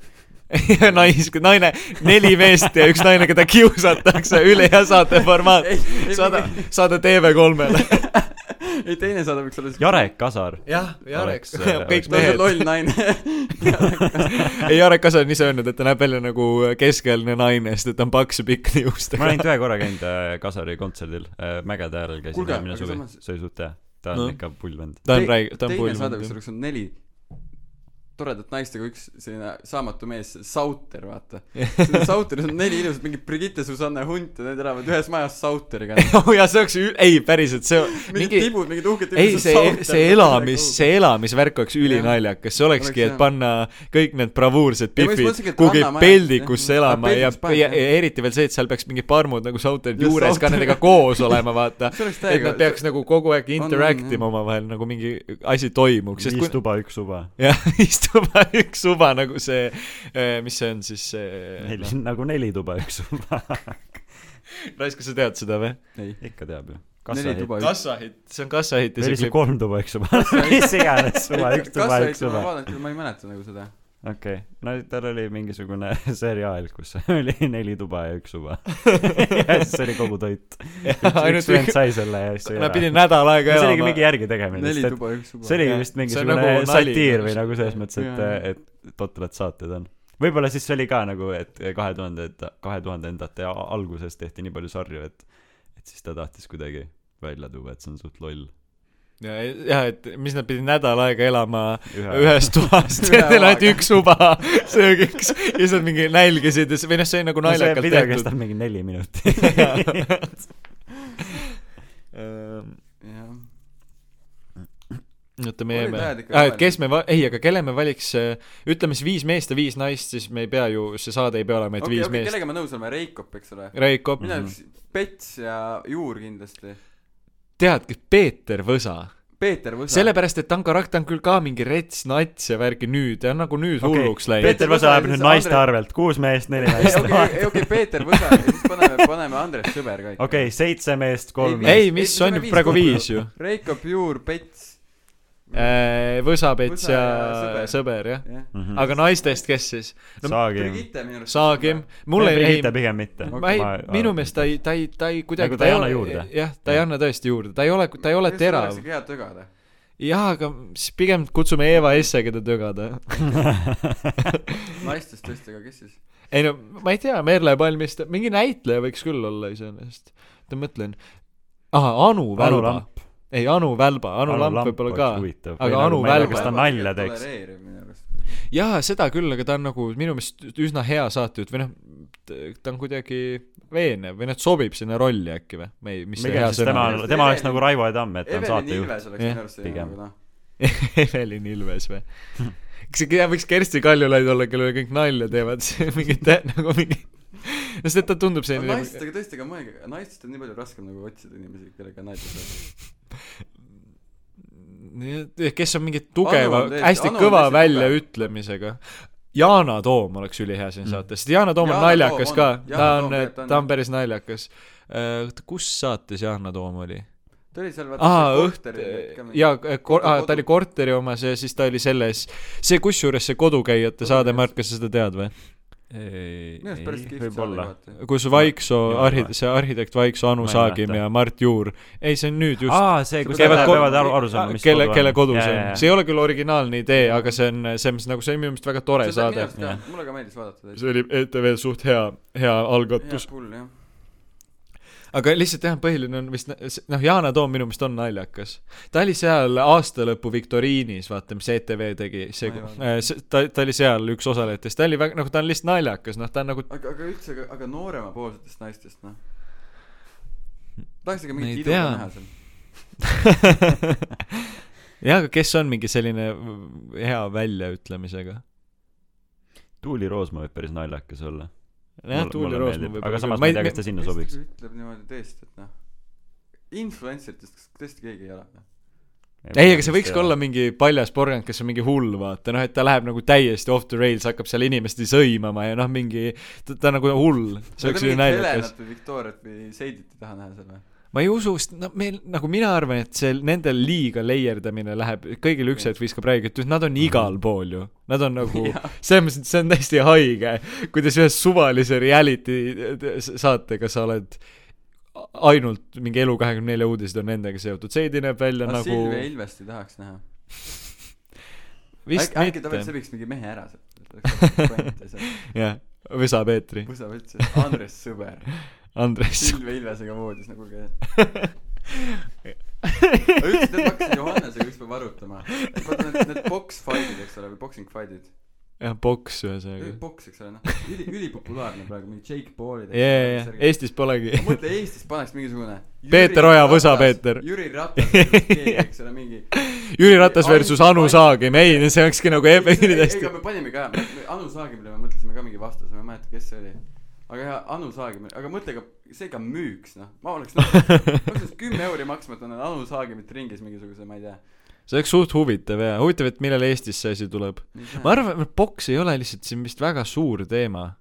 B: ja nais- , naine , neli meest ja üks naine , keda kiusatakse , ülihea saateformaat
C: Ei, ei, .
B: saada
C: mingi- ,
B: saada TV3-le .
C: ei , teine saade võiks olla .
A: Jarek Kasar .
B: jah , Jarek
A: Oleks, ,
B: kõik
A: oleks-
C: ta on see
B: mehed .
C: loll naine .
B: ei , Jarek Kasar on ise öelnud , et ta näeb välja nagu keskealine naine , sest et ta on paks ja pikk
A: ma olen
B: juustega .
A: ainult ühe korra käinud äh, Kasari kontserdil , Mägede äärel käisin
C: Kuulge,
A: eelmine
C: aga
A: suvi
C: samas- ,
A: see oli suht hea . ta
B: No.
A: on ikka pull vend .
B: ta on rai- , ta on
C: teine saade võiks
B: pulmand .
C: olla , kus on neli toredat naist ja ka üks selline saamatu mees , Sauter , vaata . Sauteris on neli ilusat , mingi Brigitte , Susanne Hunt ja need elavad ühes majas Sauteriga .
B: oh jaa , see oleks , ei päriselt , see
C: mingid
B: mingi
C: mingi... tibud , mingid uhked
B: ei , see , see elamis , see elamisvärk oleks ülinaljakas , see olekski ,
C: Oleks
B: et
C: jah.
B: panna kõik need bravuursed
C: Ei, ma just
B: pipid
C: mõtlesingi, et
B: kuhugi
C: Ranna maja-
B: peldikusse
C: jah.
B: elama
C: Aa,
B: ja,
C: peldikus paned,
B: ja , ja
C: jah.
B: eriti veel see , et seal peaks mingid parmud nagu Sauterid
C: Just
B: juures ka
C: Sauterid.
B: nendega koos olema , vaata .
C: See oleks
B: et
C: täiega-
B: nad peaks nagu kogu aeg
C: On, on,
B: interact
C: jah.
B: ima omavahel , nagu mingi asi toimuks , sest
A: viis
B: kui
A: tuba , üks suva .
B: jah , istume üks suva nagu see , mis see on siis see ,
A: Neil on nagu neli tuba , üks suva .
B: Raisk , kas sa tead seda või ?
C: see
A: ikka teab ju .
C: neli
A: kassahitt .
C: tuba üks
B: kassahitt , see on kassahitt ja
A: või
B: see
A: lihtsalt
B: klipp .
A: kolm tuba , üks suva . mis iganes suva , üks tuba , üks
C: ma
A: suva .
C: vaatan küll ma ei mäleta nagu seda
A: okei , no tal oli mingisugune seriaal , kus oli neli tuba ja üks suva . ja siis oli kogu toit .
B: ainult
A: üks vend
B: üks ,
A: sai selle ja siis
B: nad pidid nädal aega
A: see
B: elama .
A: oligi mingi järgitegemine ,
C: neli
A: sest et
C: tuba üks tuba
A: see oli
B: Jah.
A: vist
B: See on
A: mingisugune
B: nagu
A: nagu
B: nali
A: satiir
B: nagu
A: või nagu selles
B: sihuke.
A: mõttes , et
C: Jaa. ,
A: et totrad saated on . võib-olla siis see oli ka nagu , et kahe tuhandenda , kahe tuhandendate a- alguses tehti nii palju sarju , et , et siis ta tahtis kuidagi välja tuua , et see on suht loll .
B: ja , ja et mis nad pidid nädal aega elama
A: Ühe-
B: ühes toas ,
C: Ühe
B: neil oli ainult
C: oaga.
B: üks uba söögiks ja siis nad mingi nälgisid ja see , või noh , see oli nagu
A: see
B: naljakalt
A: video
B: tehtud .
A: kestab mingi neli minutit .
C: jah
B: oota , me
C: Olid
B: jääme
C: ajad , ikka
B: ah, et
C: vabad.
B: kes me va- , ei , aga kelle me valiks , ütleme siis viis meest ja viis naist , siis me ei pea ju , see saade ei pea olema , et
C: okei
B: viis
C: okei
B: meest .
C: kellega ma nõus olen Reikop eks ole
B: Reikop ,
A: Mhm.
C: mina oleks Pets ja Juur kindlasti
B: tead , kes Peeter Võsa
C: Peeter Võsa .
B: sellepärast , et Tankarakt on küll ka mingi rets , nats ja värki nüüd , ta on nagu nüüd
A: Okei,
B: hulluks läinud .
A: Peeter Võsa läheb nüüd
C: Andres-
A: naiste arvelt , kuus meest , neli naist .
C: okei , okei , Peeter Võsa ja siis paneme , paneme Andres Sõber ka ikka .
A: okei , seitse meest , kolm
C: Ei,
A: meest .
B: ei , mis on
C: viis
B: praegu
C: kokku.
B: viis ju .
C: Reiko Pure , Pets ,
B: Võsapets
C: Võsa
B: Äh, ja
C: ja Sõber.
B: Sõber , jah .
C: jah .
A: aga
B: aga naistest , kes siis ?
A: saagi .
C: Brigitte minu arust .
B: Saagim , mul ei , ei
A: Brigitte , pigem mitte .
B: ma ei , minu meelest ta ei , ta ei , ta ei kuidagi
A: Nagu ta ei
B: ole-
A: anna juurde.
B: jah , ta ei
A: Jah.
B: anna tõesti juurde , ta ei ole , ta ei ole terav .
C: hea tögada .
B: jaa , aga siis pigem kutsume Eva Esse , keda tögada .
C: naistest tõesti , aga kes siis ?
B: ei no ma ei tea , Merle Palmiste , mingi näitleja võiks küll olla iseenesest . ma mõtlen , aa , Anu
A: Anu
B: Välba .
A: Lamp .
B: ei , Anu Välba , Anu Lamp võib-olla ka . Aga Anu Välba-
A: kas ta nalja teeks ?
B: jaa , seda küll , aga ta on nagu minu meelest üsna hea saatejuht või noh , ta on kuidagi veenev või noh , sobib sinna rolli äkki või , ma ei , mis see hea
A: pigem siis
B: sõna
A: tema
B: on ?
C: on? ,
A: tema oleks nagu Raivo Tamm , et ta on
C: Evelyn
A: saatejuht .
C: Ilves oleks
B: Jah,
C: minu arust selline
A: pigem.
C: nagu noh ,
B: Evelin Ilves või ? kas see jääb , võiks Kersti Kaljulaid olla , kellele kõik nalja teevad , mingit tä- nagu mingi , no sest et ta tundub
C: aga
B: selline nagu-
C: naistest , aga tõesti , aga mõelge , naistest on nii palju raskem nagu otsida inimesi , kellega nalja teha .
B: Nii, kes on mingi tugeva
C: Anu on , täiesti-
B: hästi
C: Anu on
B: kõva
C: täiesti
B: väljaütlemisega . Yana Toom oleks ülihea siin saates , sest Yana Toom on
C: Yana
B: naljakas
C: Toom
B: ka
C: on. ,
B: ta
C: Yana
B: on
C: Toom teeb, , ta on-
B: ta on päris naljakas . kus saates Yana Toom oli ?
C: ta oli seal
B: aa , õht , jaa , ta oli korteri omas ja siis ta oli selles , see kusjuures see kodukäijate saade ,
C: Kodukäijas.
B: Mart , kas sa seda tead või ?
C: minu arust päris kihvt saade
A: võib-olla .
C: kohati .
B: kus Vaiksoo
A: Jaa,
B: arhitekt , see arhitekt Vaiksoo , Anu
A: Ma ei
B: Saagim
A: mäleta.
B: ja Mart Juur , ei see on nüüd just
A: aa , see , kus
C: Käivad
A: nad
C: ko-
A: peavad aru , aru saama , mis
B: kelle , kelle kodu see on , see
A: on .
B: ei ole küll originaalne idee , aga see on , see on nagu , see on minu meelest väga tore
C: See on minu
B: saade .
C: arust ka- mulle ka meeldis vaadata täitsa .
B: see oli ETV-l suht hea , hea
C: hea
B: algatus .
C: pull jah .
B: aga lihtsalt jah , põhiline on vist , noh , Yana Toom minu meelest on naljakas . ta oli seal aastalõpu viktoriinis , vaata , mis ETV tegi , see
C: Ma ei ,
B: ta , ta oli seal üks osalejatest , ta oli väga , nagu ta on lihtsalt naljakas , noh , ta on nagu
C: aga , aga üldse , aga , aga nooremapoolsetest naistest noh . tahaks ikka
B: Ma ei
C: mingit ilu
B: tea.
C: näha seal .
B: jah , aga kes on mingi selline v- hea väljaütlemisega ?
A: Tuuli Roosma võib päris naljakas olla .
B: jah , Tuuli Roosma võib-olla
A: aga
B: küll.
A: samas
B: Ma
A: ma
B: ei-
A: ei tea , kas ta sinna sobiks .
C: ütleb niimoodi tõesti , et noh . influenceritest kas tõesti keegi ei ole noh. või ?
B: ei , aga see võiks ka olla mingi paljas porgand , kes on mingi hull , vaata , noh , et ta läheb nagu täiesti off the rails , hakkab seal inimesti sõimama ja noh , mingi , ta ta on nagu hull , see oleks ju naljakas .
C: Helenat või Viktoriat või Seidit ei taha näha seal või ?
B: ma ei usu , sest no meil , nagu mina arvan , et see nendel liiga leierdamine läheb , kõigil üks hetk viskab räägi , et nad on
C: Mhm.
B: igal pool ju . Nad on nagu , selles mõttes , et see on täiesti haige , kuidas ühes suvalise reality t- s- saatega sa oled ainult mingi Elu24 uudised on nendega seotud , Seidi näeb välja
C: aga
B: no,
C: nagu... Silvia
B: nagu
C: Ilvest ei tahaks näha .
B: vist
C: äkki , äkki ta veel
B: mitte ,
C: sebiks mingi mehe ära nagu sealt .
B: jah , Võsa Peetri ,
C: Võsa ütles , et Andres Sõber .
B: Andres .
C: Silvia Ilvesega voodis nagu käis . ma ütlesin , et ma hakkasin Johannesega ükspäev arutama . vaata need , need box fight'id , eks ole , või boxing fight'id .
B: jah , boks ühesõnaga .
C: Boks , eks ole , noh , üli , ülipopulaarne praegu , mingi Jake Paulid .
B: jaa , jaa , jaa , Eestis polegi .
C: mõtle , Eestis paneks mingisugune .
B: Peeter Oja, Võsa Peeter.
C: Jüri Ratas , keegi , eks ole , mingi .
B: Jüri Ratas versus
C: Ainult-
B: Anu Saagim , ei , see olekski nagu
C: ei ,
B: ebakindlasti
C: ega me panime ka , Anu Saagimile me mõtlesime ka mingi vastuse , ma ei mäleta , kes see oli . aga jaa , Anu Saagim , aga mõtle , ega see ka müüks , noh , ma oleks nõus , ma oleks nõus kümme euri maksma , et annan Anu Saagimit ringis mingisuguse , ma ei tea .
B: see oleks suht huvitav ja huvitav , et millal Eestis see asi tuleb . ma arvan , et boks ei ole lihtsalt siin vist väga suur teema .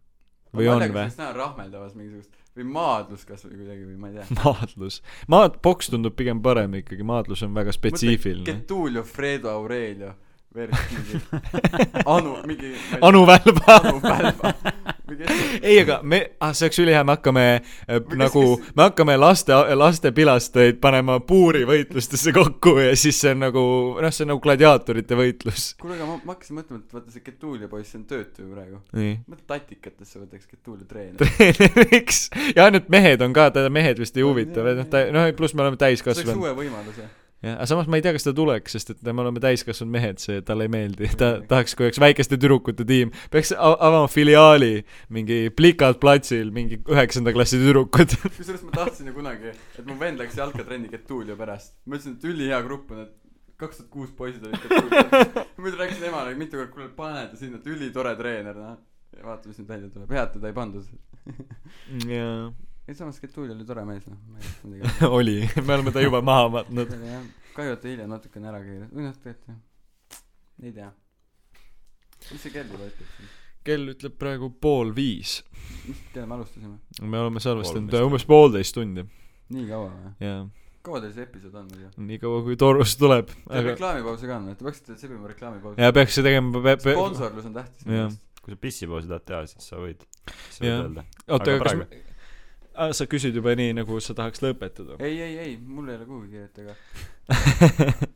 B: või on või ??
C: näen rahmeldavas mingisugust või maadlus kasvõi kuidagi või ma ei tea .
B: maadlus , maad , boks tundub pigem parem ikkagi , maadlus on väga spetsiifiline .
C: Getulio , Fredo Aurelio versus mingi Anu , mingi .
B: Anu Välba .
C: Anu Pälva . või kes
B: ei , aga me , ah , see oleks ülihea , me hakkame äh,
C: kes-
B: nagu , me hakkame laste , laste pilastajaid panema puurivõitlustesse kokku ja siis see on nagu , noh , see on nagu gladiaatorite võitlus .
C: kuule , aga ma , ma hakkasin mõtlema , et vaata see Getulio poiss see on töötu ju praegu .
B: nii .
C: ma tatikatesse võtaks Getulio treeneri .
B: miks ? ja ainult mehed on ka , teda mehed vist ei huvita või noh , ta , noh , pluss me oleme
C: see oleks
B: täiskasvanud .
C: uue võimaluse .
B: jah , aga samas ma ei tea , kas ta tuleks , sest et me oleme täiskasvanud mehed , see talle ei meeldi , ta tahaks , kui oleks väikeste tüdrukute tiim , peaks a- avama filiaali mingi Plikalt platsil , mingi üheksanda klassi tüdrukud .
C: kusjuures ma tahtsin ju kunagi , et mu vend läks jalkatrenni Getulio pärast . ma ütlesin , et ülihea grupp on , et kaks tuhat kuus poisid olid Getulio . muidu rääkisin emale mitu korda , kuule pane ta sinna , et ülitore treener , noh . vaata , mis nüüd välja tuleb . hea , et teda ei pandud .
B: jaa ,
C: ei samas Getuli oli tore mees noh ma ei oska midagi
B: oli , me oleme ta juba maha matnud .
C: öelda jah kahju et ta hiljem natukene ära keeras või noh tegelikult jah ei tea mis see kell juba ütleb siis
B: kell ütleb praegu pool viis .
C: mis kell me alustasime
B: me oleme salvestanud
A: Pool viis.
B: umbes poolteist tundi
C: nii kaua või
B: ja
C: kaua teil see episood on muidu
B: niikaua kui torus tuleb ,
C: teil
B: aga
C: reklaamipause ka on või te peaksite sebima reklaamipausi
B: ja peaks see tegema pe- pe-
C: sponsorlus on tähtis minu
B: Jah.
C: meelest.
A: kui sa pissipausi tahad teha , siis sa võid , sa
B: Jah.
A: võid öelda .
B: oota ,
A: Aga
B: aga kas me... Ah, sa küsid juba nii , nagu sa tahaks lõpetada .
C: ei ei ei mul ei ole kuhugi kiiret aga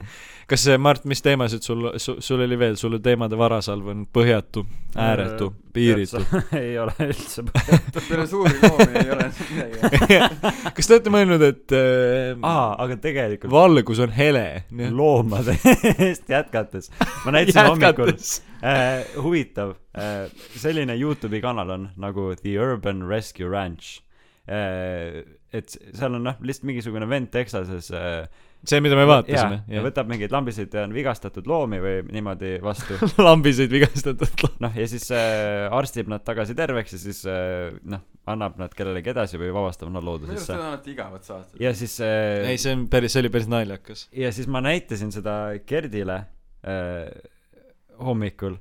B: kas see , Mart , mis teemasid sul, sul , sul oli veel , sulle teemade varasalv on põhjatu , ääretu , piiritu .
A: ei ole üldse .
C: peale suuri loomi ei ole midagi
B: kas te olete mõelnud , et äh,
A: aa , aga tegelikult
B: valgus on hele ?
A: loomade eest jätkates , ma näitasin hommikul ,. äh, huvitav äh, , selline Youtube'i kanal on nagu The Urban Rescue Ranch äh, . et seal on noh , lihtsalt mingisugune vend Texases äh,
B: see , mida me vaatasime .
A: ja võtab mingeid lambiseid ja on vigastatud loomi või niimoodi vastu
B: lambiseid vigastatud .
A: noh , ja siis äh, arstib nad tagasi terveks ja siis äh, noh , annab nad kellelegi edasi või vabastab nad
C: minu arust
A: loodusesse
C: need on alati igavad saated
A: ja siis äh,
B: ei , see on päris , see oli päris naljakas .
A: ja siis ma näitasin seda Gerdile äh, hommikul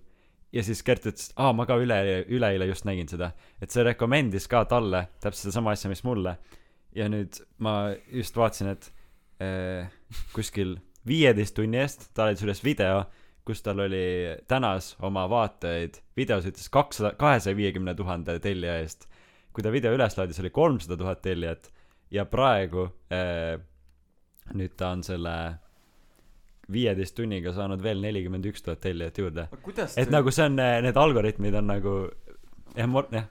A: ja siis Gert ütles , et aa , ma ka üle , üleeile just nägin seda , et see rekomendis ka talle täpselt sedasama asja , mis mulle . ja nüüd ma just vaatasin , et äh, kuskil viieteist tunni eest ta oli selles video , kus tal oli tänas oma vaatajaid , videos ütles kakssada , kahesaja viiekümne tuhande tellija eest . kui ta video üles laadis , oli kolmsada tuhat tellijat ja praegu äh, nüüd ta on selle viieteist tunniga saanud veel nelikümmend üks tuhat tellijat juurde .
C: aga kuidas
A: et nagu see on , need algoritmid on nagu jah , jah ,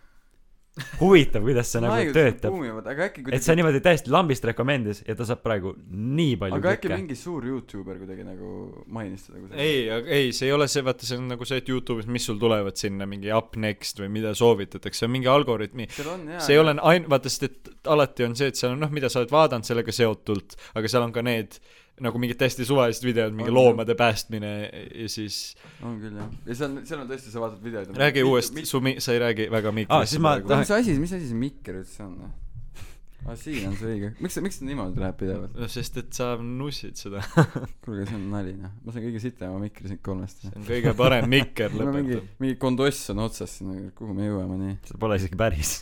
A: huvitav , kuidas see nagu töötab .
C: buumivad aga äkki
A: et see on niimoodi täiesti lambist rekomendis ja ta saab praegu nii palju
C: aga äkki
A: klikke .
C: mingi suur Youtuber kuidagi nagu mainis seda kusagil
B: ei , ei , see ei ole see , vaata , see on nagu see , et Youtube'is , mis sul tulevad sinna mingi up next või mida soovitatakse , see on mingi algoritmi
C: seal on jaa
B: see ei ole ain- , vaata , sest et alati on see , et seal on noh , mida sa oled vaadanud sellega seotult , aga seal on ka need nagu mingid täiesti suvalised videod , mingi
C: On,
B: loomade päästmine ja siis
C: on küll jah ja seal on seal on tõesti sa vaatad videoid on
B: räägi
C: mitu-
B: uuesti ,
C: mitu-
B: su mi- , sa ei räägi väga
A: Aa, siis ma
C: Kuule,
A: tahan-
B: mikrofoni .
C: mis asi mis asi see mikker üldse on või aa siin on see õige miks see miks see niimoodi läheb pidevalt
B: no Noh, sest , et sa nussid seda ,
C: kuulge see on nali noh ma saan kõige sitema mikri siin kolmest
B: see on kõige parem mikker
C: mul on mingi
B: lõpetab .
C: mingi kondoss on otsas siin kuhu me jõuame nii
A: see pole isegi päris .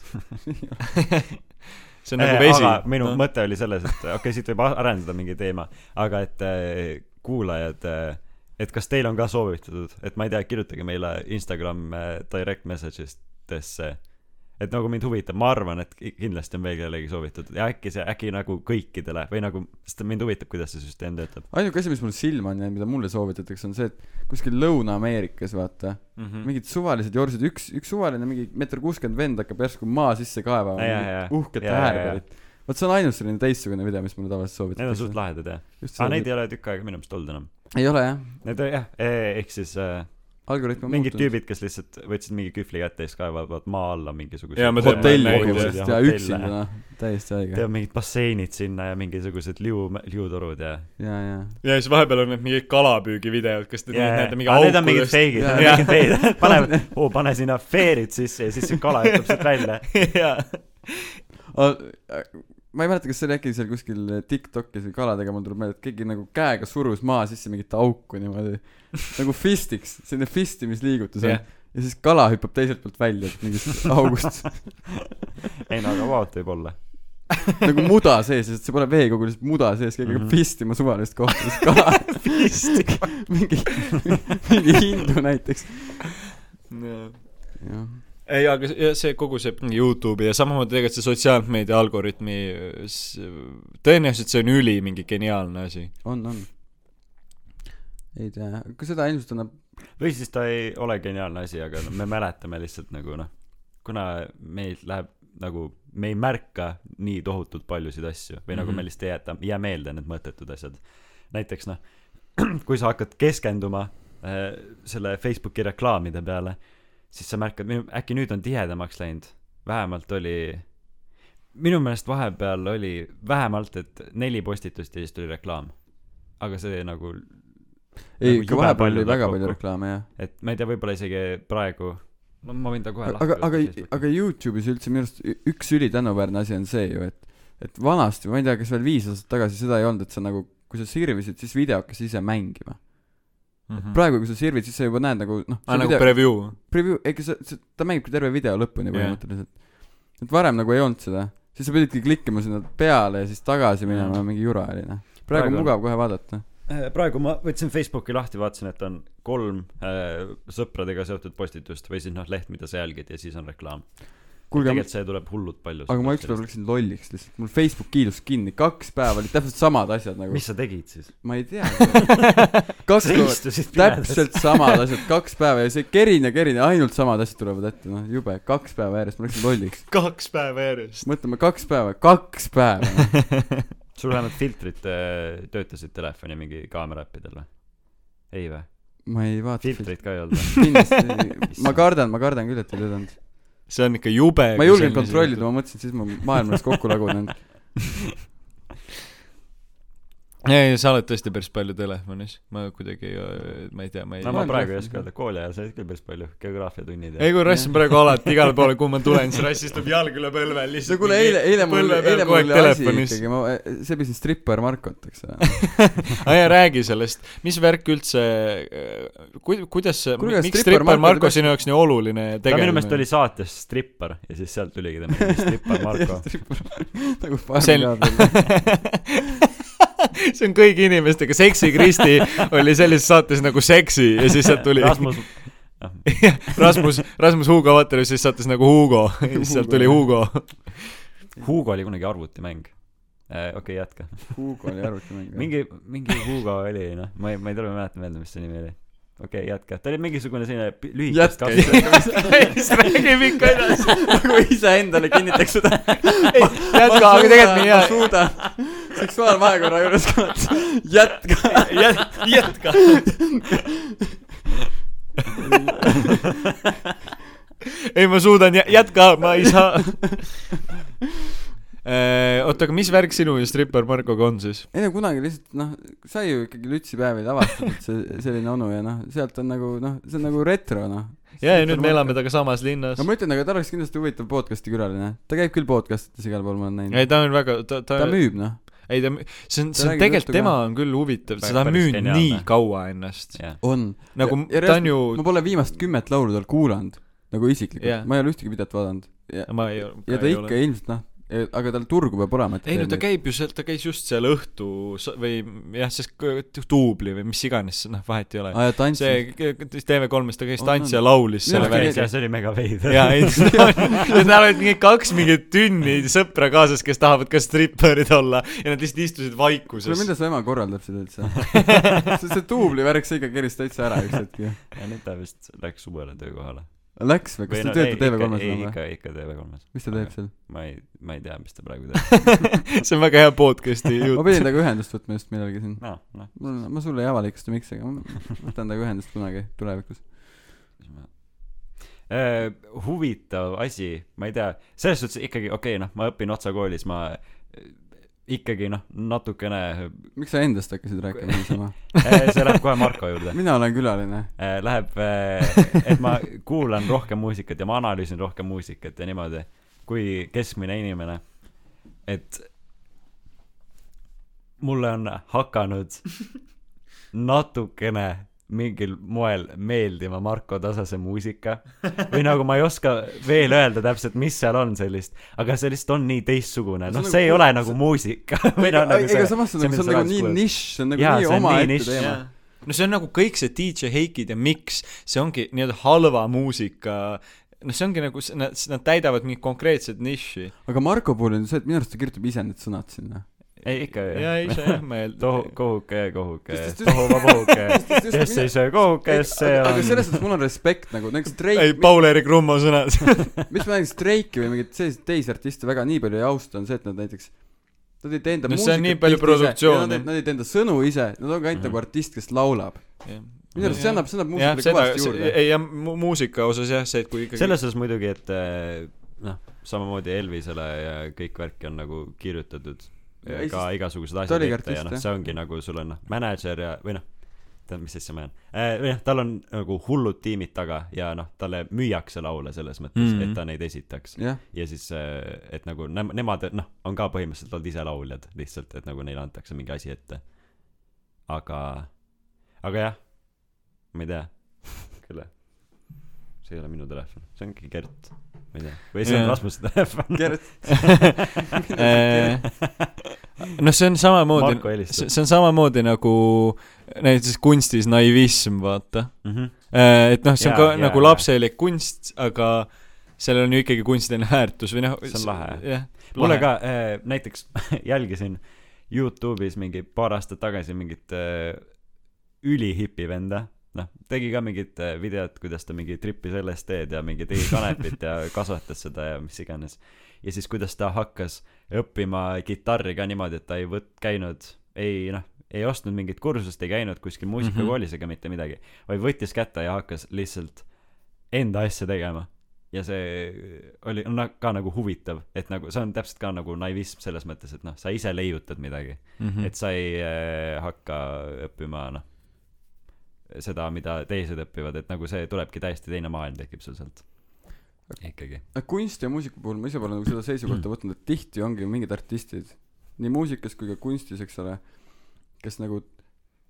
B: see on nagu vesi .
A: Äh, minu no. mõte oli selles , et okei okay, , siit võib a- arendada mingi teema , aga et äh, kuulajad , et kas teil on ka soovitatud , et ma ei tea , kirjutage meile Instagram äh, direct message idesse . et nagu mind huvitab , ma arvan , et ki- kindlasti on veel kellelegi soovitatud ja äkki see , äkki nagu kõikidele või nagu , sest mind huvitab , kuidas see süsteem töötab .
C: ainuke asi mis mul silma on jäänud mida mulle soovitatakse on see et kuskil Lõuna-Ameerikas vaata
A: Mm.
B: Mhm.
C: mingid suvalised jorsud , üks , üks suvaline mingi meeter kuuskümmend vend hakkab järsku maa sisse kaevama
A: Ja, ja,
C: mingit
A: ja.
C: uhket
A: Ja, ja, ja.
C: äärperit . vot see on ainus selline teistsugune video , mis mulle tavaliselt
A: Need on suht
C: soovitatakse .
A: lahedad jah ,
C: just
A: aga neid ei ole tükk aega minu meelest olnud enam .
C: ei ole jah ,
A: Need on jah , ehk siis äh,
C: algoritm on
A: mingid
C: muutunud .
A: tüübid , kes lihtsalt võtsid mingi kühvli kätte ja siis kaevavad maa alla mingisuguse
B: Jaa, ma tean, ma
C: hotelli
B: olen näinud
C: kogemust
B: jah,
C: ja üksinda , noh , täiesti õige .
A: tead , mingid basseinid sinna ja mingisugused liu , liutorud ja .
C: ja , ja .
B: ja siis vahepeal on need mingid kalapüügivideod , kas te neid näete mingi
A: need on mingid
B: aukudest .
A: feigid ,
C: Jaa.
A: need on mingid feigid , pane , oo , pane sinna feerid sisse ja siis see kala hüppab sealt välja .
B: jaa ,
C: äh, ma ei mäleta , kas see oli äkki seal kuskil Tiktokis või kaladega , mul tuleb meelde , et keegi nagu käega surus maa sisse mingit auku niimoodi . nagu fistiks , selline fistimisliigutus on
B: Jah. .
C: ja siis kala hüppab teiselt poolt välja mingist august .
A: ei no aga vaat võib-olla .
C: nagu muda sees , sest see pole veekogu , lihtsalt muda sees , keegi
A: Mhm.
C: hakkab pistima suvalist kohta , siis kala pistima . mingi , mingi hindu näiteks . jah ,
B: ei , aga see- ja see kogu see Youtube'i ja samamoodi tegelikult see sotsiaalmeedia algoritmi , tõenäoliselt see on üli mingi geniaalne asi .
C: on , on . ei tea , aga seda ilmselt annab ,
A: või siis ta ei ole geniaalne asi , aga no me mäletame lihtsalt nagu noh , kuna meil läheb nagu , me ei märka nii tohutult paljusid asju või nagu
B: Mhm.
A: me lihtsalt ei jäta , ei jää meelde need mõttetud asjad . näiteks noh , kui sa hakkad keskenduma äh, selle Facebooki reklaamide peale , siis sa märkad , äkki nüüd on tihedamaks läinud , vähemalt oli minu meelest vahepeal oli vähemalt , et neli postitust ja siis tuli reklaam . aga see nagu
C: ei
A: Nagu ,
C: ikka
A: jube
C: vahepeal
A: palju
C: oli
A: tuleb
C: väga palju
A: kokku.
C: reklaame , jah .
A: et ma ei tea , võib-olla isegi praegu ma , ma võin ta kohe
C: aga , aga , aga Youtube'is üldse minu arust ü- üks ülitänuväärne asi on see ju , et , et vanasti , ma ei tea , kas veel viis aastat tagasi seda ei olnud , et sa nagu , kui sa sirvisid , siis video hakkas ise mängima . praegu , kui sa sirvid , siis sa juba näed nagu noh ,
B: Mm. aa , nagu preview .
C: preview , ega sa , sa , ta mängibki terve video lõpuni
B: Jah.
C: põhimõtteliselt et varem nagu ei olnud seda , siis sa pididki klikkima sinna peale ja siis tagasi minema , mingi jura oli noh . praegu
A: Praegu
C: on
A: on-
C: mugav kohe vaadata .
A: Äh, praegu ma võtsin Facebooki lahti , vaatasin , et on kolm äh, sõpradega seotud postitust või siis noh , leht , mida sa jälgid ja siis on reklaam .
C: kuulge ,
A: tegelikult see tuleb hullult palju .
C: aga ma ükspäev . läksin lolliks lihtsalt , mul Facebook kiilus kinni , kaks päeva olid täpselt samad asjad nagu ,
A: mis sa tegid siis ?
C: ma ei tea . kaks
A: sa
C: päeva ,
A: istusid pimedas .
C: täpselt samad asjad , kaks päeva ja see kerin ja kerin ja ainult samad asjad tulevad ette , noh jube , kaks päeva järjest , ma läksin lolliks .
B: kaks päeva järjest .
C: mõtleme , kaks päeva , kaks päeva noh.
A: sul vähemalt filtrid äh, töötasid telefoni mingi kaamera äppidel või ? ei või ?
C: ma ei vaata
A: filtreid ka ei olnud või ?
C: kindlasti , ma kardan , ma kardan küll , et ei töötanud .
B: see on ikka jube .
C: ma ei julgenud kontrollida , ma mõtlesin , siis ma maailm oleks kokku lagunenud .
B: ei , ei , sa oled tõesti päris palju telefonis , ma kuidagi , ma ei tea , ma ei
A: no ma
C: Maailm
A: praegu ei
C: rahvas-
A: oska öelda , kooli ajal said küll päris palju geograafiatunnid
B: ei . kui rass on praegu alati igale poole , kuhu ma tulen , siis rass istub jalg üle põlve
C: no
B: lihtsalt .
C: kuule , eile , eile mul , eile mul oli asi ikkagi , ma , see pidi stripper Markot , eks ole .
B: aa jaa , räägi sellest , mis värk üldse , ku- , kuidas see ,
C: Kuule,
B: miks
C: stripper
B: stripper
C: Marko
B: Marko
C: peaks-
B: sinu jaoks nii oluline
A: ta minu meelest
B: tegelane
A: oli ? saates Stripper ja siis sealt tuligi tema nimi , Stripper Marko .
C: nagu
B: see
C: farm
B: on
C: Garden .
B: see on kõigi inimestega , Seksi Kristi oli sellises saates nagu Seksi ja siis sealt tuli
A: Rasmus ,
B: Jah, Rasmus , Rasmus Hugo Vater ja siis saates nagu Hugo ja siis sealt tuli Hugo .
A: Hugo oli kunagi arvutimäng . okei , jätka .
C: Hugo oli arvutimäng .
A: mingi , mingi Hugo oli , noh , ma ei , ma ei tule , ma ei mäleta meelde , mis see nimi oli . okei okay, , jätka , ta oli mingisugune selline pi- lühikest
C: Jätka.
A: kasvu .
B: siis räägib ikka edasi .
C: nagu iseendale kinnitaks seda .
B: jätka , aga tegelikult nii hea .
C: ma suudan . seksuaalvahekorra juures kohati . jätka .
B: jätka . ei , ma suudan jä- jätka , ma ei saa . oota , aga mis värk sinu ja stripper Markoga on siis ?
C: ei no kunagi lihtsalt noh , sai ju ikkagi lütsipäevi tavastada , et see selline onu ja noh , sealt on nagu noh , see on nagu retro noh .
B: ja , ja nüüd me elame temaga samas linnas
C: no . ma ütlen , aga ta oleks kindlasti huvitav podcast'i külaline , ta käib küll podcastides igal pool , ma olen näinud .
B: ei , ta on väga , ta , ta,
C: ta
B: ta ,
C: müüb noh .
B: ei ta , see on ,
C: ta
B: see on
C: räägib juttu
B: tegelikult ,
C: ka.
B: tema on küll huvitav ,
A: Päris-
B: seda
A: päris
B: müünud
A: geniaalne.
B: nii kaua ennast .
C: on .
B: nagu
C: Ja- ja
B: ta on ju ,
C: ma pole viimast kümmet laulu tal kuulanud , nagu isiklikult
B: Jah.
C: yeah. , ma ei ole ühtegi videot vaadanud . ja
B: ma ei ,
C: ja ta ikka ole. ilmselt noh , aga tal turgu peab olema , et
B: ei no ta . käib ju seal , ta käis just seal õhtu sa- või jah , siis kõ- duubli või mis iganes , noh vahet ei ole .
C: aa ja tantsis
B: see . k- k- TV3-s ta käis
C: On,
B: tants ja
C: on.
B: laulis
C: Minu
B: selle
C: arust
B: värgi
C: käis- .
A: see oli mega veider .
B: ja ei , tal olid mingi kaks mingit tünni sõpra kaasas , kes tahavad ka stripperid olla ja nad lihtsalt istusid
C: kuule ,
B: vaikuses .
C: mida su ema korraldab seda üldse ? see , see duubli värk , see ikka keris täitsa ära üks hetk ju .
A: ja nüüd ta vist läks uuele töökohale .
C: Läks või , kas ta töötab TV3-s
A: enam
C: enam või ?
A: ikka , ikka TV3-s .
C: mis ta teeb seal ?
A: ma ei , ma ei tea , mis ta praegu teeb .
B: see on väga hea podcast'i
C: ma
B: jutt .
C: pidin temaga ühendust võtma just millalgi siin .
A: noh , noh ,
C: mul , ma sulle ei avalikusta , miks , aga ma võtan temaga ühendust kunagi tulevikus .
A: mis ma Äh, huvitav asi , ma ei tea , selles suhtes ikkagi okei okay, , noh , ma õpin Otsa koolis , ma äh, ikkagi noh , natukene äh,
C: miks sa endast hakkasid rääkima niisama ?
A: see läheb kohe Marko juurde .
C: mina olen külaline .
A: Äh, läheb , et ma kuulan rohkem muusikat ja ma analüüsin rohkem muusikat ja niimoodi , kui keskmine inimene . et mulle on hakanud natukene mingil moel meeldima Marko Tasase muusika või nagu ma ei oska veel öelda täpselt , mis seal on sellist , aga see lihtsalt on nii teistsugune , noh , see ei ole nagu muusika või noh , nagu
C: ega samas see on nagu , see on nagu nii
A: kuulad.
C: nišš , see on nagu
A: Jaa,
C: nii
A: see on nii
C: omaette
A: nišš.
C: teema .
B: no see on nagu kõik see DJ Heikid ja Mix , see ongi nii-öelda halva muusika , noh , see ongi nagu , nad , nad täidavad mingit konkreetset nišši .
C: aga Marko puhul on see , et minu arust ta kirjutab ise need sõnad sinna .
A: ei ikka
B: ja ei saa jah mõelda
A: tohu , kohuke , kohuke
C: Just- , just-
A: tohuva pohuke ,
C: just-
A: kes ei söö kohukest , see
C: aga
A: on
C: selles suhtes mul on respekt nagu näiteks
B: ei ,
C: Drake ,
B: Paul-Eerik Rummo sõnad .
C: mis ma näiteks Drake'i või mingit selliseid teisi artiste väga nii palju ei austa , on see , et nad näiteks Nad ei tee enda
B: No see
C: muusikat
B: on nii
C: tihti ise
B: palju
C: ja
B: produktsiooni.
C: Nad ei , nad ei tee enda sõnu ise , nad on ka ainult
A: Mhm.
C: nagu artist , kes laulab . minu arust see annab , see annab
B: jah ,
C: muusikale
B: seda ,
C: kõvasti juurde .
B: ei jah , muusika osas jah , see , et kui ikkagi
A: selles suhtes muidugi , et eh, noh , samamoodi Elvisele ja kõik värki on nagu kirjutatud
C: Ja
A: ja
C: ei,
A: ka
C: siis-
A: igasugused
C: oligi
A: asjad ette ja
C: artist,
A: noh ,
C: jah.
A: see ongi nagu sul on noh , mänedžer ja või noh , tead , mis asja ma jään äh, . või noh , tal on nagu hullud tiimid taga ja noh , talle müüakse laule selles mõttes mm ,
B: Mhm.
A: -hmm. et ta neid esitaks .
C: jah ,
A: ja siis , et nagu nem- , nemad , noh , on ka põhimõtteliselt olnud ise lauljad lihtsalt , et nagu neile antakse mingi asi ette . aga , aga jah , ma ei tea , kelle , see ei ole minu telefon , see ongi Gert , ma ei tea , või see on
B: Jaa.
A: Rasmuse telefon .
C: Gert ,
B: noh , see on samamoodi ,
A: Marko helistab .
B: see on samamoodi nagu näiteks kunstis naivism , vaata .
A: Mhm.
B: et noh , see on
A: Jaa,
B: ka
A: jaa,
B: nagu
A: jaa.
B: lapselik kunst , aga sellel on ju ikkagi kunstiline väärtus või noh .
A: See on lahe.
B: jah ,
A: mulle ka äh, näiteks jälgisin Youtube'is mingi paar aastat tagasi mingit äh, ülihipi venda , noh , tegi ka mingit äh, videot , kuidas ta mingi trippis LSD-d ja mingi tegi kanepit ja kasvatas seda ja mis iganes . ja siis , kuidas ta hakkas õppima kitarri ka niimoodi , et ta ei võt- , käinud , ei noh , ei ostnud mingit kursust , ei käinud kuskil muusikakoolis ega mitte midagi , vaid võttis kätte ja hakkas lihtsalt enda asja tegema ja see oli on na- ka nagu huvitav , et nagu see on täpselt ka nagu naivism selles mõttes , et noh , sa ise leiutad midagi mm. ,
B: -hmm.
A: et sa ei äh, hakka õppima noh , seda , mida teised õpivad , et nagu see tulebki täiesti teine maailm tekib sul sealt . ikkagi .
C: kunsti ja muusika puhul ma ise pole nagu seda
A: Mm.
C: seisukohta võtnud , et tihti ongi ju mingid artistid nii muusikas kui ka kunstis , eks ole , kes nagu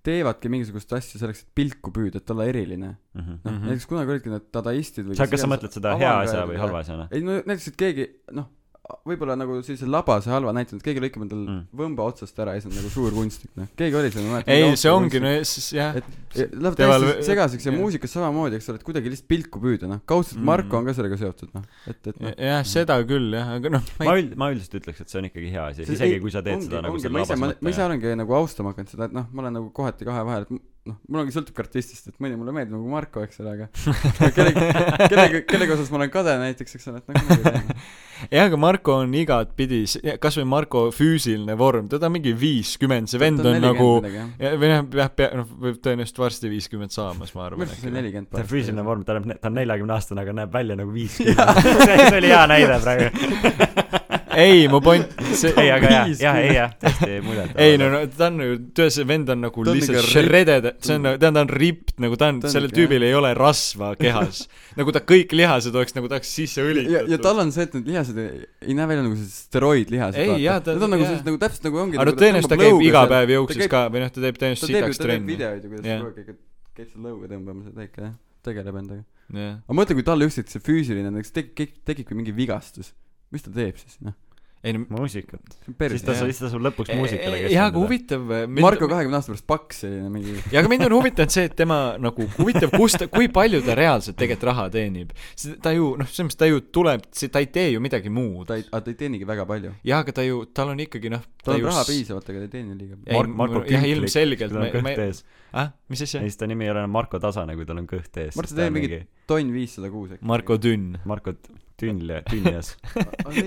C: teevadki mingisugust asja selleks , et pilku püüda , et olla eriline .
A: Mhm.
C: noh mm -hmm. , näiteks kunagi olidki need dadaistid või
A: sa , kas sa mõtled seda hea asja noh? või halva asjana ?
C: ei no näiteks , et keegi noh , võib-olla nagu sellise labase halva näitena , et keegi lõikab endal mm.
A: Mm.
C: võmba otsast ära ja siis on nagu suur kunstnik , noh , keegi oli seal , ma mäletan .
B: ei , see ongi , no siis jah ,
C: et läheb
B: Temal-
C: täiesti segaseks ja
B: jah.
C: muusikas samamoodi , eks ole , et kuidagi lihtsalt pilku püüda , noh , kaudselt
B: Mm.
C: Marko on ka sellega seotud , noh , et , et noh .
B: jah , seda küll jah , aga noh ,
A: ma üld- , ma üldiselt ütleks , et see on ikkagi hea asi , isegi kui sa teed seda nagu
C: ongi,
A: selle
C: ma ise ,
A: labase
C: ma, ma ise
A: mõttega .
C: olengi nagu austama hakanud seda , et noh , ma olen nagu kohati kahe vahel , et m- noh , mul ongi sõltubki artistist , et mõni mulle meeldib nagu Marko , eks ole , aga aga kellegi , kellegi , kellegi osas ma olen kade näiteks , eks ole , et noh , ma ei tea .
B: jah , aga Marko on igatpidi , kasvõi Marko füüsiline vorm , teda on mingi viiskümmend , see vend on nagu ja, või noh , jah , pea , noh , võib tõenäoliselt varsti viiskümmend saamas , ma
C: minu
B: arvan
C: arust on see . nelikümmend
A: ta on füüsiline vorm , ta näeb , ta on neljakümne aastane , aga näeb välja nagu viiskümmend . see oli hea näide praegu .
B: ei , mu point , see
A: ei , aga jah , jah , ei jah , tõesti muljet .
B: ei no, no ta on ju , töö see vend on nagu
C: Ta on
B: lihtsalt
C: ikka
B: shredded , see on , ta on , ta on ripped nagu ta on ,
C: Ta on
B: sellel
C: ikka,
B: tüübil ei ole rasva kehas . nagu ta kõik lihased oleks nagu tahaks sisse
C: ja , ja
B: õlitatud .
C: tal on see , et need lihased ei, ei näe välja nagu sellised steroidlihased .
B: Ei, jaa, ta-
C: Need on nagu
B: jaa.
C: sellised nagu täpselt nagu ongi .
B: aga no tõenäoliselt ta käib iga päev jooksus . ka või noh , ta teeb
C: ta
B: tõenäoliselt
C: teeb ju ,
B: sikaks
C: ta teeb
B: trenni .
C: videoid ju , kuidas ta
B: Jah.
C: kogu aeg ikka käib seal lõuga tõmbamas ja ta ikka jah , tegeleb endaga .
B: jah ,
C: aga mõtle , kui tal ükskord see füüsiline näiteks tekib , tekibki mingi vigastus . mis ta teeb siis , noh ?
B: ei no
A: muusikat .
C: see on
A: siis
C: päris
A: ta ,
B: Jah.
A: siis ta saab lõpuks muusikale
B: Eh, jah , aga . huvitav .
C: Marko kahekümne aasta pärast paks selline mingi .
B: ja aga mind on huvitanud see , et tema nagu huvitav , kust ta , kui palju ta reaalselt tegelikult raha teenib . ta ju noh , selles mõttes ta ju tuleb , ta ei tee ju midagi muud .
C: ta ei , aga ta ei teenigi väga palju .
B: jah , aga ta ju , tal on ikkagi noh .
C: tal on raha piisavalt , aga ta ei teeni liiga palju .
B: Ei,
A: Mark- Marko
B: jah,
A: Küütlik,
B: ilmselgelt,
A: tal on
B: ma- ma-
A: kõht ees .
B: ah , mis asja
A: ja ? siis ta nimi ei ole enam Marko Tasane , kui tal on kõht ees .
C: Mart , sa teed mingi tonn viissada kuus äkki ?
B: Marko Tünn .
A: Marko Tünn , Tünjas .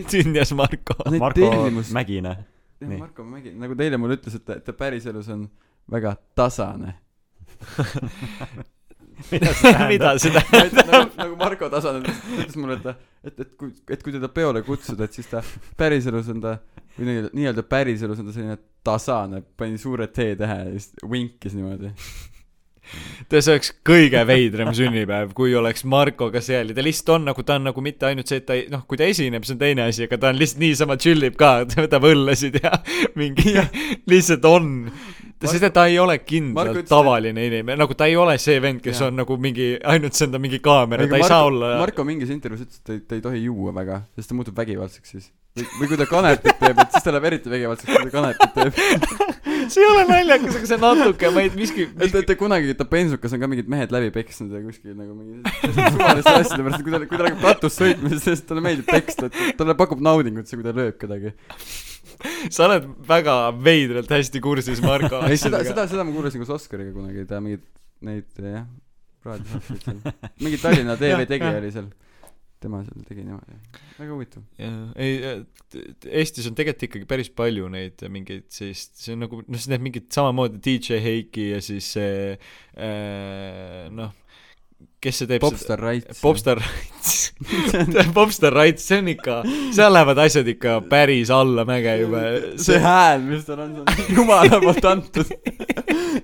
B: Tünjas Marko .
C: Neid
A: Marko
C: tellimus-
A: Mägine .
C: jah ,
A: Nii.
C: Marko Mägi , nagu ta eile mulle ütles , et ta , ta päriselus on väga tasane .
B: mida see tähendab ?
C: nagu, nagu Marko tasane ütles ütles mulle , et ta , et , et kui , et kui teda peole kutsuda , et siis ta päriselus on ta , või nii-öelda- nii-öelda päriselus on ta selline tasane , pani suure T tähe ja siis vinkis niimoodi .
B: see oleks kõige veidram sünnipäev , kui oleks Markoga seal ja ta lihtsalt on nagu , ta on nagu mitte ainult see , et ta ei , noh , kui ta esineb , see on teine asi , aga ta on lihtsalt niisama chill ib ka , ta võtab õllesid ja mingi , lihtsalt on . sest et ta ei ole
C: Marko
B: kindlalt
C: ütles, et-
B: tavaline inimene , nagu ta ei ole see vend , kes
C: Jah.
B: on nagu mingi , ainult see on ta mingi kaamera , ta ei saa olla .
C: Marko mingis intervjuus ütles , et ta ei , ta ei tohi juua väga , sest ta muutub vägivaldseks siis . või , või kui ta kanepit teeb , et siis ta läheb eriti vägivaldseks , kui ta kanepit teeb .
B: see ei ole naljakas , aga see natuke , ma ei , miski ,
C: et ,
B: miski
C: et ta kunagi , ta bensukas on ka mingid mehed läbi peksnud ja kuskil nagu mingi suvaliste asjade pärast , kui ta , kui ta läheb ratust sõitma , siis talle meeldib peksta , et talle pakub naudingut see , kui ta lööb kedagi .
B: sa oled väga veidralt hästi kursis Marko
C: ei , seda ,
B: asjadega .
C: seda , seda ma kuulasin koos Oskariga kunagi , ta mingeid neid jah , raadiosaateid seal , mingi Tallinna
B: Jah,
C: TV tegija
B: jah.
C: oli seal , tema seal tegi niimoodi , väga huvitav .
B: ei , Eestis on tegelikult ikkagi päris palju neid äh, mingeid sellist , see on nagu , noh , siis need mingid samamoodi DJ Heiki ja siis see äh, noh , kes see teeb seda
C: popstaar Raits .
B: Popstar Rats , Popstar Rats , see on ikka , seal lähevad asjad ikka päris allamäge juba .
C: see hääl , mis tal on , see on jumala poolt antud .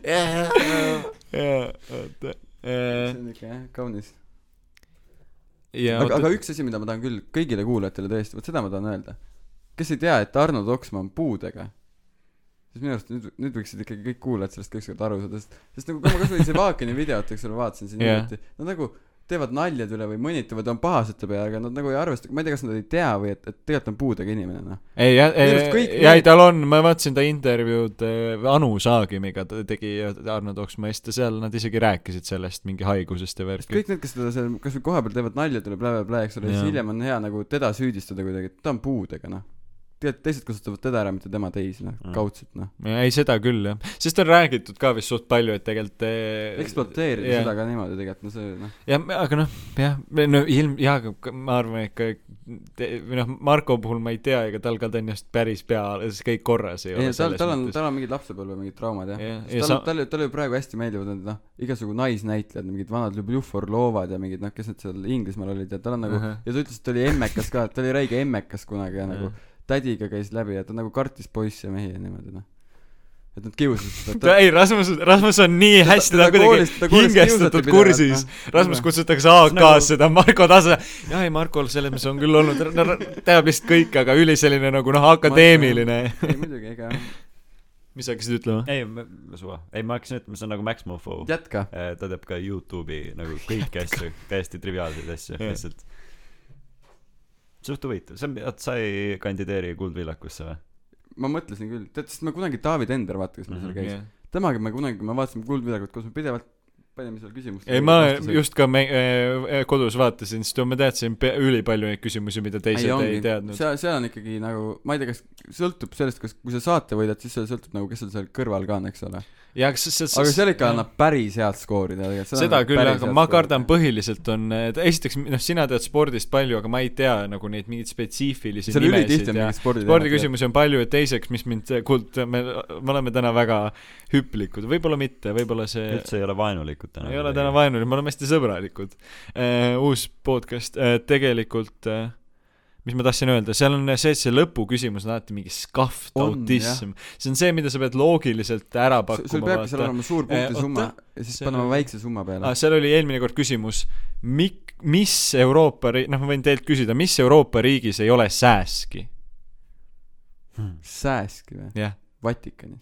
B: jaa , oota .
C: see on niuke jah , kaunis .
B: ja
C: aga ,
B: oota
C: aga , üks asi , mida ma tahan küll kõigile kuulajatele tõesti , vot seda ma tahan öelda . kes ei tea , et Arno Toksmaa on puudega , siis minu arust nüüd , nüüd võiksid ikkagi kõik kuulajad sellest ka ükskord aru saada , sest , sest nagu kui ma kasvõi Sevakini videot , eks ole , vaatasin siin
B: Jah.
C: hiljuti , nad nagu teevad naljad üle või mõnitavad , on pahased ta peale , aga nad nagu ei arvesta , ma ei tea , kas nad ei tea või et , et tegelikult on puudega inimene , noh .
B: ei jah ,
C: minu arust kõik
B: ei ,
C: need-
B: tal on , ma vaatasin ta intervjuud eh, Anu Saagimiga ta tegi ja Arno Toksmaa eest ja seal nad isegi rääkisid sellest mingi haigusest
C: sest
B: ja värki .
C: kõik need , kes teda seal kasvõi kohapeal teevad nalja , tuleb blä-blä-blä , eks ole ,
B: Jaa.
C: siis hiljem on hea nagu teda süüdistada kuidagi , et ta on puudega , noh . tegelikult teised kasutavad teda ära , mitte tema teisi , noh
A: Mm. ,
C: kaudselt , noh .
B: ei , seda küll jah , sest on räägitud ka vist suht palju , et tegelikult eh,
C: ekspluateerida
B: jah.
C: seda ka niimoodi tegelikult , no see , noh .
B: jah , aga noh , jah , no ilm- , jaa , aga k- ma arvan ikka , või noh , Marko puhul ma ei tea , ega tal ka ta on just päris pea , kõik korras ei
C: ei
B: ole .
C: tal , tal on , tal on mingid lapsepõlve mingid traumad jah
B: Jah,
C: yeah, .
B: ja
C: tal
B: sa-
C: sa... , tal ju , tal ju praegu hästi meeldivad need noh , igasugu naisnäitlejad , mingid vanad Ljubjufor loovad ja mingid noh , kes need seal Inglismaal olid ja tal on nagu uh ,
B: Ahah.
C: -huh. ja ta ütles , et ta oli emmekas ka , et ta oli räige emmekas kunagi ja nagu
B: Jah.
C: tädiga käis läbi ja ta nagu kartis poisse ja mehi ja niimoodi noh . et nad kiusasid
B: ta
C: teda , et
B: ei , Rasmus , Rasmus on nii hästi , ta
C: koolis-
B: on
C: teda
B: kuidagi
C: koolis
B: hingestatud
C: kiusati
B: kursis
C: pidevalt, . noh.
B: Rasmus
C: Jah.
B: kutsutakse AK-s
A: Nagu-
B: seda Marko tase . jah , ei Markol selles mõttes on küll olnud , teab lihtsalt kõike , aga üli selline nagu noh , akadeemiline .
C: ta ei muidugi , ega
B: mis sa hakkasid ütlema ?
A: ei , ma suva , ei ma hakkasin ütlema , see on nagu Max Mofo .
C: jätka .
A: ta teeb ka Youtube'i nagu kõiki asju , täiesti triviaalseid asju ,
B: Jah.
A: lihtsalt . suht huvitav , see on , oot sa ei kandideeri Kuldvillakusse või ?
C: ma mõtlesin küll , tead , sest me kunagi , Taavi Tender , vaata , kes meil seal
A: Mhm,
C: käis . temaga me kunagi , kui me vaatasime Kuldvidagut koos , me pidevalt panime seal küsimust .
B: ei , ma just ka me- , kodus vaatasin , sest ma teadsin pe- ülipalju neid küsimusi , mida teised ei, ei teadnud .
C: seal , seal on ikkagi nagu , ma ei tea , kas sõltub sellest , kas , kui sa saate võidad , siis see sõltub nagu , kes sul seal kõrval ka on , eks ole .
B: jah , kas see , see
C: aga seal ikka annab päris head skoori tead , ega
B: seda küll , aga ma kardan , põhiliselt on , esiteks noh , sina tead spordist palju , aga ma ei tea nagu neid mingeid spetsiifilisi
C: seal
B: nimesid
C: ülitihti on
B: ja
C: mingid spordi
B: spordiküsimusi on palju ja teiseks , mis mind kuld , me , me oleme täna väga hüplikud , võib-olla mitte , võib-olla see
A: üldse ei ole vaenulikud täna .
B: ei ole täna . vaenulik , me oleme hästi sõbralikud . uus podcast , tegelikult eh, mis ma tahtsin öelda , seal on see , et see lõpuküsimus on alati mingi skaft ,
C: On,
B: autism . see on see , mida sa pead loogiliselt ära
C: sul sul
B: pakkuma
C: peabki seal . olema suur
B: Eh, oota,
C: punktisumma ja siis
B: see-
C: panema väikse summa peale
B: Ah, . seal oli eelmine kord küsimus , mik- , mis Euroopa ri- , noh , ma võin teilt küsida , mis Euroopa riigis ei ole sääski ?
A: Hmm.
C: sääski või ?
B: jah ,
C: Vatikanis .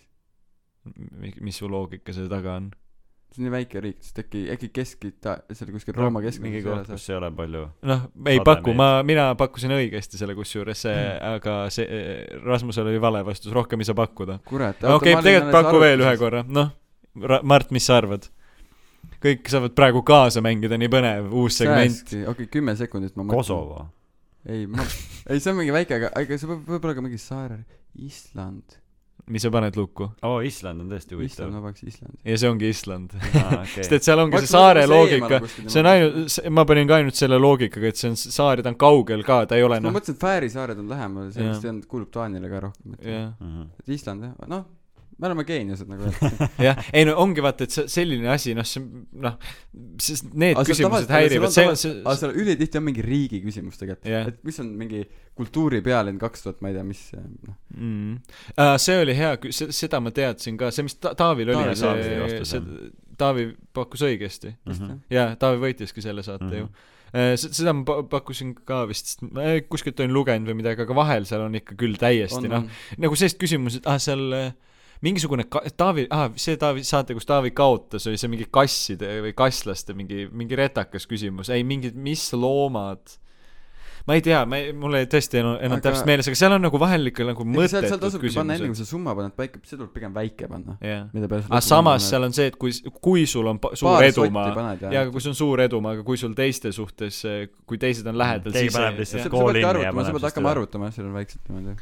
B: mis su loogika selle taga on ?
C: see on nii väike riik , sest äkki , äkki Kesk-Ita- , seal kuskil Rooma
A: mingi koht ,
C: keskkonnas .
A: kus ei ole palju .
B: noh , ei
A: Sadem
B: paku ,
A: ees.
B: ma , mina pakkusin õigesti selle kusjuures , see ,
C: Hmm.
B: aga see , Rasmusel oli vale vastus , rohkem ei saa pakkuda .
C: kurat .
B: okei , tegelikult paku veel ühe . korra , noh , Mart , mis sa arvad ? kõik saavad praegu kaasa mängida , nii põnev , uus segment .
C: sääski , okei , kümme sekundit ma mõtlen .
A: Kosovo .
C: ei , ma , ei see on mingi väike , aga , aga see võib , võib-olla ka mingi saar , Island .
B: mis sa paned lukku ?
A: oo , Island on tõesti
C: Island ,
A: huvitav .
C: ma paneks Islandi .
B: ja see ongi Island . sest
A: okei .
B: et seal ongi see saare loogika , see on ainult , ma panin ka ainult selle loogikaga , et see on s- saar ja ta on kaugel ka , ta ei ole
C: ma
B: noh ,
C: mõtlesin , et Fääri saared on lähemal , see
B: Jah.
C: vist ei olnud , kuulub Taanile ka rohkem , et
B: jah .
A: Mhm,
C: et Island jah , noh , me oleme geeniused nagu öeldakse .
B: jah , ei no ongi vaata , et see selline asi , noh , see noh , siis need
C: Aga see on
B: küsimused
C: tavaliselt- aga
B: häirivad , see
C: seal on
B: on see,
C: aga seal ülitihti on mingi riigi küsimus tegelikult
B: Jah.
C: yeah. , et mis on mingi kultuuri pealinn kaks tuhat , ma ei tea , mis noh ,
B: mm. Äh, see oli hea , seda ma teadsin ka , see , mis Ta- Taavil oli ,
C: Taavi
A: Taavil oli
B: see ,
A: vastus,
B: see , Taavi pakkus õigesti .
C: vist jah .
B: jaa , Taavi võitiski selle saate mm
A: Mhm.
B: -hmm. ju . seda ma pa- pakkusin ka vist , sest ma eh, kuskilt olin lugenud või midagi , aga vahel seal on ikka küll täiesti noh , nagu sellist küsimust , et ah seal äh, mingisugune ka- , Taavi , ah see Taavi saate , kus Taavi kaotas , oli see mingi kasside või kaslaste mingi , mingi retakas küsimus , ei mingid , mis loomad ma ei tea , ma ei , mul ei tõesti enam, enam aga...
C: Aga-
B: täpselt meeles , aga seal on nagu vahel ikka nagu
C: seal , seal
B: mõttetud
C: tasubki panna enne , kui
B: küsimused .
C: sa summa paned paika , see tuleb pigem väike panna .
B: jah ,
C: mida peale
B: aga samas seal on see , et kui , kui sul on pa- suur edumaa , jaa ,
C: ja
B: aga kui sul on suur edumaa , aga kui sul teiste suhtes , kui teised on lähedal ,
A: Keegi
B: siis
A: paneb
B: ei-
A: lihtsalt
B: jah.
C: sa
A: Kool
C: pead
A: linni ja
C: arvutama , sa pead
A: paneb siis
C: hakkama
A: teda.
C: arvutama jah , seal on väiksed niimoodi .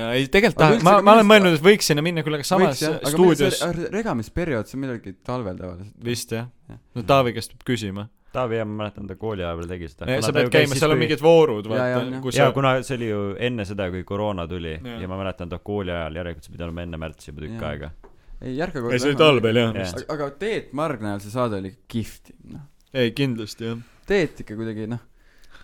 B: jaa , ei
C: Aga
B: tegelikult tahan ,
C: üldse, aga
B: ma , ma
C: millest-
B: olen mõelnud , et võiks sinna minna küll , aga samas
C: Võiks, jah, aga
B: stuudios
C: millal see- regamisperiood , see on millalgi talvel tavaliselt .
B: vist jah
C: Jah. ,
B: no Taavi käest peab küsima .
A: Taavi , ma mäletan , ta kooli ajal veel tegi seda .
B: sa pead käima , seal on mingid voorud ,
C: Jaa, jaa, on,
B: vaata
C: jah. ,
B: kus
A: jaa
B: sa ,,
A: kuna see oli ju enne seda , kui koroona tuli ja,
B: Jaa.
A: ja ma mäletan , ta kooli ajal , järelikult see pidi olema enne märtsi juba tükk
C: Jaa.
A: aega .
C: ei , järgmine kord
B: ei see oli . talvel jah
A: Jaa.
B: vist ,
C: aga , aga Teet Margna ajal see saade oli kihvt , noh .
B: ei kindlasti jah .
C: Teet ikka kuidagi noh ,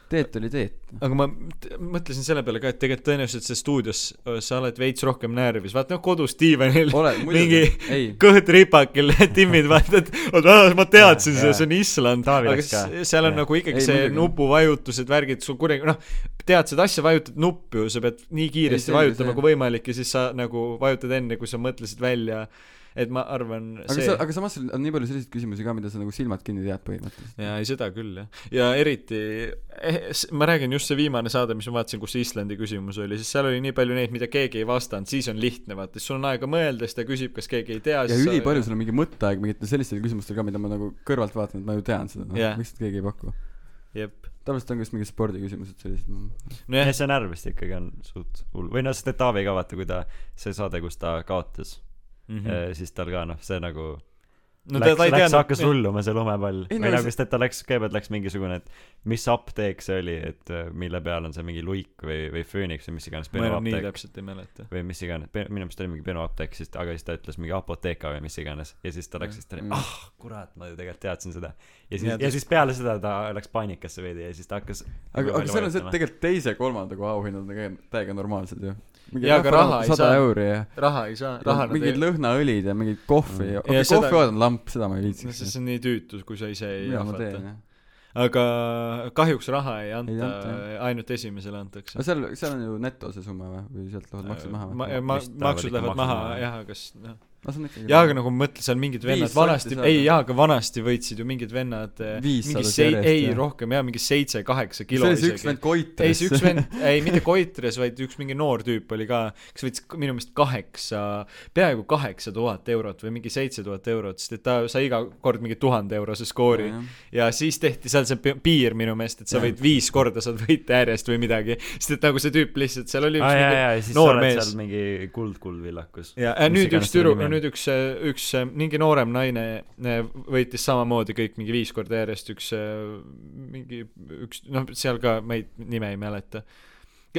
C: Teet oli Teet .
B: aga ma t- mõtlesin selle peale ka , et tegelikult tõenäoliselt see stuudios öö, sa oled veits rohkem närvis , vaata noh , kodus diivanil
C: oled
B: mingi
C: muidugi , ei ,
B: kõht ripakil , timmid vaata , et oot , ma teadsin
A: Jaa,
B: seda ,
A: jaa.
B: see on Island ,
A: Taavi
B: aga
A: läks ka.
B: s- seal on
A: Jaa.
B: nagu ikkagi
C: Ei,
B: see
C: muidugi.
B: nupuvajutused , värgid , sul kuradi , noh , tead seda asja , vajutad nuppu ju , sa pead nii
C: Ei,
B: kiiresti
C: selge
B: vajutama
C: see.
B: kui võimalik ja siis sa nagu vajutad enne , kui sa mõtlesid välja , et ma arvan ,
C: aga
B: see
C: sa , aga samas sul on nii palju selliseid küsimusi ka , mida sa nagu silmad kinni tead põhimõtteliselt .
B: jaa , ei seda küll jah . ja eriti eh, , ma räägin just see viimane saade , mis ma vaatasin , kus see Islandi küsimus oli , siis seal oli nii palju neid , mida keegi ei vastanud , siis on lihtne vaata , siis sul on aega mõelda , siis ta küsib , kas keegi ei tea .
C: ja ülipalju sul on mingi mõtteaeg mingitel sellistel küsimustel ka , mida ma nagu kõrvalt vaatan , et ma ju tean seda , noh yeah. ,
B: Jah.
C: miks seda keegi ei paku .
B: jep .
C: tavaliselt on ka just mingid spordiküsimused sellised noh. no. .
A: jah ,
B: nojah ,
A: see närvist ikkagi on suht hull või noh , sest et Taavi ka vaata , kui ta , see saade , kus ta kaotas
C: Äh,
A: mm ,
C: Mhm.
B: Mhm.
A: -hmm. siis tal ka noh , see nagu
B: no ta ,
A: läks ,
B: ta ei
A: läks ,
B: teadnud
A: hakkas . rulluma see lumepall
C: Ei,
A: või
C: no
A: nagu
C: see-
A: sest et ta läks , kõigepealt läks mingisugune , et mis apteek see oli , et äh, mille peal on see mingi luik või , või fööniks või mis iganes
B: ma enam nii
A: penuapteek
B: täpselt ei mäleta .
A: või mis iganes , minu meelest oli mingi penuapteek , siis ta , aga siis ta ütles mingi apoteeka või mis iganes ja siis ta läks , siis ta oli
C: Mm.
A: ah kurat , ma ju tegelikult teadsin seda . ja
B: Nii,
A: siis ,
B: et-
A: ja siis peale seda ta läks paanikasse veidi ja siis ta hakkas
C: aga , aga seal on see , et
A: tegelikult
C: tegelikult teise-kolmanda koha auhinnad on ka täiega normaalsed ju . mingi
B: Jaa, aga raha ei
C: sada
B: saa.
C: euri ja
B: raha ei saa ,
C: ja
B: raha nad
C: mingid
B: ei
C: lõhnaõlid ja mingid kohvi mm. , okei
B: Ja
C: okay,
B: seda-
C: kohvi seda... on lamp , seda ma ei
B: no sest
C: viitsiks .
B: see on nii tüütu , kui sa ise ei
C: mida ma teen
B: ahvata .
C: jah .
B: aga kahjuks raha ei anta ,
C: anta,
B: ainult esimesele antakse
C: aga . seal , seal on ju neto see summa või , või sealt lähevad maksud maha
B: Äh, ma,
C: või ?
B: ma,
A: Vist lähevad
B: maksud
A: ikka
B: lähevad
A: maksud
B: maha
A: maha. ,
B: jah , aga s- noh ,
C: no see on ikkagi
B: jaa , aga nagu ma mõtlen , seal mingid vennad
C: Viis
B: vanasti
C: sorti , saad.
B: ei jaa , aga vanasti võitsid ju mingid vennad eh,
C: Viis
B: mingi
C: saadad
B: sei- ,
C: järjest,
B: ei
C: jah.
B: rohkem jaa , mingi seitse-kaheksa nagu kilo
C: see oli see üks
B: isegi .
C: vend Koitres .
B: ei , see üks vend , ei mitte Koitres , vaid üks mingi noor tüüp oli ka , kes võitis k- minu meelest kaheksa , peaaegu kaheksa tuhat eurot või mingi seitse tuhat eurot , sest et ta sai iga kord mingi tuhande eurose skoori . ja siis tehti seal see pi- piir minu meelest , et sa võid viis korda saad võita järjest või midagi , sest et nagu see tüüp lihtsalt seal oli
A: aa jaa , jaa , ja
B: mingi
A: siis sa
B: noor
A: oled
B: mees
A: seal mingi Kuldkuld villakus .
B: ja äh,
A: Mis
B: nüüd
A: iganes
B: üks
A: selle
B: tüdru ,
A: nimi on.
B: nüüd üks , üks äh, mingi noorem naine äh, võitis samamoodi kõik mingi viis korda järjest üks äh, mingi üks noh , seal ka ma ei , nime ei mäleta .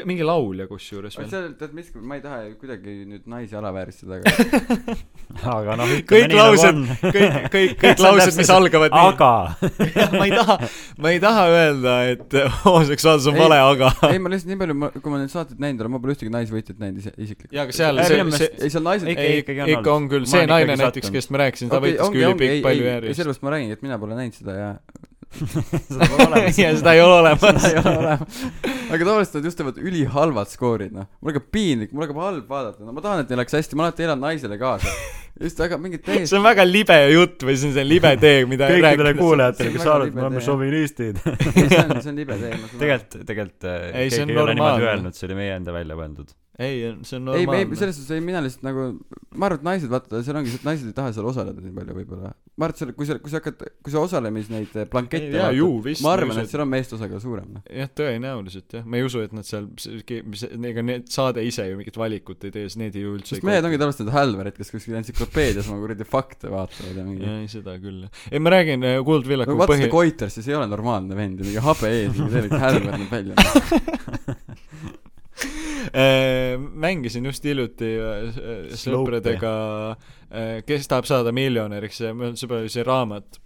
B: mingi laulja kusjuures
C: aga
B: veel .
C: seal , tead mis , ma ei taha ju kuidagi nüüd naisi alavääristada , aga
A: aga noh ,
B: kõik laused , kõik , kõik , kõik laused , mis algavad nii
A: aga .
B: ma ei taha , ma ei taha öelda , et äh, homoseksuaalsus on
C: Ei.
B: vale , aga .
C: ei , ma lihtsalt nii palju , ma , kui ma neid saateid näinud olen , ma pole ühtegi naisvõitjat näinud ise , isiklikult .
B: jaa , aga seal
A: Ei,
B: see
A: minu , meelest-
B: see ,
C: ei , seal naised
A: Ikka-
B: ei ,
A: ikkagi
B: ikka
A: on
B: on, ikka on
A: olnud.
B: küll ,
A: Ma
B: see
A: olen
B: naine
A: ikkagi
B: näiteks ,
A: sattunud.
B: kes ma rääkisin , ta
C: Okei,
B: võitis
C: ongi-
B: küll
C: ongi-
B: pikk
C: ei-
B: palju
C: ei- ei,
B: järjest .
C: sellepärast ma räägingi , et mina pole näinud seda ja
A: seda pole olemas .
B: ja seda ei ole olemas
C: seda ei ole olemas . aga tavaliselt nad just teevad ülihalvad skoorid , noh . mul hakkab piinlik , mul hakkab halb vaadata , no ma tahan , et neil läheks hästi , ma alati elan naisele kaasa . just , aga mingid
B: see
C: teised
B: on väga libe jutt või see on see libe tee , mida
A: kõikidele
B: rääkida-
C: see
A: kuulajatele ,
C: on
A: kes
C: väga
A: arvavad , et
C: libe
A: me oleme
C: tee, jah.
A: šovinistid .
C: see on , see on libe teema .
A: tegelikult , tegelikult äh,
B: Ei, see
A: keegi
B: on
A: ei ole niimoodi
B: normaalne.
A: öelnud , see oli meie enda välja mõeldud .
B: ei , see on
C: ei , ei ,
B: normaalne .
C: selles suhtes ei , mina lihtsalt nagu , ma arvan , et naised , vaata , seal ongi see , et naised ei taha seal osaleda nii palju võib-olla . ma arvan , et seal , kui sa , kui sa hakkad , kui sa osalemis neid eh, blankette
B: Ei, jaa, ju, vist,
C: ma
B: ma
C: arvan ,
B: usun,
C: et seal on meeste osakaal suurem , noh .
B: jah , tõenäoliselt jah , ma ei usu , et nad seal , ega need saade ise ju mingit valikut ei tee , sest need ju üldse
C: sest mehed ongi tavaliselt need hälverid , kes kuskil entsüklopeedias oma kuradi fakte vaatavad ja mingi
B: jah , ei seda küll jah . ei , ma räägin äh, Kuldvillaku
C: no vaata
B: põhi-
C: seda , Goiters , siis ei ole normaalne vend ja mingi habe ees , mingi täielik härver näeb välja .
B: Äh, mängisin just hiljuti äh, äh,
A: Slope.
B: sõpradega äh, Kes tahab saada miljonäriks ja mul on sõber oli see raamat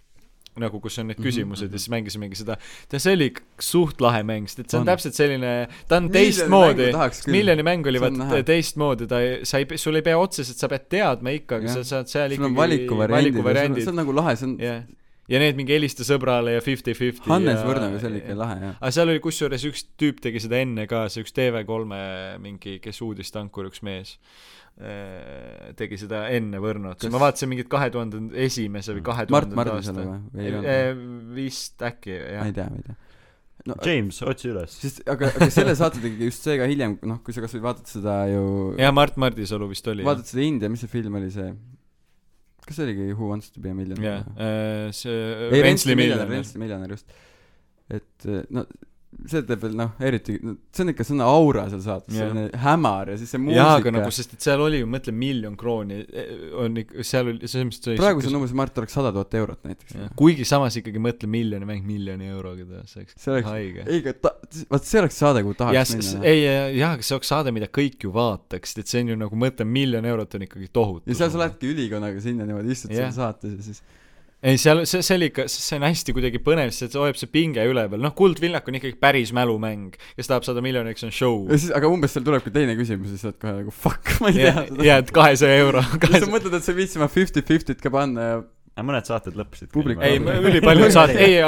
B: nagu kus on need
C: Mhm,
B: küsimused ja siis mängisimegi seda ja see oli k- suht lahe mäng sest et see on,
C: On.
B: on. täpselt selline ta on
C: Miljoni
B: teistmoodi
C: mängu tahaks küll.
B: miljoni mäng
C: See
B: oli
C: on
B: vaata
C: näha.
B: teistmoodi ta ei sa ei pe- sul ei pea otseselt sa pead teadma ikka aga
C: Jah.
B: sa saad seal
C: sul on
B: ikkagi
C: valikuvariandid ja sul on ,
B: valikuvariandid
C: see on nagu lahe , see on
B: jah ja need mingi helista sõbrale ja fifty-fifty
C: Hannes
B: ja-
C: Võrnaga , see oli ikka lahe jah .
B: aga seal oli kusjuures üks tüüp tegi seda enne ka , see üks TV3 mingi , kes uudistankur , üks mees , tegi seda enne Võrnot ,
C: Kas-
B: ma vaatasin mingit kahe tuhande esimese või kahe
C: Mart
B: tuhandenda
C: Martin seal
B: aasta
C: või ? või ei olnud ?
B: Eh, vist äkki
C: ma
B: jah
C: ei tea , ma ei tea . no
A: James , otsi üles .
C: sest aga , aga selle saate tegi just see ka hiljem , noh , kui sa kasvõi vaatad seda ju ,
B: jah , Mart Mardisalu vist oli jah
C: vaatad seda India , mis see film oli see , kas see oligi Who Wants To Be A Millionaire
B: jah
C: või?
B: eh, see
C: ei ,
B: Rentsli
C: Rentsli miljonär ,
B: miljonär
C: Rentsli miljonär , just . et eh, no see teeb veel noh , eriti , see on ikka selline aura seal saates ,
B: Jah.
C: selline hämar ja siis see
B: jaa , aga
C: muusika
B: nagu , sest et seal oli ju , mõtle , miljon krooni eh, on ikka , seal oli , selles mõttes
C: praegu see on umbes , Mart oleks sada tuhat eurot näiteks .
B: kuigi samas ikkagi mõtle , miljoni mäng miljoni euroga teha , see oleks
C: see oleks ,
B: haige
C: ei , aga ta , vaat see oleks saade , kuhu
B: jah ,
C: tahaks
B: s-
C: minna .
B: ei , jah , aga see oleks saade , mida kõik ju vaataks , et see on ju nagu , mõtle , miljon eurot on ikkagi tohutu .
C: ja seal sa lähedki ülikonnaga sinna niimoodi istud
B: Jah.
C: seal saates ja siis
B: ei , seal , see , see oli ikka , see on hästi kuidagi põnev , sest see hoiab see pinge üleval , noh , Kuldvillak on ikkagi päris mälumäng , kes tahab saada miljoniks , on show .
C: ja siis , aga umbes seal tulebki teine küsimus ja sa oled kohe nagu fuck , ma ei tea seda .
B: ja , et kahesaja euro .
C: ja sa mõtled , et sa viitsid oma fifty-fiftyt ka panna ja
A: mõned saated lõppesid .
C: Publik-
B: ei , ülipaljud saate , ei ,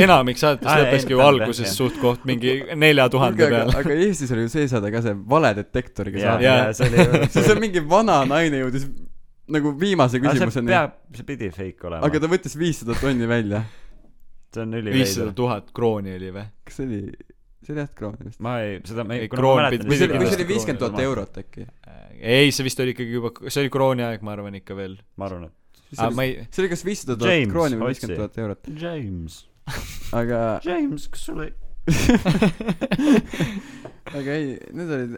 B: enamik saates
A: Aa, ei,
B: lõppeski ju
A: tähendab,
B: alguses
A: jah.
B: suht-koht mingi nelja tuhande
C: kuulge , aga ,
B: peale .
C: aga Eestis oli ju see saade ka see valedetektoriga
A: jaa ,
C: saade .
A: jaa , see oli .
C: siis on mingi vana naine jõudis nagu viimase
A: see
C: küsimuseni ,
A: peab , see pidi fake olema .
C: aga ta võttis viissada tonni välja .
A: see on üliveider
B: viissada . tuhat krooni oli või ?
C: kas see oli , see oli jah kroon vist ?
A: ma ei , seda ma ei
B: Ei, . kroon pidi-
C: või see
B: Muidugi
C: oli , või see
B: kindlasti
C: oli viiskümmend tuhat
A: krooni.
C: eurot äkki ?
B: ei , see vist oli ikkagi juba , see oli krooni aeg , ma arvan ikka veel .
A: ma arvan , et .
B: aga ma ei ,
C: see oli kas viissada tuhat
A: James,
C: krooni või
A: otsi.
C: viiskümmend tuhat eurot ,
A: James ,
C: aga ,
A: James , kas sul ei .
C: aga ei , need olid ,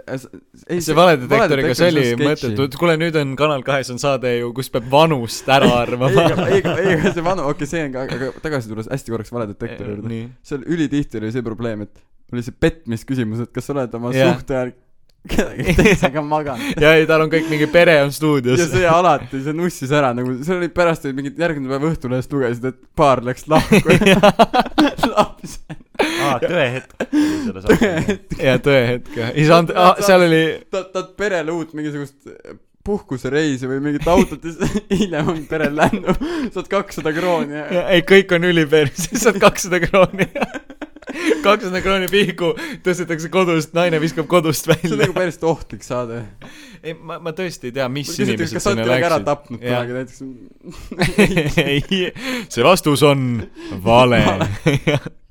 C: ei
B: see valedetektoriga , see oli mõttetu , et kuule , nüüd on Kanal kahes on saade ju , kus peab vanust ära
C: ei , aga , ei ,
B: arvama .
C: ei , aga see vanu , okei , see on ka , aga tagasi tulles hästi korraks valedetektori juurde .
B: nii .
C: seal ülitihti oli see probleem , et oli see petmisküsimus , et kas sa oled oma
B: Jah.
C: suhte ajal kedagi teisega maganud .
B: ja ei , tal on kõik mingi pere on
C: ja
B: stuudios .
C: see alati , see nussis ära nagu , see oli pärast olid mingid järgmine päev Õhtulehest lugesid , et paar läks lahku laps .
A: aa , tõehetk oli selle saate .
B: ja tõehetk , isand , seal oli
C: tahad , tahad perele uut mingisugust eh, puhkusereisi või mingit autot ja siis hiljem on perel lännu , saad kakssada krooni ja
B: Ja ei , kõik on üliperses , lihtsalt kakssada krooni . kakssada krooni pihku tõstetakse kodust , naine viskab kodust
C: see on
B: välja
C: nagu . päris ohtlik saade .
B: ei , ma , ma tõesti ei tea , mis inimesed
C: kas sa oled
B: sinna
C: kedagi ära
B: läksid .
C: tapnud
B: Jah.
C: kunagi näiteks ?
B: ei , see vastus on vale .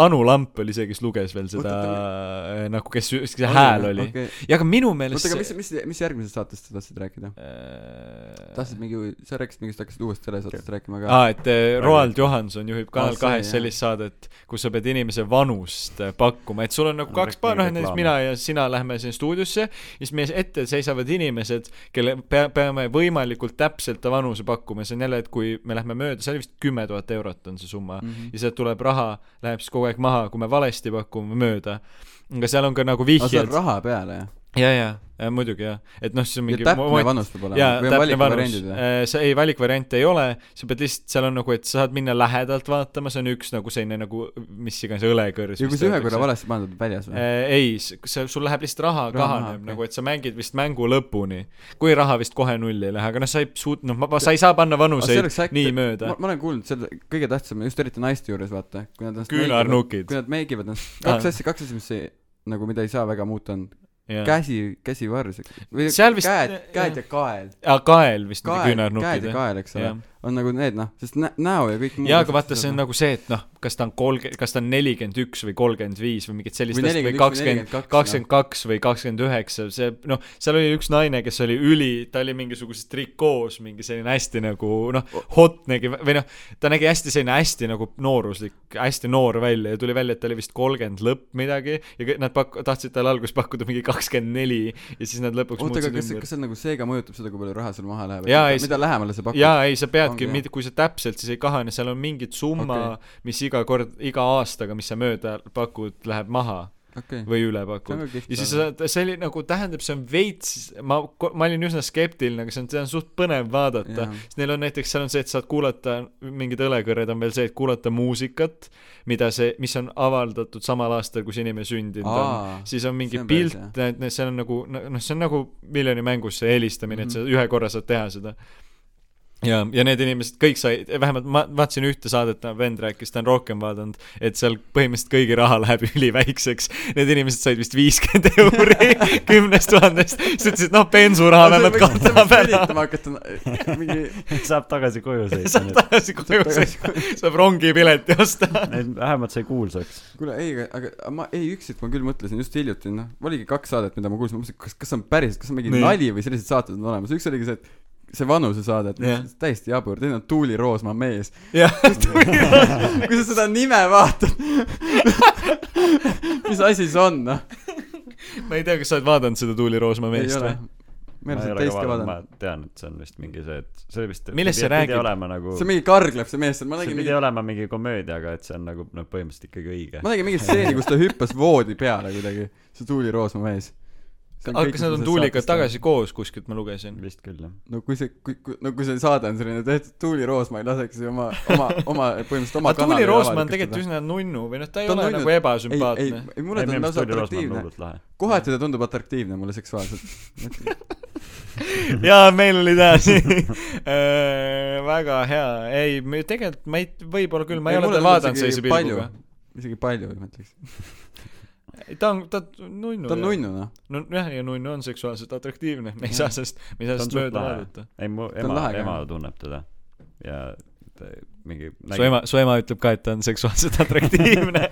B: Anu Lamp oli see , kes luges veel seda äh, nagu , kes , kes see hääl oli .
C: oota ,
B: ja aga minu meelest
C: aga mis
B: see ,, Äh,
C: mis , mis järgmisest saatest sa tahtsid rääkida ? tahtsid mingi , sa rääkisid mingist , hakkasid uuest telesaatest rääkima ka .
B: aa , et äh, Roald Johanson juhib Kanal
C: see,
B: kahes
C: jah.
B: sellist saadet , kus sa pead inimese vanust äh, pakkuma , et sul on nagu
A: No,
B: kaks pa- , noh ,
A: reklaami.
B: näiteks mina ja sina lähme siin stuudiosse , siis meie ette seisavad inimesed , kelle pea- , peame võimalikult täpselt ta vanuse pakkuma , see on jälle , et kui me lähme mööda , see oli vist kümme tuhat eurot on see summa mm ,
C: Mhm.
B: -hmm. ja sealt tuleb raha , läheb siis kogu aeg maha , kui me valesti pakume mööda . aga seal on ka nagu
C: aga see
B: vihjed
C: on , raha peale , jah ?
B: ja , ja , ja muidugi jah , et noh , siis on
C: ja
B: mingi
C: täpne
B: moment-
C: vanus peab olema
B: jaa ,
C: või on
B: täpne vanus Äh,
C: valikuvariandid või ?,
B: see ei , valikvariante ei ole , sa pead lihtsalt , seal on nagu , et sa saad minna lähedalt vaatama , see on üks nagu selline nagu mis Äh, iganes õlekõrs .
C: ja kui sa ühe korra valesti pandud , väljas või ?
B: ei , see , sul läheb lihtsalt raha
C: Raha maha,
B: kahaneb
C: okei.
B: nagu , et sa mängid vist mängu lõpuni . kui raha vist kohe nulli ei lähe , aga noh , sa ei suutnud , noh , sa ei saa panna vanuseid nii mööda
C: ma ., ma olen kuulnud selle , kõige tähtsam , just eriti naiste juures , vaata , kui nad ennast meigivad-
B: küünarnukid .
C: kui nad meigivad ennast ,
B: Aa.
C: kaks asja , kaks asja , mis ei , nagu mida ei saa väga muuta , on käsi , käsivarus . või
B: Seal vist-
C: käed , käed ja kael .
B: kael vist mingi
C: kael ,
B: küünarnukid
C: käed ja
B: jah.
C: kael , eks ole
B: Jah. ,
C: on nagu need noh , sest nä- , näo ja kõik muu .
B: jaa , aga vaata , see on nagu see , et noh , kas ta on kolmkümmend , kas ta on nelikümmend üks või kolmkümmend viis või mingit sellist
C: Või
B: asja või
C: 41 või
B: kakskümmend
C: 42, ,
B: kakskümmend kaks või kakskümmend üheksa , see noh , seal oli üks naine , kes oli üli , ta oli mingisuguses trikoos , mingi selline hästi nagu noh , hot nägi või noh , ta nägi hästi selline hästi nagu nooruslik , hästi noor välja ja tuli välja , et ta oli vist kolmkümmend lõpp midagi ja kõ- nad pak- , tahtsid talle alguses pakkuda mingi kakskümmend neli ja siis nad lõpuks
C: oota , aga
B: muutsid
C: kas ,
B: ümber
C: kas see nagu seega mõjutab seda , kui palju raha sul maha läheb ?
B: Jaa, ei,
C: mida lähemale sa pakud ?
B: jaa , ei sa peadki
C: Ongi, jah. ,
B: kui sa täpselt , siis ei kahane , seal on mingid summa okay. , mis iga kord , iga aastaga , mis sa mööda pakud , läheb maha
C: okei .
B: või üle
C: Mhm. see on
B: pakud .
C: ka kihvt
B: ja siis sa , see oli nagu , tähendab , see on veits , ma , ma olin üsna skeptiline , aga see on , see on suht põnev vaadata
C: Jaa. .
B: sest neil on näiteks , seal on see , et saad kuulata , mingid õlekõrred on veel see , et kuulata muusikat , mida see , mis on avaldatud samal aastal , kus inimene sündinud on
C: Aa,
B: siis on mingi
C: see on päris
B: pilt
C: hea. ,
B: näed , see on nagu , noh , see on nagu miljoni mängus see helistamine
C: Mhm.
B: mm , -hmm. et sa ühe korra saad teha seda . ja , ja need inimesed kõik said , vähemalt ma vaatasin ühte saadet , vend rääkis , ta on rohkem vaadanud , et seal põhimõtteliselt kõigi raha läheb üliväikseks . Need inimesed said vist viiskümmend euri kümnest tuhandest , siis ütlesid , noh , bensuraha vähemalt katab ära .
C: ära . hakata mingi
A: saab tagasi koju sõita
B: saab
A: nüüd .
B: tagasi koju sõita , saab rongipileti osta .
A: nüüd vähemalt sai kuulsaks .
C: kuule , ei , aga , aga ma , ei , ükskord ma küll mõtlesin just hiljuti , noh , oligi kaks saadet , mida ma kuulsin , ma mõtlesin , kas , kas see on päris , kas see on mingi
B: Nii.
C: nee. nali või sellised saated on olemas , üks oligi see , et see vanusesaade , et
B: Jah.
C: yeah. täiesti jabur , teine on Tuuli Roosma mees .
B: jah ,
C: kui sa seda nime vaatad , mis asi see on , noh ?
B: ma ei tea , kas sa oled vaadanud seda Tuuli Roosma meest või ?.
C: ma ei ole seda teist ka
A: ma
C: vaadanud .
A: tean , et see on vist mingi see , et see oli vist .
B: Millest see räägib?
A: pidi olema nagu ,
C: see on mingi Karglev , see mees seal , ma
A: see
C: nägin
A: pidi
C: mingi ,
A: olema mingi komöödia , aga et see on nagu noh , põhimõtteliselt ikkagi õige .
C: ma nägin mingit stseeni , kus ta hüppas voodi peale kuidagi , see Tuuli Roosma mees .
B: aga kas nad on tuuliga ? tagasi koos kuskilt , ma lugesin ?
A: vist küll jah .
C: no kui see , kui , kui , no kui see saade on selline tehtud , Tuuli Roosma ei laseks ju oma , oma , oma , põhimõtteliselt oma
B: aga Tuuli Roosma on tegelikult üsna nunnu või noh , ta ei
C: Ta on
B: ole
C: nunnu-
B: nagu
C: ei ,
B: ebasümpaatne .
C: ei , ei mulle ta on lausa atraktiivne .
A: hullult lahe .
C: kohati ta tundub atraktiivne mulle seksuaalselt .
B: jaa , meil oli täna siin Äh, väga hea , ei , me tegelikult , ma ei , võib-olla küll , ma ei ole teda vaadanud sellise pilguga ..
C: isegi palju , ma ütleks .
B: ta on , ta on nunnu .
C: ta on . nunnu , noh .
B: nojah , ja nunnu on seksuaalselt atraktiivne , me ei saa sellest , me ei saa
A: Ta on
B: sellest mööda
A: suht lahe.
B: vaadata .
A: ei , mu
C: on
A: ema
C: lahe , ka.
A: ema tunneb teda ja ta mingi .
B: su ema , su ema ütleb ka , et ta on seksuaalselt atraktiivne ,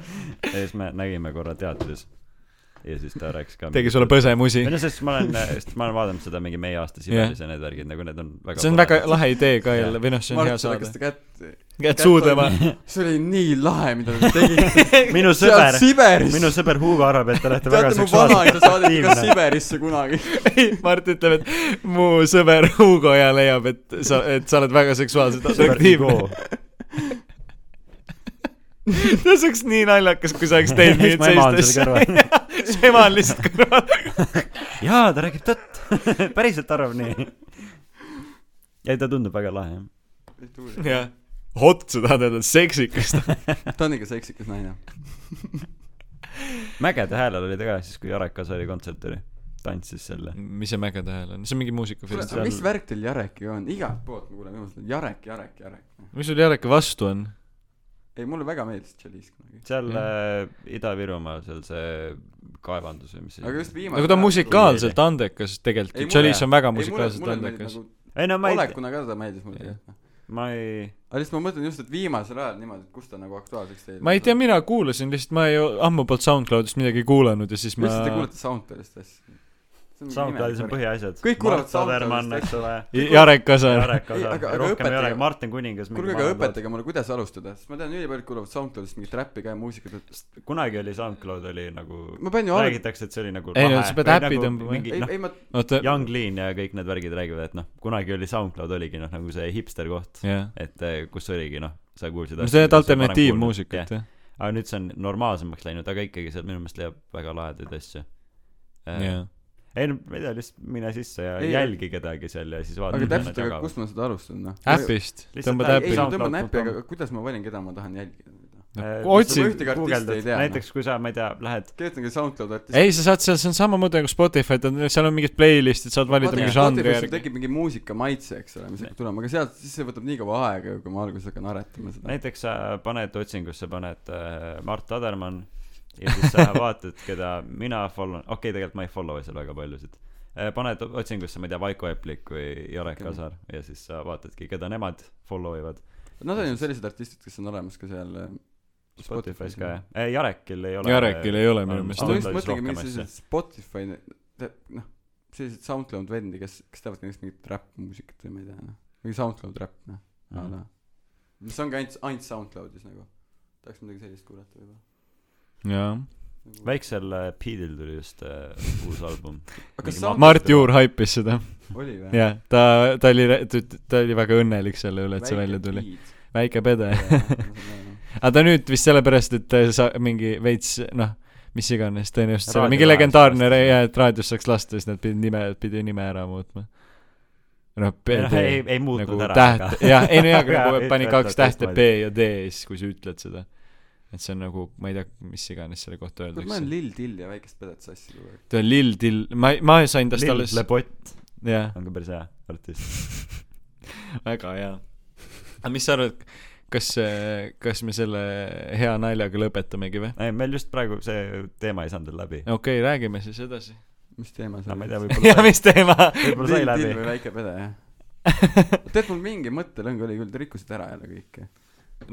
A: ja siis me nägime korra teatris ja siis ta rääkis ka .
B: tegi sulle . põsemusi
A: ei . no sest ma olen , sest ma olen vaadanud seda mingi Meie aasta Siberis ja need värgid nagu need on väga .
B: see on väga . lahe idee ka jälle , või noh , see on hea
C: Mart
B: saade
C: lõikas . ta kätte .
B: käed suudlema .
C: see oli nii lahe , mida te tegite .
A: minu
C: seal
A: sõber ,
C: Siberis .
A: minu sõber Hugo arvab , et te olete väga
C: teate , mu vanaisa
A: seksuaalselt
C: saadeti ka
A: aktiivne .
C: Siberisse kunagi .
B: ei , Mart ütleb , et mu sõber Hugo ja leiab , et sa , et sa oled väga seksuaalselt atraktiivne . see oleks nii naljakas , kui sa oleks teinud nii ,
A: Siis mu ema on
B: et
A: seal kõrval.
B: seistes . su ema on lihtsalt kõrval .
A: jaa , ta räägib tõtt . päriselt arvab nii . ei , ta tundub väga lahe jah .
B: jah . Hot , sa tahad öelda seksikas ?
C: ta on ikka seksikas naine .
A: Mägede häälel oli ta ka siis , kui Jarek Kasari kontsert oli . tantsis selle .
B: mis see Mägede hääl on , see on mingi muusikafestival .
A: seal-
C: mis värk teil Jarekiga on ? igalt poolt ma kuulen viimasel ajal Jarek , Jarek , Jarek .
B: mis sul Jareka vastu on ?
C: ei , mulle väga meeldis Tšeliis kunagi .
A: seal
B: Jah.
A: äh, Ida-Virumaal , seal see kaevandus või mis see
C: aga just viimane .
B: aga ta on musikaalselt andekas
C: nagu- Ei,
B: tegelikult ,
C: mulle-
B: Tšelis on väga
C: mulle ,
B: musikaalselt
C: mulle meeldis
B: andekas .
C: nagu ,
A: ei no ma ei ,
C: olekuna ka ta meeldis mulle
B: Jah.
C: tegelikult .
A: ma ei ,
C: aga lihtsalt ma mõtlen just , et viimasel ajal niimoodi , et kus ta nagu aktuaalseks teinud
B: ma ei tea , mina kuulasin lihtsalt , ma ei ole ammu polnud SoundCloudist midagi kuulanud ja siis ma
C: lihtsalt te kuulete Soundcloudist asju .
A: SoundCloudis on . põhiasjad .
C: Kõik kuulavad
A: Tavermann ,
C: SoundCloudist,
A: eks ole .
B: Jarek Kasar .
A: Jarek
C: Ei,
A: Kasar
C: aga- , aga
A: rohkem ei ole
C: õpetage- ,
A: Martin Kuningas .
C: kuulge , aga . õpetage mulle , kuidas alustada , sest ma tean , ülipaljud kuulavad Soundcloudist mingit räppi ka ja muusikat , et
A: kunagi oli SoundCloud oli nagu ,
C: ma pean ju alg- ,
A: räägitakse , et see oli nagu
B: Ei, no
A: lahe.
B: sa pead
A: Või
B: äppi
A: nagu
B: tõmbama,
A: mingi
C: ei ,
A: noh ,
C: ei ma ,
B: oota ,
A: Young Lean ja kõik need värgid räägivad , et noh , kunagi oli SoundCloud oligi noh , nagu see hipster koht ,
B: jah .
A: et eh, kus oligi noh , sa kuulsid
B: no
A: asju,
B: sa
A: mida sa varem
B: teed
A: kuulnud.
B: alternatiivmuusikat , jah ?
A: Jah. aga nüüd see on normaalsemaks läinud , aga ikkagi sealt minu meelest leiab väga lahedaid asju .
B: jah .
A: ei no ma ei tea , lihtsalt mine sisse ja
C: Ei,
A: ei, jälgi kedagi seal ja siis vaata .
C: aga täpselt , aga kust ma seda alustan , noh .
B: äpist ,
A: Lihtsalt
B: tõmbad
A: ä-
C: ei ,
B: äpi
C: ma
A: saa- .
C: tõmban äppi ,
A: SoundCloud.com.
C: aga kuidas ma valin , keda ma tahan jälgida ?
B: otsi-
C: ühtegi artisti ei tea, noh.
A: Eh, näiteks kui sa , ma ei tea , lähed
C: kirjutage SoundCloud artist .
B: ei , sa saad seal , see on samamoodi nagu Spotify , seal on mingid playlist'id , saad valida mingi žanri järgi .
C: tekib mingi muusika maitse , eks ole , mis hakkab tulema , aga sealt , siis see võtab nii kaua aega ju , kui ma alguses hakkan aretama seda .
A: näiteks sa paned otsingusse , paned äh, Mart Adermann ja siis sa vaatad , keda mina follow , okei okay, , tegelikult ma ei follow'i seal väga paljusid . paned otsingusse , ma ei tea , Vaiko Eplik või Jarek
C: Okei.
A: Kasar ja siis sa vaatadki , keda nemad follow ivad .
C: Nad on ju sellised artistid , kes on olemas ka seal äh,
A: Spotify's ka jah eh, , Jarekil ei ole .
B: Jarekil ei ole minu
A: on-
B: meelest
A: on-
C: aga ma
B: jah .
C: just mõtlengi ,
A: Soundcloudis rohkem
C: mingid sellised Spotify , noh , sellised SoundCloud vendi , kes , kes teevad näiteks mingit räpp-muusikat või ma ei tea , noh . mingi SoundCloud räpp , noh , a la .
B: Mhm.
C: mis ongi ainult , ainult SoundCloudis nagu . tahaks midagi sellist kuulata Nagu-
B: jaa .
C: võib-olla .
A: väiksel äh, Peedil tuli just äh, uus album .
C: aga kas
A: Ma-
C: Sound- ,
B: Mart Juur haipis seda ,
C: oli või ?
B: jah . ta , ta oli , ta oli väga õnnelik selle üle , et see välja tuli .. väike pede . aga ta nüüd vist sellepärast , et ta sa- , mingi veits , noh , mis iganes , tõenäoliselt selle
A: Raadio
B: mingi
A: ajast
B: legendaarne
A: lasta. ,
B: et raadios saaks lasta , siis nad pidid nime , pidi nime ära muutma . noh ,
A: ei , ei muutnud
B: nagu
A: ära .
B: täht , jah , ei no jaa , aga nagu
A: Jaa,
B: pani
A: ütled
B: kaks tähte
A: teistmoodi.
B: B ja D ja siis , kui sa ütled seda . et see on nagu , ma ei tea , mis iganes selle
C: ma
B: kohta
C: olen
B: öeldakse .
C: Lill Till ja väikest pedet sassi kogu aeg .
B: ta on Lill Till , ma , ma sain tast
A: Lill
B: alles ,
A: Lebott
B: jah ,
A: on ka päris hea artist .
B: väga hea . aga mis sa arvad , kas , kas me selle hea naljaga lõpetamegi või ?
A: ei , meil just praegu see teema ei saanud veel läbi .
B: okei okay, , räägime siis edasi .
C: mis teema see
A: no ma ei tea ,
B: ja
A: võib-olla ,
B: mis teema ?
A: võib-olla sai
C: Lill
A: läbi
C: Till . või väike pede , jah . tead , mul mingi mõttelõng oli küll , te rikkusite ära jälle kõike .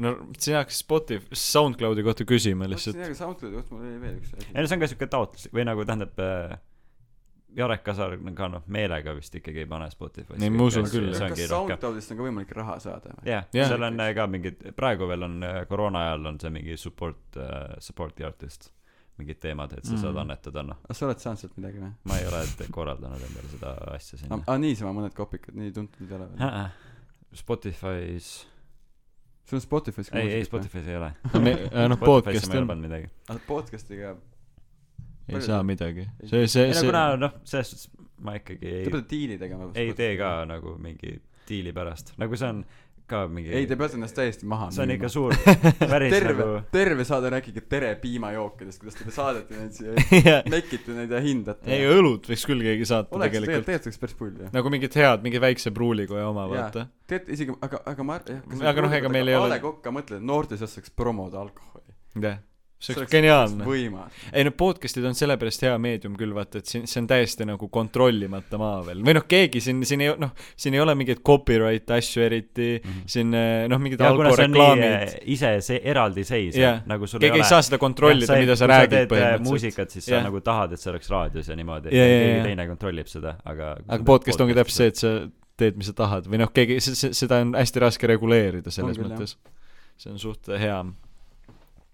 B: no sina hakkasid Spotify , SoundCloudi kohta küsima lihtsalt .
C: aga SoundCloudi kohta mul oli veel üks asi
A: ei . no see on ka siuke taotlus või nagu tähendab äh, Jarek Kasar ka noh meelega vist ikkagi ei pane Spotify'sse
B: Ei, ma
A: kõiki
B: usun
A: asju, ja
B: küll, jah.
A: see
C: kas
A: ongi rohkem
C: SoundCloudist on ka võimalik raha saada või ?
A: jah
B: Jah.
A: yeah, , seal on äh, ka mingid , praegu veel on äh, koroona ajal on see mingi support uh, , support'i artist mingid teemad , et sa mm. saad
B: Mm.
A: annetada , noh ,
C: kas sa oled saanud sealt midagi või ?
A: ma ei ole te- korraldanud endale seda asja sinna
C: aa , niisama mõned kopikad , nii tuntud ei ole veel .
A: ah, . Spotify's ,
C: sul on Spotify's
A: ei , ei . Spotify's ei ole .
B: noh , podcast on .
C: Ah,
A: pannud midagi .
C: podcast'iga
B: ei
C: Palju
B: saa
C: ta-
B: midagi . see , see ,
A: ei no
B: see
A: kuna noh , selles suhtes ma ikkagi
C: Te
A: ei ,
C: peate diili tegema .
A: ei tee ka . nagu mingi diili pärast , nagu see on ka mingi
C: ei , te peate ennast täiesti maha
A: see on
C: müüma.
A: ikka suur , päris
C: terve
A: nagu ,
C: terve saade rääkige tere piimajookidest , kuidas te saadate neid siia , mekite neid ja hindate
B: ei . õlut võiks küll keegi saata
C: oleks tegelikult ,
B: tegelikult .
C: tegelikult oleks päris pull ju .
B: nagu mingid head , mingi väikse pruulikoja oma ,
C: Jaa.
B: vaata .
C: tegelikult isegi , aga , aga ma , jah .
B: Aga noh, ega meil ei ole-
C: A Le Coq mõtled , noorte seas saaks promoda alkoholi .
B: jah . see oleks geniaalne .
C: võimas .
B: ei no podcast'id on sellepärast hea meedium küll vaata , et siin , see on täiesti nagu kontrollimata maa veel või noh , keegi siin , siin ei noh , siin ei ole mingeid copyright asju eriti mm , -hmm. siin eh, noh , mingid
A: ja kuna see on nii
B: algoreklaamid
A: eh, ise see eraldiseisev
B: Jah.
A: yeah. , nagu sul
B: keegi ei saa seda kontrollida , mida sa räägid
A: põhimõtteliselt .
B: põhimõtteliselt .
A: eh, muusikat , siis yeah.
B: Jah.
A: sa nagu tahad , et see oleks raadios ja niimoodi
B: Jaa, jaa,
A: keegi
B: jaa.
A: teine kontrollib seda , aga
B: aga podcast ongi täpselt see , et sa teed , mis sa tahad või noh , keegi , seda on hästi raske reguleerida selles
C: On küll,
B: mõttes . see on suht hea .
A: see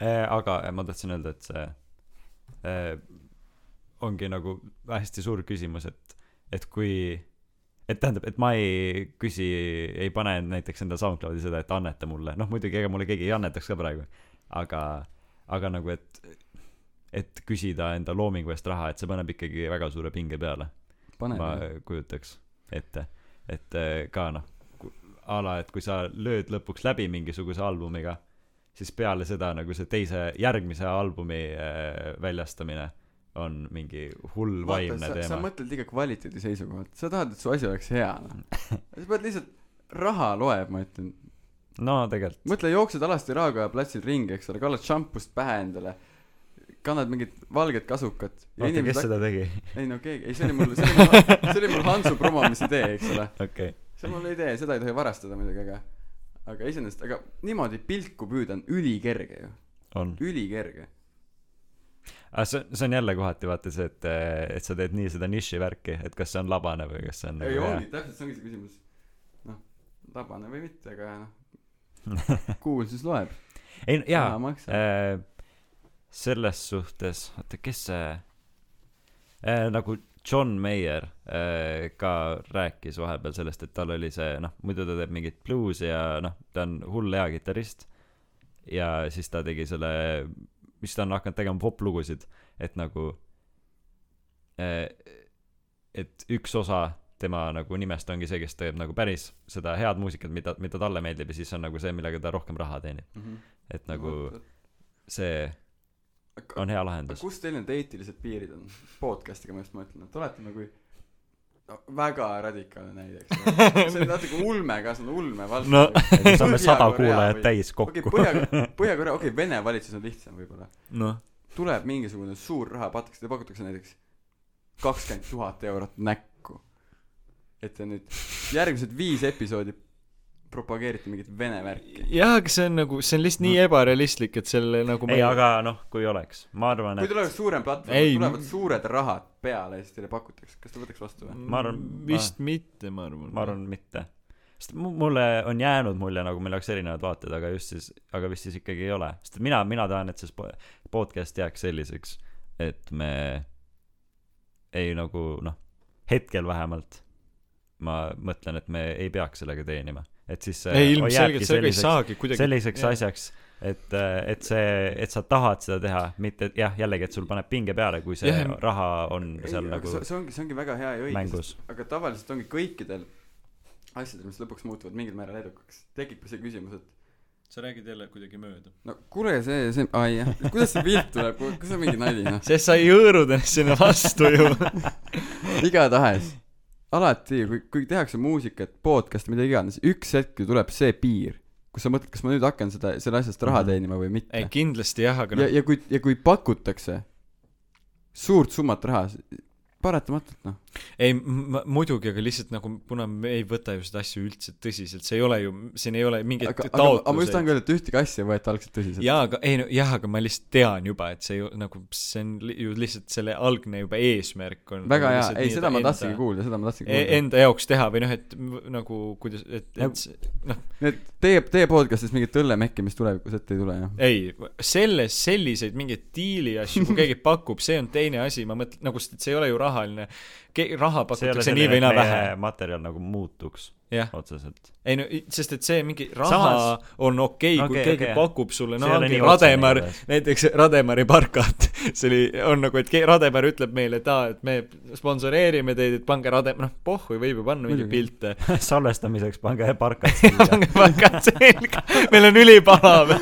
A: Eh, aga ma tahtsin öelda , et see eh, ongi nagu hästi suur küsimus , et , et kui et tähendab , et ma ei küsi , ei pane näiteks enda SoundCloudi seda , et anneta mulle , noh muidugi ega mulle keegi ei annetaks ka praegu , aga , aga nagu , et , et küsida enda loomingu eest raha , et see paneb ikkagi väga suure pinge peale .
C: paneme
A: ma
C: ma... .
A: kujutaks ette , et eh, ka noh , a la , et kui sa lööd lõpuks läbi mingisuguse albumiga , siis peale seda nagu see teise , järgmise albumi eh, väljastamine on mingi hull
C: vaata ,
A: vaimne
C: sa , sa
A: teema .
C: mõtled liiga kvaliteedi seisukohalt , sa tahad , et su asi oleks hea , noh . sa pead lihtsalt , raha loeb , ma ütlen .
A: no tegelikult ,
C: mõtle , jooksed alasti Raekoja platsil ringi , eks ole , kallad šampust pähe endale , kannad mingit valget kasukat .
A: oota , kes seda tegi ?
C: ei no keegi , ei see oli mul , see oli mul , see oli mul Hansu promomise idee , eks ole .
A: okei ,
C: see on mul idee , seda ei tohi varastada muidugi , aga , aga iseenesest , aga niimoodi pilku püüda on ülikerge ju ,
A: on .
C: ülikerge .
A: aga see , see on jälle kohati vaata see , et , et sa teed nii seda nišivärki , et kas see on labane või kas see on
C: ei
A: nagu hea
C: ongi ,. täpselt see ongi see küsimus . noh , labane või mitte , aga noh , kuulsus loeb .
A: ei , jaa ,
C: maksab .
A: Äh, selles suhtes , oota , kes see äh, , nagu John Mayer äh, ka rääkis vahepeal sellest , et tal oli see , noh , muidu ta teeb mingit bluusi ja noh , ta on hull hea kitarrist . ja siis ta tegi selle , mis ta on hakanud tegema , poplugusid , et nagu äh, , et üks osa tema nagu nimest ongi see , kes teeb nagu päris seda head muusikat , mida , mida talle meeldib ja siis on nagu see , millega ta rohkem raha teenib ,
C: Mhm.
A: et nagu see on hea
C: aga
A: lahendus .
C: kus teil need eetilised piirid on podcast'iga , ma just mõtlen , et oletame , kui no väga radikaalne näide , eks ole . see on natuke ulme ka , see on ulme
B: No.
C: valdkond .
A: me saame sada
C: Põhja-Korea
A: kuulajat
C: või-
A: täis
C: okei ,
A: kokku .
C: Põhja , Põhja-Korea , okei okay, , Vene valitsus on lihtsam võib-olla .
B: noh ,
C: tuleb mingisugune suur rahapataks , teile pakutakse näiteks kakskümmend tuhat eurot näkku . et te nüüd järgmised viis episoodi propageerite mingit vene värki .
B: jah , aga see on nagu , see on lihtsalt nii ebarealistlik , et selle nagu
A: ei , aga noh , kui oleks , ma arvan ,
C: kui
A: et
C: teil oleks suurem platvorm
B: Ei, ,
C: tulevad
B: m-
C: suured rahad peale ja siis teile pakutakse , kas te võtaks vastu või ?
A: ma arvan-
B: vist mitte , ma arvan .
A: ma arvan mitte . sest mu- mulle on jäänud mulje , nagu meil oleks erinevad vaated , aga just siis , aga vist siis ikkagi ei ole , sest mina , mina tahan , et see spo- podcast jääks selliseks , et me ei nagu noh , hetkel vähemalt ma mõtlen , et me ei peaks sellega teenima , et siis see
B: ei ,
A: jääbki
B: ilmselgelt sellega ei
A: selliseks-
B: saagi kuidagi .
A: selliseks yeah. . asjaks , et , et see , et sa tahad seda teha , mitte et jah , jällegi , et sul paneb pinge peale , kui see
B: Jah,
A: yeah.
B: ja-
A: raha on
C: ei ,
A: seal
C: aga
A: ei, nagu
C: see , see ongi , see ongi väga hea ja õige ,
A: mängus .
C: aga tavaliselt ongi kõikidel asjadel , mis lõpuks muutuvad mingil määral edukaks , tekibki see küsimus , et
B: sa räägid jälle kuidagi mööda .
C: no kuule , see , see , aa jah , kuidas see pilt tuleb , kas see on mingi nali , noh .
B: sest sa ei hõõruda ennast sinna vastu ju .
C: igatahes , alati , kui , kui tehakse muusikat , podcast'i , mida iganes , üks hetk ju tuleb see piir , kus sa mõtled , kas ma nüüd hakkan seda , selle asjast raha
A: Mhm.
C: teenima või mitte
B: ei ,. kindlasti jah , aga
C: ja ,
B: noh ,
C: ja kui , ja kui pakutakse suurt summat raha , paratamatult noh ,
B: ei m- muidugi , aga lihtsalt nagu , kuna me ei võta ju seda asja üldse tõsiselt , see ei ole ju , siin ei ole mingeid
C: aga , aga aga ma just tahan
B: taotlusi .
C: ka öelda , et ühtegi asja ei võeta algselt tõsiselt .
B: jaa , aga ei no jah , aga ma lihtsalt tean juba , et see ju nagu , see on li- ju lihtsalt selle algne juba eesmärk on . nagu
C: väga hea , ei seda ma tahtsingi kuulda , seda ma
A: E-
C: tahtsingi kuulda .
B: e-, Enda jaoks teha või noh , et m- nagu kuidas , et ,
C: Nagu-
B: et see- noh ,
C: nii et teie , teie podcast'is mingit õllemekki , mis tulevikus ette ei tule , jah ?
B: ei , selles , selliseid mingeid diili asju , kui keegi pakub , see on teine asi , ma mõtlen , nagu , sest see ei ole ju rahaline , raha
A: see ei ole
B: pakutakse nii
A: selline ,
B: või naa
A: et
B: vähe .
A: meie materjal nagu muutuks .
B: jah ,
A: otseselt .
B: ei no i- sest et see mingi raha
A: Samas-
B: Samas... on
A: Okei,
B: okei okay, , kui okay, keegi
A: okei.
B: okay. pakub sulle , no
A: See ei ole
B: ongi
A: nii otsene
B: Rademar
A: igatahes. ,
B: näiteks Rademari parkat , see oli , on nagu , et ke- Rademar ütleb meile , et aa , et me sponsoreerime teid , et pange Radem- , noh , pohhui võib ju panna mingeid
C: Muidugi.
B: pilte .
A: salvestamiseks pange parkad
B: pange pakad selga , meil on ülipalav ,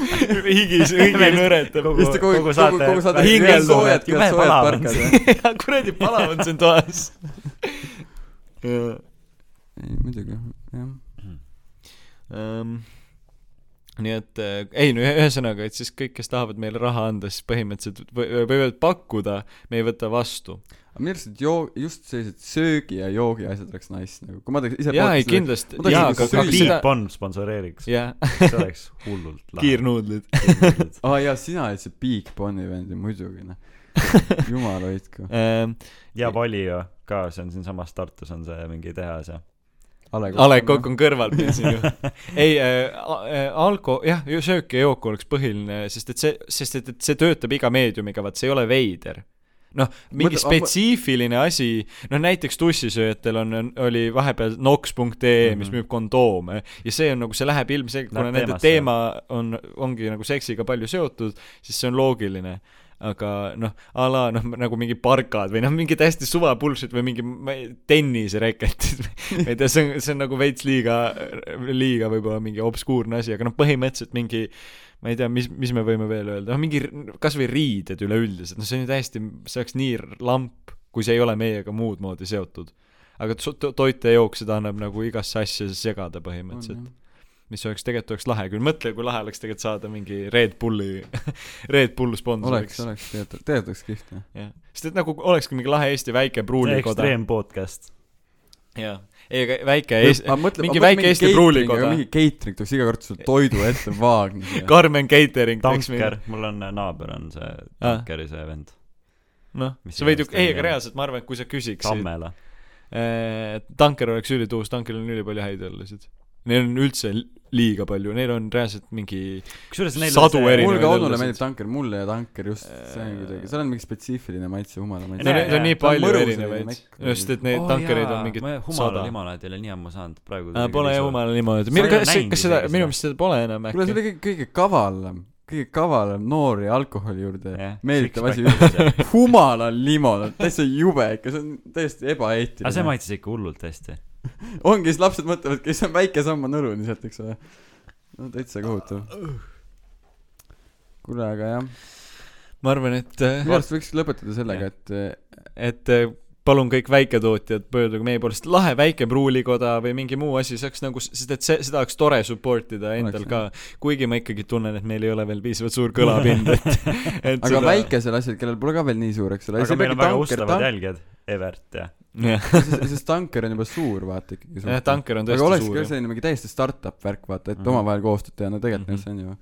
B: higis , higi nõretab .
A: Kogu-
C: istu kogu ,
A: kogu
C: kogu
A: saate- ,
C: kogu saate
B: hingeldavad,
C: soojad ,
A: jube
C: soojad
A: palav on
C: parkad .
B: jaa , kuradi palav on siin toas .
C: ei , muidugi , jah .
B: Ähm, nii et äh, ei no ühesõnaga , et siis kõik , kes tahavad meile raha anda , siis põhimõtteliselt võ- võivad pakkuda , me ei võta vastu .
C: aga minu arust need joo- , just sellised söögi ja joogi asjad oleks nice nagu , kui ma teeks ise
B: jaa ,
C: pakkuda
B: ei
C: seda-
B: kindlasti
C: ma , tahaks
B: jaa ,
C: nagu
B: aga
A: Kui
C: söögi-
B: aga seda
A: Piip , Bond sponsoreeriks ,
B: jah ,
A: see oleks hullult
B: kiirnuudlid .
A: lahe .
C: aa ah, jaa , sina olid see Big Boni vend ju muidugi noh jumal hoidku
B: Ehm,
A: ja Valio ka , see on siinsamas Tartus on see mingi tehas ja .
C: Ale Kokk
B: Alek Kokk on kõrval , piitsin ju . ei äh, , alko- , jah , söök ja jook oleks põhiline , sest et see , sest et , et see töötab iga meediumiga , vaat see ei ole veider . noh , mingi
C: Mõtle- ah, ma-
B: spetsiifiline asi , noh näiteks tussisööjatel on , oli vahepeal nox.ee , mis
A: Mhm.
B: müüb kondoome ja see on nagu , see läheb ilmselgelt , kuna
A: Läheb
B: nende
A: teemasse.
B: teema on , ongi nagu seksiga palju seotud , siis see on loogiline aga noh , a la noh , nagu mingi parkad või noh , mingi täiesti suva bullshit või mingi ma ei- tennisereketid või ma ei tea , see on , see on nagu veits liiga , liiga võib-olla mingi obskuurne asi , aga noh , põhimõtteliselt mingi ma ei tea , mis , mis me võime veel öelda , noh mingi r- kasvõi riided üleüldiselt , noh see on ju täiesti , see oleks nii r- lamp , kui see ei ole meiega muud moodi seotud . aga so- to- toit ja jook , seda annab nagu igasse asja segada põhimõtteliselt . mis oleks tegelikult oleks lahe küll , mõtle , kui lahe oleks tegelikult saada mingi Red Bulli , Red Bull
C: oleks ,
B: sponsoriks .
C: oleks tegelikult , tegelikult oleks kihvt jah
B: jah , sest et nagu olekski mingi lahe Eesti väike pruulikoda .
A: ekstreempodcast .
B: jaa , ei aga väike Eesti ,
C: Ma mõtlen- ma
B: mingi
C: mõtlen
B: väike Eesti
C: catering,
B: pruulikoda
C: aga . mingi catering tuleks iga kord sulle toidu ette Wagner
B: Carmen Catering teeks mingi
A: tanker , mul on äh, naaber on see
B: Ah.
A: tankeri see vend ,
B: noh ,
A: Mis
B: sa võid ju ,
A: iganes ta
B: ei ,
A: nimi
B: aga
A: on.
B: reaalselt ma arvan , et kui sa küsiksid ,
A: Tammela .
B: tanker oleks ülituus , tankeril on ülipalju häid õllesid . Neil on üldse liiga palju , neil on reaalselt mingi
A: kusjuures neil
B: Sadu
A: on
B: erinevaid
C: mulle ka Onule
B: õllesid.
C: meeldib tanker , mulle ja tanker just , see
B: Äh.
C: on kuidagi , seal on mingi spetsiifiline maitse , humala
B: Neil
A: Jaa,
B: on,
C: maitse .
B: neil on
A: jaa,
B: nii
C: ta on
B: palju
C: mõrus,
B: erinevaid
C: selline mäkk- ,
B: just et neid oh, tankereid on mingi
A: humala
B: sada .
A: limonaad ei ole nii ammu saanud praegu .
B: Äh,
C: Äh,
B: Pole jumala niimoodi ,
A: Sa
B: minu ,
A: ei ole
B: kas ,
A: näinud
B: kas seda
A: isegi , seda.
B: minu meelest seda pole enam
C: kuule , see
B: äkki .
C: oli kõige , kõige kavalam , kõige kavalam noori alkoholi juurde
A: Jah,
C: meelitav asi
A: six-pack.
C: üldse . humala limonaad , täitsa jube ikka , see on täiesti
A: aga see
C: ebaeetiline .
A: maitses ikka hullult hästi .
C: ongi , siis lapsed mõtlevad , kes on väike samm on õluni sealt , eks ole . no täitsa kohutav . kuule , aga jah ,
B: ma arvan , et äh,
C: minu arust võiks lõpetada sellega , et
B: et eh, palun kõik väiketootjad , pöörduge meie poolest , lahe väike pruulikoda või mingi muu asi , see oleks nagu , sest et see , seda oleks tore support ida endal
C: Oleks,
B: ka , kuigi ma ikkagi tunnen , et meil ei ole veel piisavalt suur kõlapind , et , et
C: aga väikesel asjal , kellel pole ka veel nii suur , eks ole .
A: aga meil on väga ustavad jälgijad , Evert ja .
B: jah ,
C: sest tanker on juba suur , vaata ikkagi .
B: jah , tanker on
C: aga
B: tõesti
C: oleks
B: suur
C: ka
B: jah.
C: selline mingi täiesti startup värk , vaata , et mm
A: Mhm.
C: -hmm. omavahel koostööd teha , no tegelikult mm -hmm.
B: Mhm.
C: see on ju .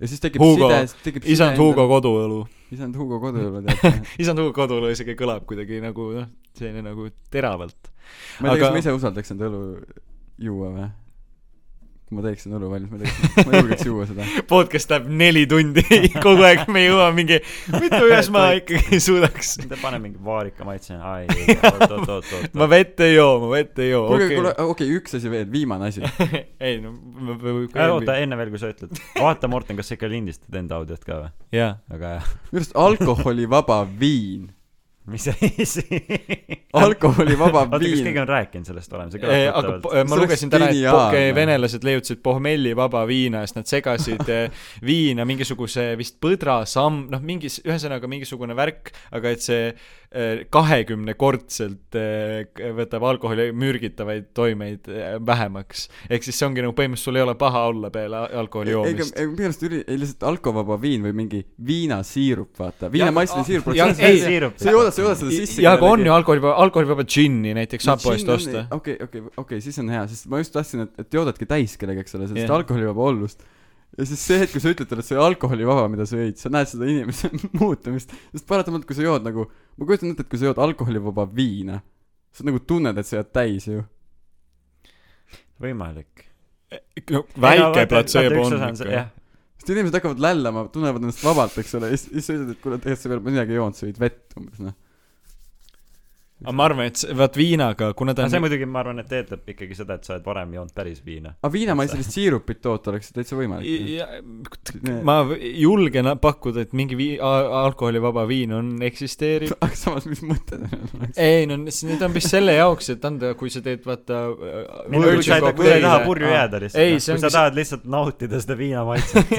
C: ja siis tekib
B: Hugo.
C: side , siis tekib
B: isand Hugo . koduõlu ,
C: isand Hugo koduõlu tead .
B: isand Hugo koduõlu isegi kõlab kuidagi nagu noh , selline nagu teravalt .
C: ma ei tea ,
B: Aga-
C: kas ma ise usaldaks enda õlu juua või ? kui ma teeksin õlu valmis , ma ei tea , ma ei julgeks juua seda .
B: podcast läheb neli tundi kogu aeg , me ei jõua mingi , mitu ühes ma ikkagi suudaks .
A: ta paneb mingi vaarika maitse , ai , oot-oot-oot-oot .
B: ma vett ei joo , ma vett ei joo ,
C: kuulge ,
B: okei
C: kuule , okei , üks asi veel , viimane asi .
B: ei no ma- ma- ma- kui
A: Äh, oota , enne veel , kui sa ütled . vaata , Morten , kas sa ikka lindistad enda audiot ka või ?
B: jaa
A: väga hea .
C: minu arust alkoholivaba viin .
A: mis asi ?
C: alkoholivaba
A: oota , kas keegi
C: viin .
A: on rääkinud sellest varem , see
B: Eh,
A: kõlab
B: aga po-
A: tuttavalt .
B: ma
C: See
B: lugesin
C: oleks
B: täna , et po-
C: geniaalne.
B: venelased leiutasid pohmelli vaba viina , sest nad segasid eh, viina mingisuguse vist põdrasamm , noh , mingis , ühesõnaga mingisugune värk , aga et see eh, kahekümnekordselt eh, võtab alkoholi mürgitavaid toimeid eh, vähemaks . ehk siis see ongi nagu põhimõtteliselt sul ei ole paha olla peale a- alkoholi
C: ega
B: joomist .,
C: minu arust üli- , ei lihtsalt alkoholivaba viin või mingi viinasiirup , vaata . viinamaitsline siirup .
B: ja-
C: sa
B: ei,
C: ei ooda , sa ei ooda seda sisse .
B: ja aga on ju alkoholivaba , alkoholivaba džinni näiteks saab poest osta .
C: okei , okei , okei , siis on hea , sest ma just tahtsin , et , et joodadki täis kellega , eks ole , sellist
B: Jah.
C: yeah. alkoholivaba ollust . ja siis see hetk , kui sa ütled talle , et see alkoholivaba , mida sa jõid , sa näed seda inimese muutumist , sest paratamatult , kui sa jood nagu , ma kujutan ette , et kui sa jood alkoholivaba viina , sa nagu tunned , et sa jääd täis ju .
A: võimalik .
B: Eh, no väike platseebo on ikka .
C: sest inimesed hakkavad lällama , tunnevad ennast vabalt , eks ole , ja siis , siis sa ütled , et kuule , tegelikult sa veel midagi ei joonud , sa jõid vett umbes , noh .
B: aga ma arvan , et see- vaat viinaga , kuna ta
A: aga see
B: on
A: muidugi , ma arvan , et eeldab ikkagi seda , et sa oled varem joonud päris viina .
C: aga viinamaiselist siirupit toota oleks täitsa võimalik . noh.
B: Ja- ma v- julgen pakkuda , et mingi vii- , alkoholivaba viin on , eksisteerib .
C: aga samas , mis mõte sellel oleks ?
B: ei no s- need on vist selle jaoks , et anda , kui sa teed vaata
A: Ei, no kui sa ei- kui sa ei taha purju jääda lihtsalt ,
B: ei ,
A: noh.
B: see
A: kui
B: on
A: sa tahad lihtsalt nautida seda viinamaitset .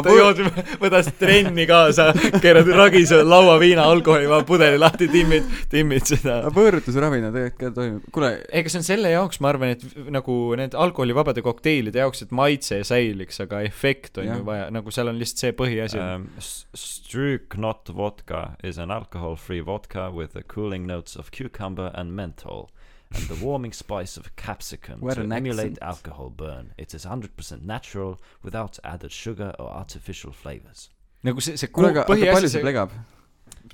B: ta jood , võtad trenni kaasa , keerad ragise lauaviina alkoholivaba pudeli lahti , timmid , timmid seda .
C: aga võõrutusravina tegelikult ka toimib . kuule ,
B: ega see on selle jaoks , ma arvan , et v- nagu need alkoholivabade kokteilide jaoks , et maitse säiliks , aga efekt on
C: Jah.
B: ju vaja , nagu seal on lihtsalt see põhiasi um, .
A: Um, s- Stryknot vodka is an alcohol-free vodka with the cooling notes of cucumber and menthol and the warming spice of capsicum
C: What
A: to
C: an
A: emulate
C: accent.
A: alcohol burn. It is 100% natural without added sugar or artificial flavors.
B: nagu see , see
C: kuule , aga , aga palju
B: põhiasi ,
C: see
B: see ,
C: plegab ?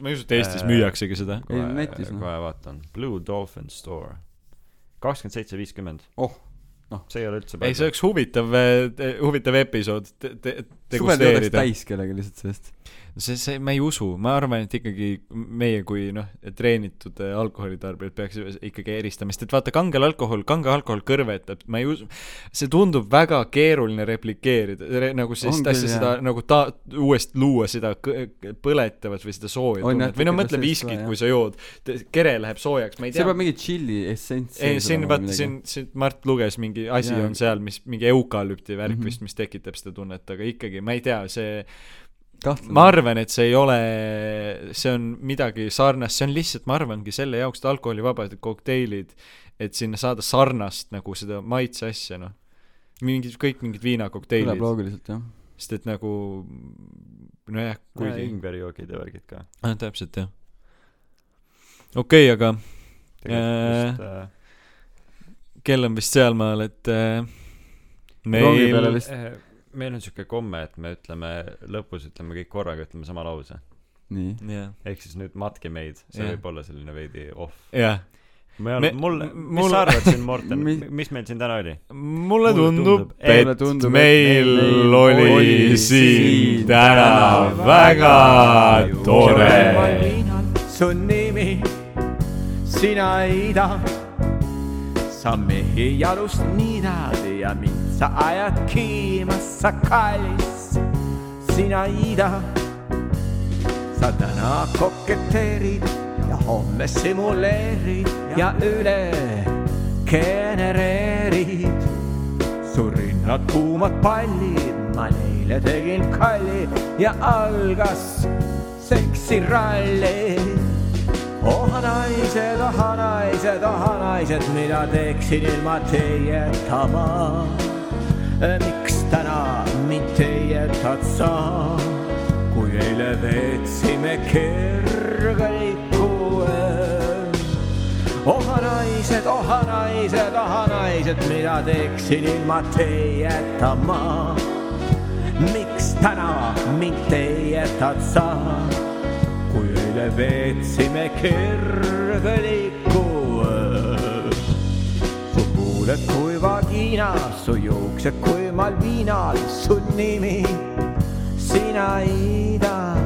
B: ma ei usu , et Eestis
A: Äh,
B: müüaksegi seda .
C: Ei, netis, noh.
A: kohe vaatan , Blue Dolphin Store , kakskümmend seitse , viiskümmend .
C: Oh, noh.
A: see ei ole üldse
B: ei , see oleks huvitav , huvitav episood te, te,
C: suvel joodaks
B: degusteerida .
C: täis kellega lihtsalt sellest .
B: see , see , ma ei usu , ma arvan , et ikkagi meie kui noh , treenitud äh, alkoholitarbijad peaks ikkagi eristama , sest et vaata , kangel alkohol , kange alkohol kõrvetab , ma ei usu , see tundub väga keeruline replikeerida re, , nagu
C: On
B: sellist
C: küll,
B: asja , seda
C: jah.
B: nagu ta- , uuesti luua seda kõ- põletavat või seda sooja
C: On
B: tunnet , või no
C: natuke
B: mõtle
C: sellist ka,
B: viskit
C: jah. ,
B: kui sa jood , kere läheb soojaks , ma ei
C: see
B: tea
C: peab . mingi tšilli essents
B: ei , siin vaata , siin , siin Mart luges mingi asi
C: Jaa.
B: on seal , mis mingi eukalüpti värk
C: Mhm.
B: vist , mis tekitab seda tunnet , aga ikkagi ma ei tea , see ma
C: kahtlemata .
B: arvan , et see ei ole , see on midagi sarnast , see on lihtsalt , ma arvangi selle jaoks , et alkoholivabad kokteilid , et sinna saada sarnast nagu seda maitse asja , noh . mingid , kõik mingid
C: kõlab
B: viinakokteilid ,
C: loogiliselt jah .
B: sest et nagu nojah ,
A: kuigi
B: kuigi
A: ingverijoogid ja värgid ka .
B: ah, , täpselt jah . okei okay, , aga
A: tegelikult just äh,
B: kell on vist sealmaal , et äh,
C: Rongi peale
B: meil
C: vist-
A: äh, meil on siuke komme , et me ütleme lõpus ütleme kõik korraga , ütleme sama lause .
C: nii .
B: jah ,
A: ehk siis nüüd matke meid , see
B: Jah.
A: võib olla selline veidi off .
B: jah
A: ma ei
B: Me-
A: ole , mul , mis
B: mul-
A: sa arvad siin , Morten
C: Mi- ,
A: mis meil siin täna oli ?
B: mulle
A: Mulle
B: tundub
A: tundub, ,
C: et
B: et
C: mulle tundub,
B: meil
C: et meil
B: oli
C: oli
B: siin
C: siin
B: täna
C: täna
B: väga
C: väga
B: tore .
E: su nimi , sina ei taha . sa mehi jalust niidad ja mind sa ajad kiima , sa kallis , sina ei taha . sa täna koketeerid ja homme simuleerid ja üle genereerid . su rinnad kuumad pallid , ma neile tegin kalli ja algas seksiralli . oh naised , oh naised , oh naised , mida teeksin ilma teietama . miks täna mind teietad sa , kui eile veetsime kergliikuöö ? eh. oh naised , oh naised , oh naised , mida teeksin ilma teieta ma . miks täna mind teietad sa , kui eile veetsime kergeliku öö? su kuuled kui vagina , su juuksed kui Malvinal , su nimi , sina Ida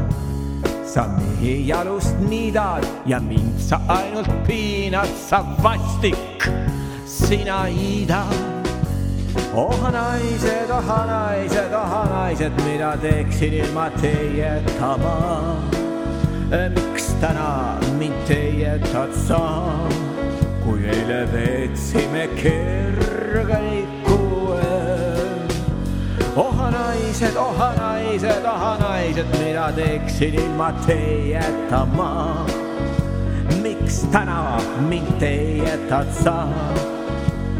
E: sa mehi jalust niidad ja mind sa ainult piinad , sa vastik , sina iida . oh naised , oh naised , oh naised , mida teeksin ilma teieta ma . miks täna mind teietad sa , kui eile veetsime kergeliku öö ? oh naised , oh naised , oh naised , mida teeksin ilma teieta ma . miks täna mind teietad sa ,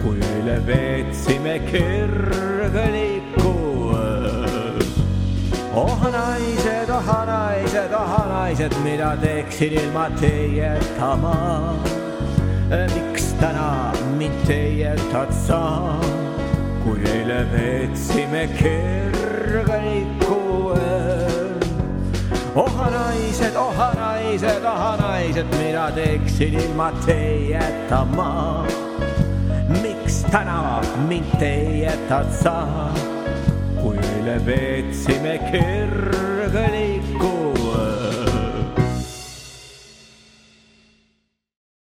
E: kui eile veetsime kergeliku öö? oh naised , oh naised , oh naised , mida teeksin ilma teieta ma . miks täna mind teietad sa , kui eile veetsime kergeliku öö? oh naised , oh naised , oh naised , mida teeksin ilma teieta ma . miks täna mind teietad sa ? kui üle veetsime kergeli